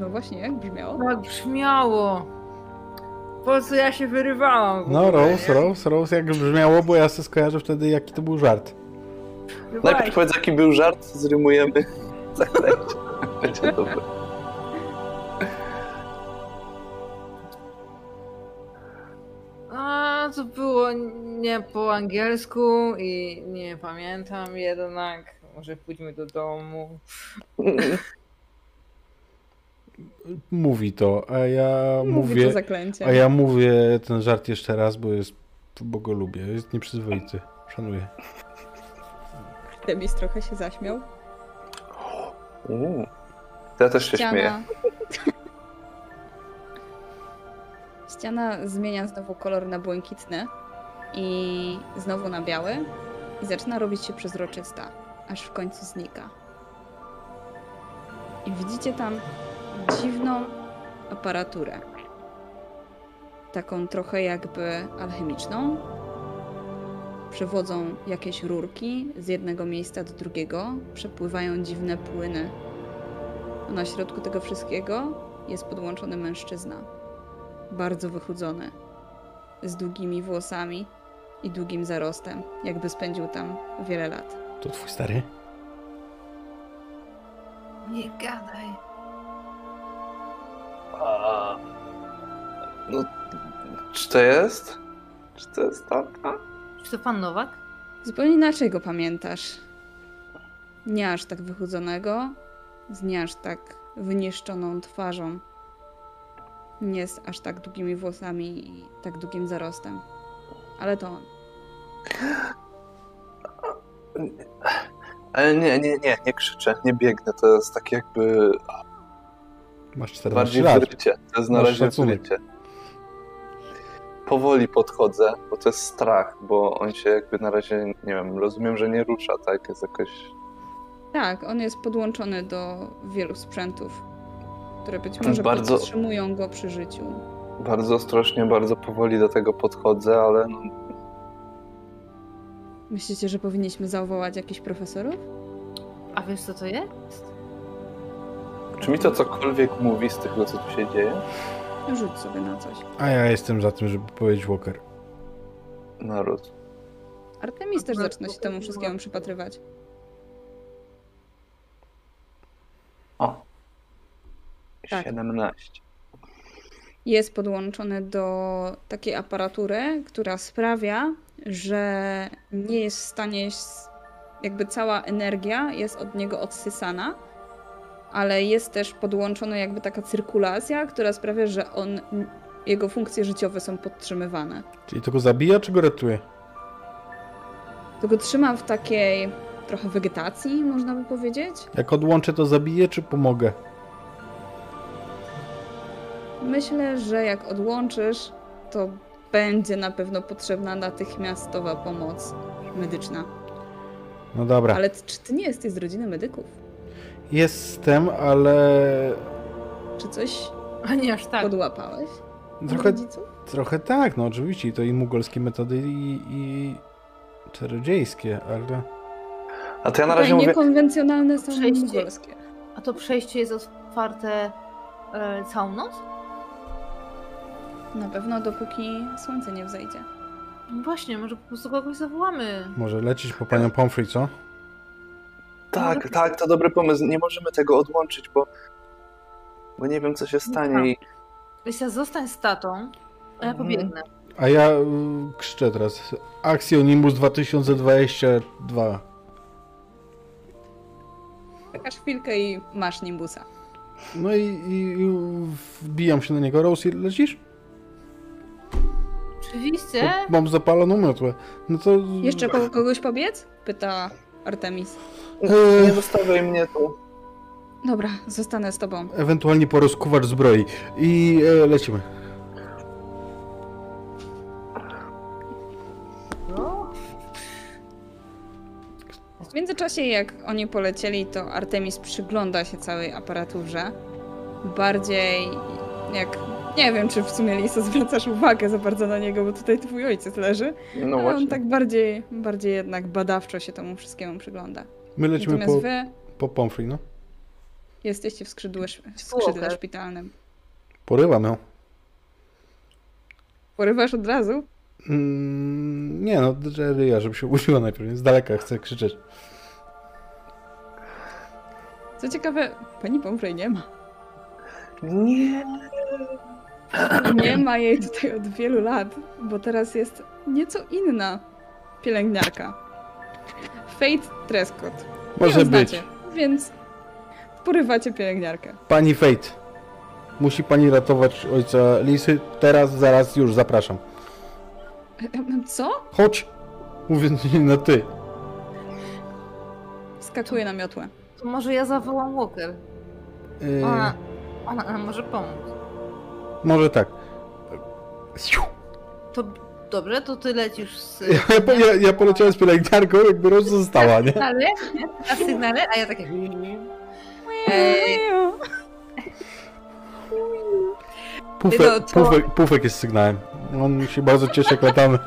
Speaker 1: No właśnie, jak brzmiało?
Speaker 3: Tak brzmiało. Po co ja się wyrywałam? w
Speaker 5: No,
Speaker 3: ogóle,
Speaker 5: Rose,
Speaker 3: nie?
Speaker 5: Rose, Rose, jak brzmiało, bo ja sobie skojarzę wtedy, jaki to był żart.
Speaker 2: Najpierw
Speaker 3: Wyrywałeś.
Speaker 2: powiedz, jaki był żart, zrymujemy zaklęcie. Będzie dobre.
Speaker 3: A, to było nie po angielsku i nie pamiętam jednak. Może pójdźmy do domu.
Speaker 2: Mm.
Speaker 5: Mówi to, a ja
Speaker 1: Mówi to
Speaker 5: mówię.
Speaker 1: zaklęcie.
Speaker 5: A ja mówię ten żart jeszcze raz, bo jest. bo go lubię. Jest nieprzyzwoity. Szanuję.
Speaker 1: Demis trochę się zaśmiał.
Speaker 2: Mm. To Ja też się śmieję.
Speaker 1: Ściana. Ściana zmienia znowu kolor na błękitny i znowu na biały i zaczyna robić się przezroczysta, aż w końcu znika. I widzicie tam dziwną aparaturę. Taką trochę jakby alchemiczną. Przewodzą jakieś rurki z jednego miejsca do drugiego, przepływają dziwne płyny a na środku tego wszystkiego jest podłączony mężczyzna. Bardzo wychudzony, z długimi włosami i długim zarostem, jakby spędził tam wiele lat.
Speaker 5: To twój stary?
Speaker 3: Nie gadaj.
Speaker 2: A, No, czy to jest? Czy to jest tata?
Speaker 3: Czy to pan Nowak?
Speaker 1: Zupełnie inaczej go pamiętasz. Nie aż tak wychudzonego, z nie aż tak wyniszczoną twarzą. Nie z aż tak długimi włosami i tak długim zarostem. Ale to on.
Speaker 2: Ale nie, nie, nie, nie krzyczę, nie biegnę. To jest tak jakby
Speaker 5: Masz 14
Speaker 2: bardziej
Speaker 5: lat.
Speaker 2: wyrycie. To jest na
Speaker 5: Masz
Speaker 2: razie
Speaker 5: szacunek.
Speaker 2: wyrycie. Powoli podchodzę, bo to jest strach, bo on się jakby na razie, nie wiem, rozumiem, że nie rusza, tak? Jest jakoś...
Speaker 1: Tak, on jest podłączony do wielu sprzętów, które być
Speaker 2: jest
Speaker 1: może
Speaker 2: bardzo-
Speaker 1: podtrzymują go przy życiu.
Speaker 2: Bardzo ostrożnie, bardzo powoli do tego podchodzę, ale no,
Speaker 1: Myślicie, że powinniśmy zawołać jakichś profesorów?
Speaker 3: A wiesz co to jest?
Speaker 2: czy mi to cokolwiek mówi z tego, co tu się dzieje?
Speaker 1: No Rzuć sobie na coś.
Speaker 5: A ja jestem za tym, żeby powiedzieć Walker.
Speaker 2: Naród.
Speaker 1: Artemis też
Speaker 3: Akurat
Speaker 1: zaczyna się
Speaker 3: to
Speaker 1: temu wszystkiemu
Speaker 3: była-
Speaker 1: przypatrywać.
Speaker 2: O.
Speaker 1: Tak.
Speaker 2: 17.
Speaker 1: jest podłączone do takiej aparatury, która sprawia, że nie jest w stanie, s- jakby cała energia jest od niego odsysana, ale jest też podłączona jakby taka cyrkulacja, która sprawia, że on, jego funkcje życiowe są podtrzymywane.
Speaker 4: Czyli to go zabija, czy go ratuje?
Speaker 1: To go trzyma w takiej trochę wegetacji, można by powiedzieć.
Speaker 4: Jak odłączę, to zabiję, czy pomogę?
Speaker 1: Myślę, że jak odłączysz, to będzie na pewno potrzebna natychmiastowa pomoc medyczna.
Speaker 4: No
Speaker 2: Tak.
Speaker 4: dobra.
Speaker 1: Ale ty, czy ty nie jesteś z rodziny medyków?
Speaker 4: Jestem, ale
Speaker 1: Czy coś
Speaker 3: A nie aż tak.
Speaker 1: podłapałeś? od
Speaker 4: trochę,
Speaker 1: rodziców?
Speaker 4: trochę tak, no oczywiście. I to i mugolskie metody, i, i czarodziejskie, ale...
Speaker 2: A to ja na
Speaker 1: Tutaj
Speaker 2: razie mówię.
Speaker 1: Tak, niekonwencjonalne są
Speaker 3: Przejście.
Speaker 1: mongolskie.
Speaker 3: A to przejście jest otwarte e, całą noc?
Speaker 1: Na pewno dopóki słońce nie wzejdzie.
Speaker 3: No właśnie, może po prostu kogoś zawołamy.
Speaker 4: Może lecieć po panią Pomfrey, co?
Speaker 2: Tak, tak, to dobry pomysł. Nie możemy tego odłączyć, bo. Bo nie wiem, co się
Speaker 1: No
Speaker 2: stanie. I...
Speaker 3: Lesia, zostań z tatą, a ja pobiegnę.
Speaker 4: A ja y, krzyczę teraz. Aksjonimus 2022.
Speaker 1: Czekasz chwilkę i masz nimbusa.
Speaker 4: No i, i, i wbijam się na niego. Rosie, lecisz?
Speaker 3: Oczywiście.
Speaker 4: Bo Mam zapaloną miotłę. No to...
Speaker 1: Jeszcze po kogoś pobiec? Pyta Artemis.
Speaker 2: Nie
Speaker 1: tak.
Speaker 4: E,
Speaker 2: zostawiaj mnie tu.
Speaker 1: Dobra, zostanę z tobą.
Speaker 4: ewentualnie porozkuwacz zbroi. I e, lecimy.
Speaker 3: No.
Speaker 1: W międzyczasie, jak oni polecieli, to Artemis przygląda się całej aparaturze. Bardziej jak. Nie wiem, czy w sumie Lisa zwracasz uwagę za bardzo na niego, bo tutaj twój ojciec leży.
Speaker 2: No
Speaker 1: Ale on
Speaker 2: właśnie.
Speaker 1: tak bardziej, bardziej jednak badawczo się temu wszystkiemu przygląda.
Speaker 4: My lecimy
Speaker 1: Natomiast
Speaker 4: po,
Speaker 1: wy
Speaker 4: po Pomfrey, no.
Speaker 1: jesteście w skrzydle, w skrzydle szpitalnym.
Speaker 4: Porywam ją.
Speaker 1: Porywasz od razu?
Speaker 4: Mm, nie no, drę ryja, żeby się uczyła najpierw. Z daleka chcę krzyczeć.
Speaker 1: Co ciekawe, pani Pomfrey nie ma.
Speaker 2: Nie.
Speaker 1: Nie ma jej tutaj od wielu lat, bo teraz jest nieco inna pielęgniarka. Fate Trescott.
Speaker 4: Może
Speaker 1: ją
Speaker 4: być.
Speaker 1: znacie, Więc porywacie pielęgniarkę.
Speaker 4: Pani Fate. Musi pani ratować ojca Lisy. Teraz, zaraz, już, zapraszam.
Speaker 1: Co?
Speaker 4: Chodź! Mówię do niej na ty.
Speaker 1: Skakuje na miotłę.
Speaker 3: To może ja zawołam Walker.
Speaker 4: Yy,
Speaker 3: Ona, ona nam może pomóc.
Speaker 4: może tak.
Speaker 3: To dobrze, to ty lecisz z...
Speaker 4: Ja, ja, ja, ja poleciałem z pielęgniarką, jakby roz została, nie?
Speaker 3: Ale, na sygnale, a ja tak takie... Ej,
Speaker 1: Ejo.
Speaker 4: Pufek, pufek, pufek jest sygnałem. On się bardzo cieszy, jak latamy.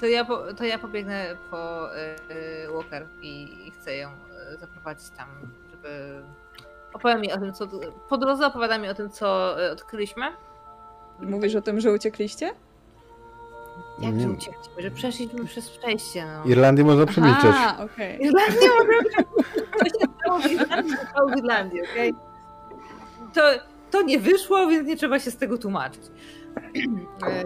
Speaker 3: to, ja po, to ja pobiegnę po e, e, Walker i, i chcę ją e, zaprowadzić tam, żeby... Opowiada mi o tym, co... Po drodze opowiada mi o tym, co e, odkryliśmy.
Speaker 1: Mówisz o tym, że uciekliście?
Speaker 3: Jak
Speaker 4: Nie
Speaker 3: że
Speaker 4: wiem.
Speaker 3: uciekliśmy, że przeszliśmy przez przejście, no.
Speaker 4: Irlandię można przemilczeć.
Speaker 1: A, okej.
Speaker 3: Irlandię mogę... To się stało w Irlandii, to stało w Irlandii, okej? To, to nie wyszło, więc nie trzeba się z tego tłumaczyć. E,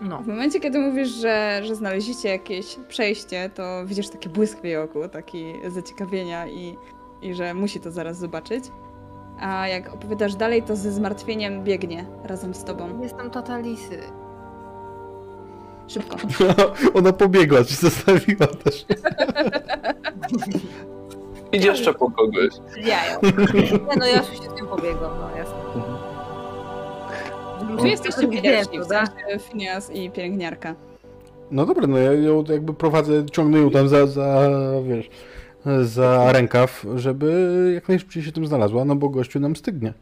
Speaker 3: No.
Speaker 1: W momencie, kiedy mówisz, że, że znaleźliście jakieś przejście, to widzisz taki błysk w jej oku, taki zaciekawienia i, i że musi to zaraz zobaczyć. A jak opowiadasz dalej, to ze zmartwieniem biegnie razem z tobą.
Speaker 3: Jestem tata Lisy.
Speaker 1: Szybko.
Speaker 4: Ona pobiegła, czy zostawiła też.
Speaker 2: Idź jeszcze po kogoś.
Speaker 3: Jajo. Nie, no ja już się z tym pobiegłam, no jasne.
Speaker 1: Tu jesteście pierwsi, w
Speaker 3: tak?
Speaker 1: sensie Finias i pielęgniarka.
Speaker 4: No dobra, no ja ją jakby prowadzę, ciągnę ją tam za, za wiesz, za rękaw, żeby jak najszybciej się tym znalazła, no bo gościu nam stygnie.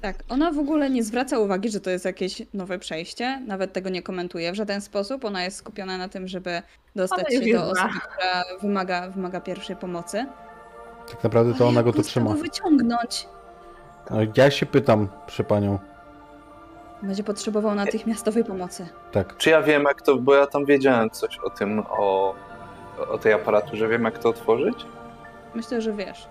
Speaker 1: Tak, ona w ogóle nie zwraca uwagi, że to jest jakieś nowe przejście, nawet tego nie komentuje w żaden sposób. Ona jest skupiona na tym, żeby dostać
Speaker 3: Ona
Speaker 1: się
Speaker 3: już
Speaker 1: do
Speaker 3: jest zła.
Speaker 1: osoby, która wymaga, wymaga pierwszej pomocy.
Speaker 4: Tak naprawdę to
Speaker 1: Ale
Speaker 4: ona
Speaker 1: jak
Speaker 4: go tu
Speaker 1: on chciał
Speaker 4: trzyma.
Speaker 1: wyciągnąć.
Speaker 4: No, ja się pytam, przy panią.
Speaker 1: Będzie potrzebował natychmiastowej pomocy.
Speaker 4: Tak.
Speaker 2: Czy ja wiem, jak to. Bo ja tam wiedziałem coś o tym, o, o tej aparaturze. Wiem, jak to otworzyć?
Speaker 1: Myślę, że wiesz.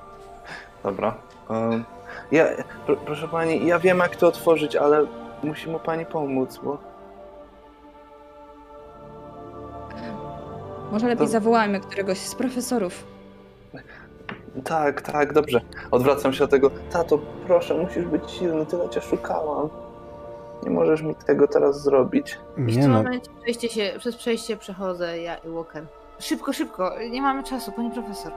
Speaker 2: Dobra. Em, Ja, pr proszę pani, ja wiem jak to otworzyć, ale musi mu pani pomóc, bo
Speaker 1: Może lepiej
Speaker 2: To-
Speaker 1: zawołajmy któregoś z profesorów.
Speaker 2: tak, tak, dobrze. Odwracam się do tego. Tato, proszę, musisz być silny, tyle cię szukałam. Nie możesz mi tego teraz zrobić.
Speaker 5: Nie no,
Speaker 3: przejście się, przez przejście przechodzę ja i Walker. Szybko, szybko, nie mamy czasu, pani profesor.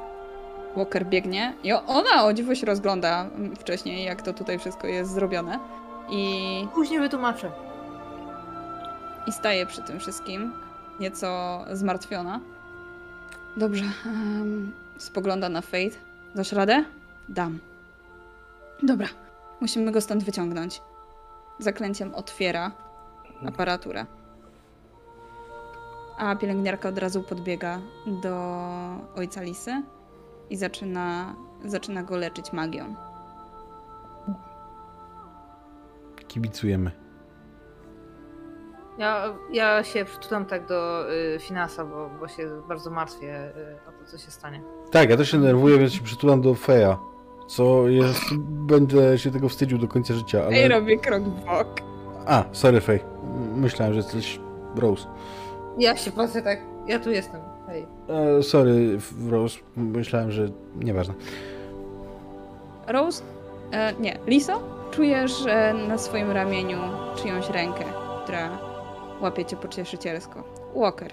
Speaker 1: Walker biegnie i o- ona o dziwo się rozgląda mm, wcześniej, jak to tutaj wszystko jest zrobione. I
Speaker 3: Później wytłumaczę.
Speaker 1: I staje przy tym wszystkim, nieco zmartwiona. Dobrze, em, spogląda na Fate. Dasz radę? Dam. Dobra, musimy go stąd wyciągnąć. Zaklęciem otwiera aparaturę. A pielęgniarka od razu podbiega do ojca Lisy i zaczyna, zaczyna go leczyć magią.
Speaker 5: kibicujemy.
Speaker 3: Ja, ja się przytulam tak do y, Finasa, bo, bo się bardzo martwię y, o to, co się stanie.
Speaker 5: Tak, ja też się nerwuję, więc się przytulam do Feja. Co jest... Będę się tego wstydził do końca życia, ale...
Speaker 1: Ej, robię krok w bok.
Speaker 5: A, sorry Fej. Myślałem, że jesteś Rose.
Speaker 3: Ja się patrzę tak, ja tu jestem, hej.
Speaker 5: E, sorry F- Rose, myślałem, że... Nieważne.
Speaker 1: Rose, e, nie, Liso, czujesz e, na swoim ramieniu czyjąś rękę, która łapie cię pocieszycielsko. Walker.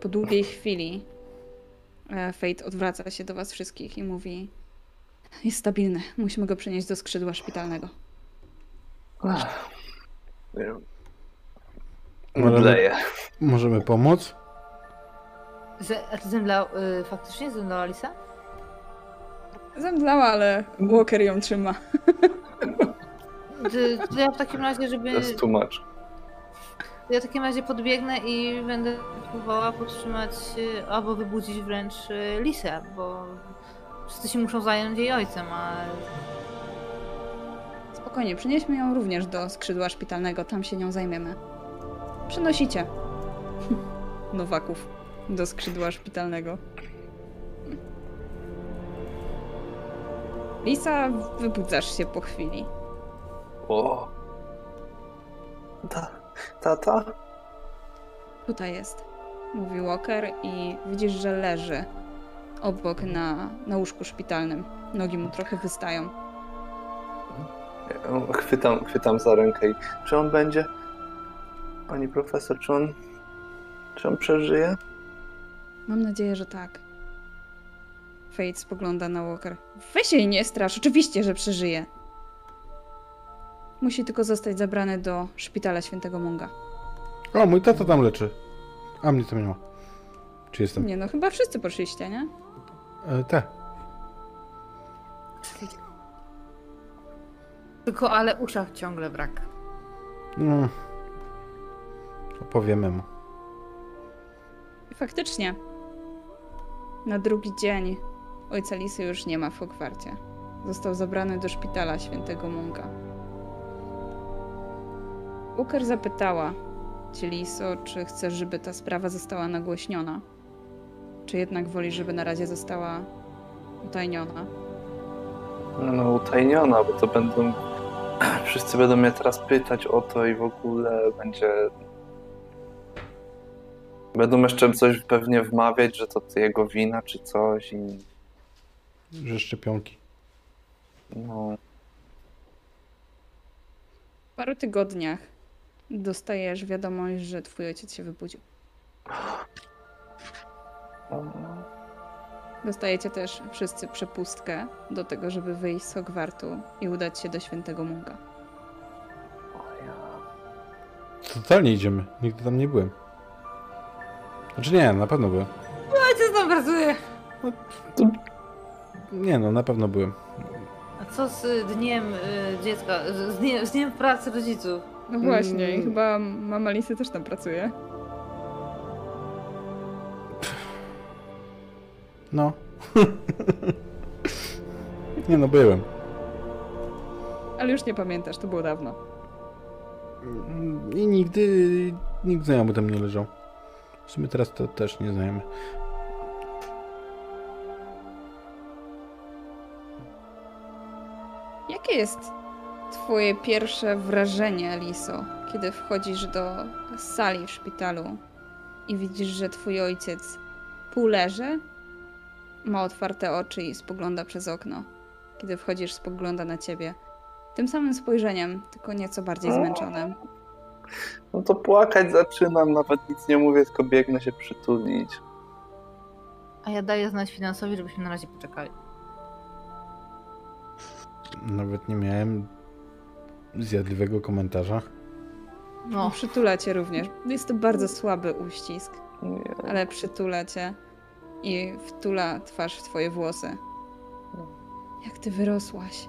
Speaker 1: Po długiej chwili e, Fate odwraca się do was wszystkich i mówi jest stabilny, musimy go przenieść do skrzydła szpitalnego.
Speaker 2: Mdleję.
Speaker 5: Możemy pomóc?
Speaker 3: Z, a ty zemdlał, y, faktycznie zemdlała Lisa?
Speaker 1: Zemdlała, ale Walker ją trzyma.
Speaker 3: Ty, to ja w takim razie, żeby...
Speaker 2: Teraz tłumacz.
Speaker 3: Ja w takim razie podbiegnę i będę próbowała podtrzymać y, albo wybudzić wręcz y, Lisę, bo wszyscy się muszą zająć jej ojcem, a
Speaker 1: Spokojnie, przenieśmy ją również do skrzydła szpitalnego, tam się nią zajmiemy. Przenosicie Nowaków do skrzydła szpitalnego. Lisa, wybudzasz się po chwili.
Speaker 2: O. Ta, tata?
Speaker 1: Tutaj jest, mówi Walker i widzisz, że leży obok na, na łóżku szpitalnym. Nogi mu trochę wystają.
Speaker 2: Ja Chwytam, chwytam za rękę i czy on będzie... Pani profesor, czy on... Czy on przeżyje?
Speaker 1: Mam nadzieję, że tak. Fate spogląda na Walker. Weź jej nie strasz, oczywiście, że przeżyje. Musi tylko zostać zabrany do szpitala świętego Munga.
Speaker 5: O, mój tata tam leczy. A mnie tam nie ma. Czy jestem?
Speaker 1: Nie no, chyba wszyscy poszliście, nie?
Speaker 5: E, tak.
Speaker 3: tylko ale uszach ciągle brak.
Speaker 5: No. Opowiemy mu.
Speaker 1: I faktycznie. Na drugi dzień ojca Lisy już nie ma w Hogwarcie. Został zabrany do szpitala świętego Munga. Walker zapytała cię Liso, czy chcesz, żeby ta sprawa została nagłośniona. Czy jednak woli, żeby na razie została utajniona.
Speaker 2: No, no utajniona, bo to będą... Wszyscy będą mnie teraz pytać o to i w ogóle będzie... Będą jeszcze coś pewnie wmawiać, że to jego wina czy coś i...
Speaker 5: Że szczepionki.
Speaker 2: No...
Speaker 1: W paru tygodniach dostajesz wiadomość, że twój ojciec się wybudził.
Speaker 2: no,
Speaker 1: Dostajecie też wszyscy przepustkę do tego, żeby wyjść z Hogwartu i udać się do Świętego Munga.
Speaker 5: Totalnie idziemy. Nigdy tam nie byłem. Znaczy nie, na pewno byłem.
Speaker 3: Ojciec tam pracuje!
Speaker 5: Nie no, na pewno byłem.
Speaker 3: A co z dniem y, dziecka, z, z, dniem, z dniem pracy rodziców?
Speaker 1: No
Speaker 5: właśnie, i Mm.
Speaker 1: chyba mama Lisy też tam pracuje.
Speaker 5: No. nie no, byłem.
Speaker 1: Ale już nie pamiętasz, to było dawno.
Speaker 5: I nigdy... Nikt znajomy tam nie leżał.
Speaker 4: W sumie teraz to też nie znajemy.
Speaker 1: Jakie jest twoje pierwsze wrażenie, Liso, kiedy wchodzisz do sali w szpitalu i widzisz, że twój ojciec pół leży, ma otwarte oczy i spogląda przez okno. Kiedy wchodzisz, spogląda na ciebie. Tym samym spojrzeniem, tylko nieco bardziej zmęczonym.
Speaker 2: No to płakać zaczynam, nawet nic nie mówię, tylko biegnę się przytulić.
Speaker 3: A ja daję znać finansowi, żebyśmy na razie poczekali.
Speaker 4: Nawet nie miałem zjadliwego komentarza.
Speaker 1: No,
Speaker 3: No,
Speaker 1: przytula cię również. Jest to bardzo słaby uścisk,
Speaker 2: Nie.
Speaker 1: ale przytula cię i wtula twarz w twoje włosy. Jak ty wyrosłaś.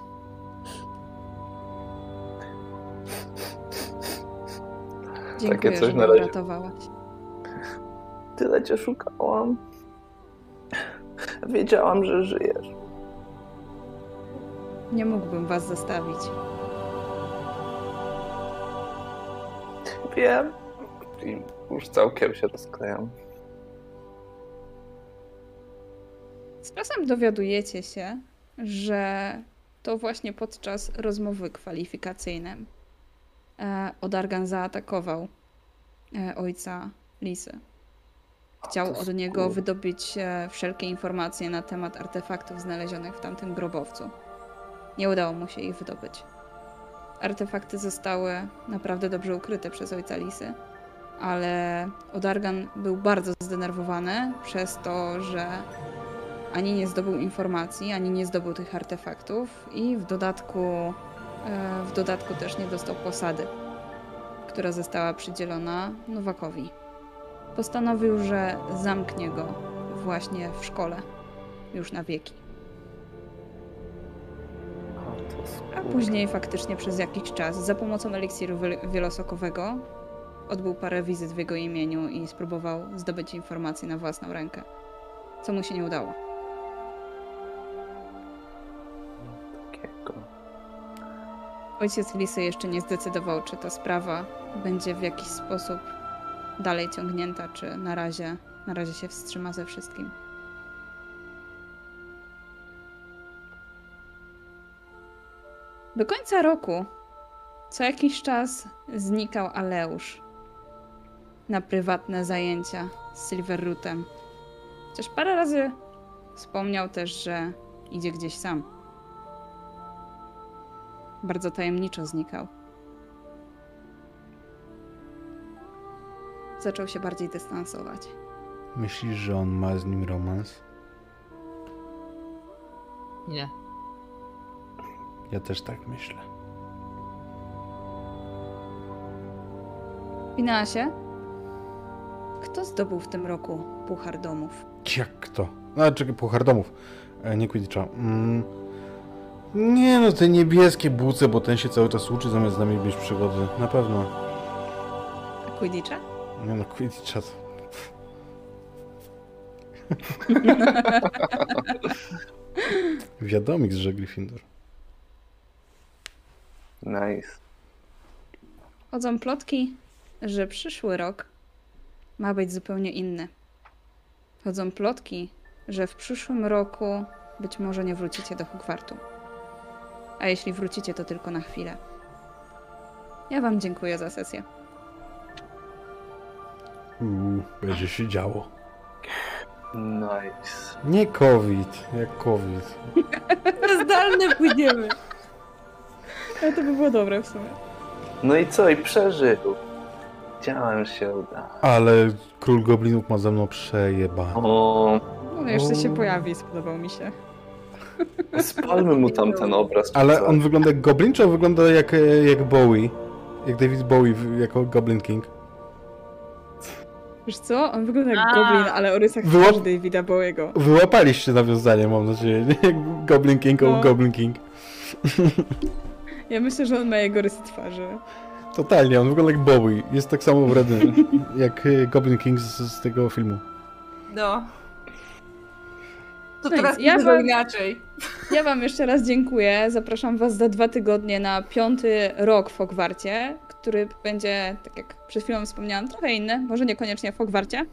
Speaker 1: Dziękuję,
Speaker 2: coś
Speaker 1: że mnie
Speaker 2: na razie.
Speaker 1: uratowałaś.
Speaker 2: Tyle cię szukałam. Wiedziałam, że żyjesz.
Speaker 1: Nie mógłbym was zostawić.
Speaker 2: Wiem. I już całkiem się rozklejam.
Speaker 1: Z czasem dowiadujecie się, że to właśnie podczas rozmowy kwalifikacyjnej e, Odargan zaatakował e, ojca Lisy. Chciał
Speaker 2: To
Speaker 1: od
Speaker 2: skur-
Speaker 1: niego wydobyć e, wszelkie informacje na temat artefaktów znalezionych w tamtym grobowcu. Nie udało mu się ich wydobyć. Artefakty zostały naprawdę dobrze ukryte przez ojca Lisy, ale Odargan był bardzo zdenerwowany przez to, że ani nie zdobył informacji, ani nie zdobył tych artefaktów i w dodatku, e, w dodatku też nie dostał posady, która została przydzielona Nowakowi. Postanowił, że zamknie go właśnie w szkole, już na wieki. A później faktycznie przez jakiś czas za pomocą eliksiru wiel- wielosokowego odbył parę wizyt w jego imieniu i spróbował zdobyć informacje na własną rękę, co mu się nie udało.
Speaker 2: Takiego.
Speaker 1: Ojciec Lisy jeszcze nie zdecydował, czy ta sprawa będzie w jakiś sposób dalej ciągnięta, czy na razie, na razie się wstrzyma ze wszystkim. Do końca roku co jakiś czas znikał Aleusz na prywatne zajęcia z Silverrootem. Chociaż parę razy wspomniał też, że idzie gdzieś sam bardzo tajemniczo znikał. Zaczął się bardziej dystansować.
Speaker 4: Myślisz, że on ma z nim romans?
Speaker 3: nie.
Speaker 4: Ja też tak myślę.
Speaker 1: Pinasie, kto zdobył w tym roku Puchar Domów?
Speaker 4: Jak to? A, czekaj, puchar domów. E, nie Quidditcha. Mm. Nie no, te niebieskie buce, bo ten się cały czas uczy zamiast z nami mieć przygody. Na pewno.
Speaker 1: Quidditcha?
Speaker 4: Nie no, Quidditcha to... Wiadomik z Gryffindor.
Speaker 2: Nice.
Speaker 1: Chodzą plotki, że przyszły rok ma być zupełnie inny. Chodzą plotki, że w przyszłym roku być może nie wrócicie do Hogwartu. A jeśli wrócicie, to tylko na chwilę. Ja Wam dziękuję za sesję.
Speaker 4: Uuu, będzie się działo.
Speaker 2: Nice.
Speaker 4: Nie COVID, jak COVID.
Speaker 3: Zdalne płyniemy.
Speaker 1: Ale No to by było dobre w sumie.
Speaker 2: No i co? I przeżył. Chciałem się uda.
Speaker 4: Ale król goblinów ma ze mną przejeba.
Speaker 2: O,
Speaker 1: No jeszcze się
Speaker 4: O.
Speaker 1: pojawi, spodobał mi się.
Speaker 2: spalmy mu tam ten obraz.
Speaker 4: Ale on wygląda jak goblin, czy on wygląda jak, e, jak Bowie? Jak David Bowie w- jako Goblin King?
Speaker 1: Wiesz co? On wygląda jak
Speaker 3: A.
Speaker 1: goblin, ale o rysach
Speaker 4: Wyłap-
Speaker 1: twarzy Davida Bowiego.
Speaker 4: Wyłapaliście nawiązanie, mam nadzieję. nie? Jak Goblin King o
Speaker 1: No.
Speaker 4: Goblin King.
Speaker 1: Ja myślę, że on ma jego rysy twarzy.
Speaker 4: Totalnie, on wygląda jak Bowie. Jest tak samo wredny jak e, Goblin King z, z tego filmu.
Speaker 3: No. To
Speaker 1: No
Speaker 3: teraz
Speaker 1: nic, ja
Speaker 3: ja
Speaker 1: wam-
Speaker 3: inaczej.
Speaker 1: Ja wam jeszcze raz dziękuję. Zapraszam was za dwa tygodnie na piąty rok w Hogwarcie, który będzie, tak jak przed chwilą wspomniałam, trochę inny. Może niekoniecznie w Hogwarcie,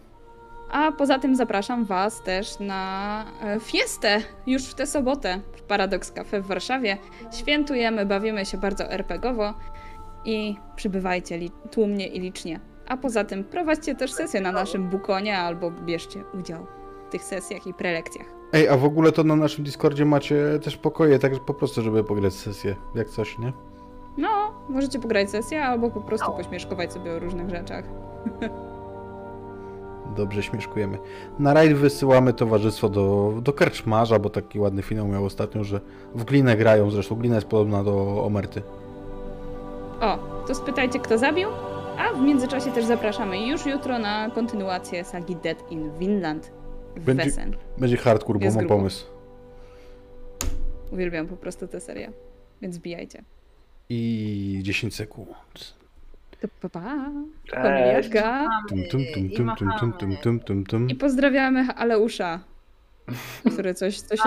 Speaker 1: A poza tym zapraszam Was też na e, fiestę już w tę sobotę w Paradox Cafe w Warszawie. Świętujemy, bawimy się bardzo RPGowo i przybywajcie li- tłumnie i licznie. A poza tym prowadźcie też sesje na naszym Bukonie albo bierzcie udział w tych sesjach i prelekcjach.
Speaker 4: Ej, a w ogóle to na naszym Discordzie macie też pokoje, tak po prostu, żeby pograć sesję, jak coś, nie?
Speaker 1: No, możecie pograć sesję albo po prostu pośmieszkować sobie o różnych rzeczach.
Speaker 4: Dobrze śmieszkujemy. Na rajd wysyłamy towarzystwo do, do karczmarza, bo taki ładny finał miał ostatnio, że w glinę grają, zresztą glina jest podobna do omerty.
Speaker 1: O, to spytajcie, kto zabił. A w międzyczasie też zapraszamy już jutro na kontynuację sagi Dead in Vinland w
Speaker 4: Będzie-
Speaker 1: Wesen.
Speaker 4: Będzie hardcore, bo
Speaker 1: Jest
Speaker 4: mam
Speaker 1: grubo.
Speaker 4: pomysł.
Speaker 1: Uwielbiam po prostu tę serię, więc bijajcie.
Speaker 4: I 10 sekund.
Speaker 1: To pa, pa.
Speaker 2: Cześć.
Speaker 1: Pomijaka.
Speaker 4: Tum, tum, tum,
Speaker 3: I
Speaker 4: tum, tum, tum,
Speaker 3: machamy.
Speaker 4: tum, tum, tum.
Speaker 1: I pozdrawiamy Aleusza, który coś, coś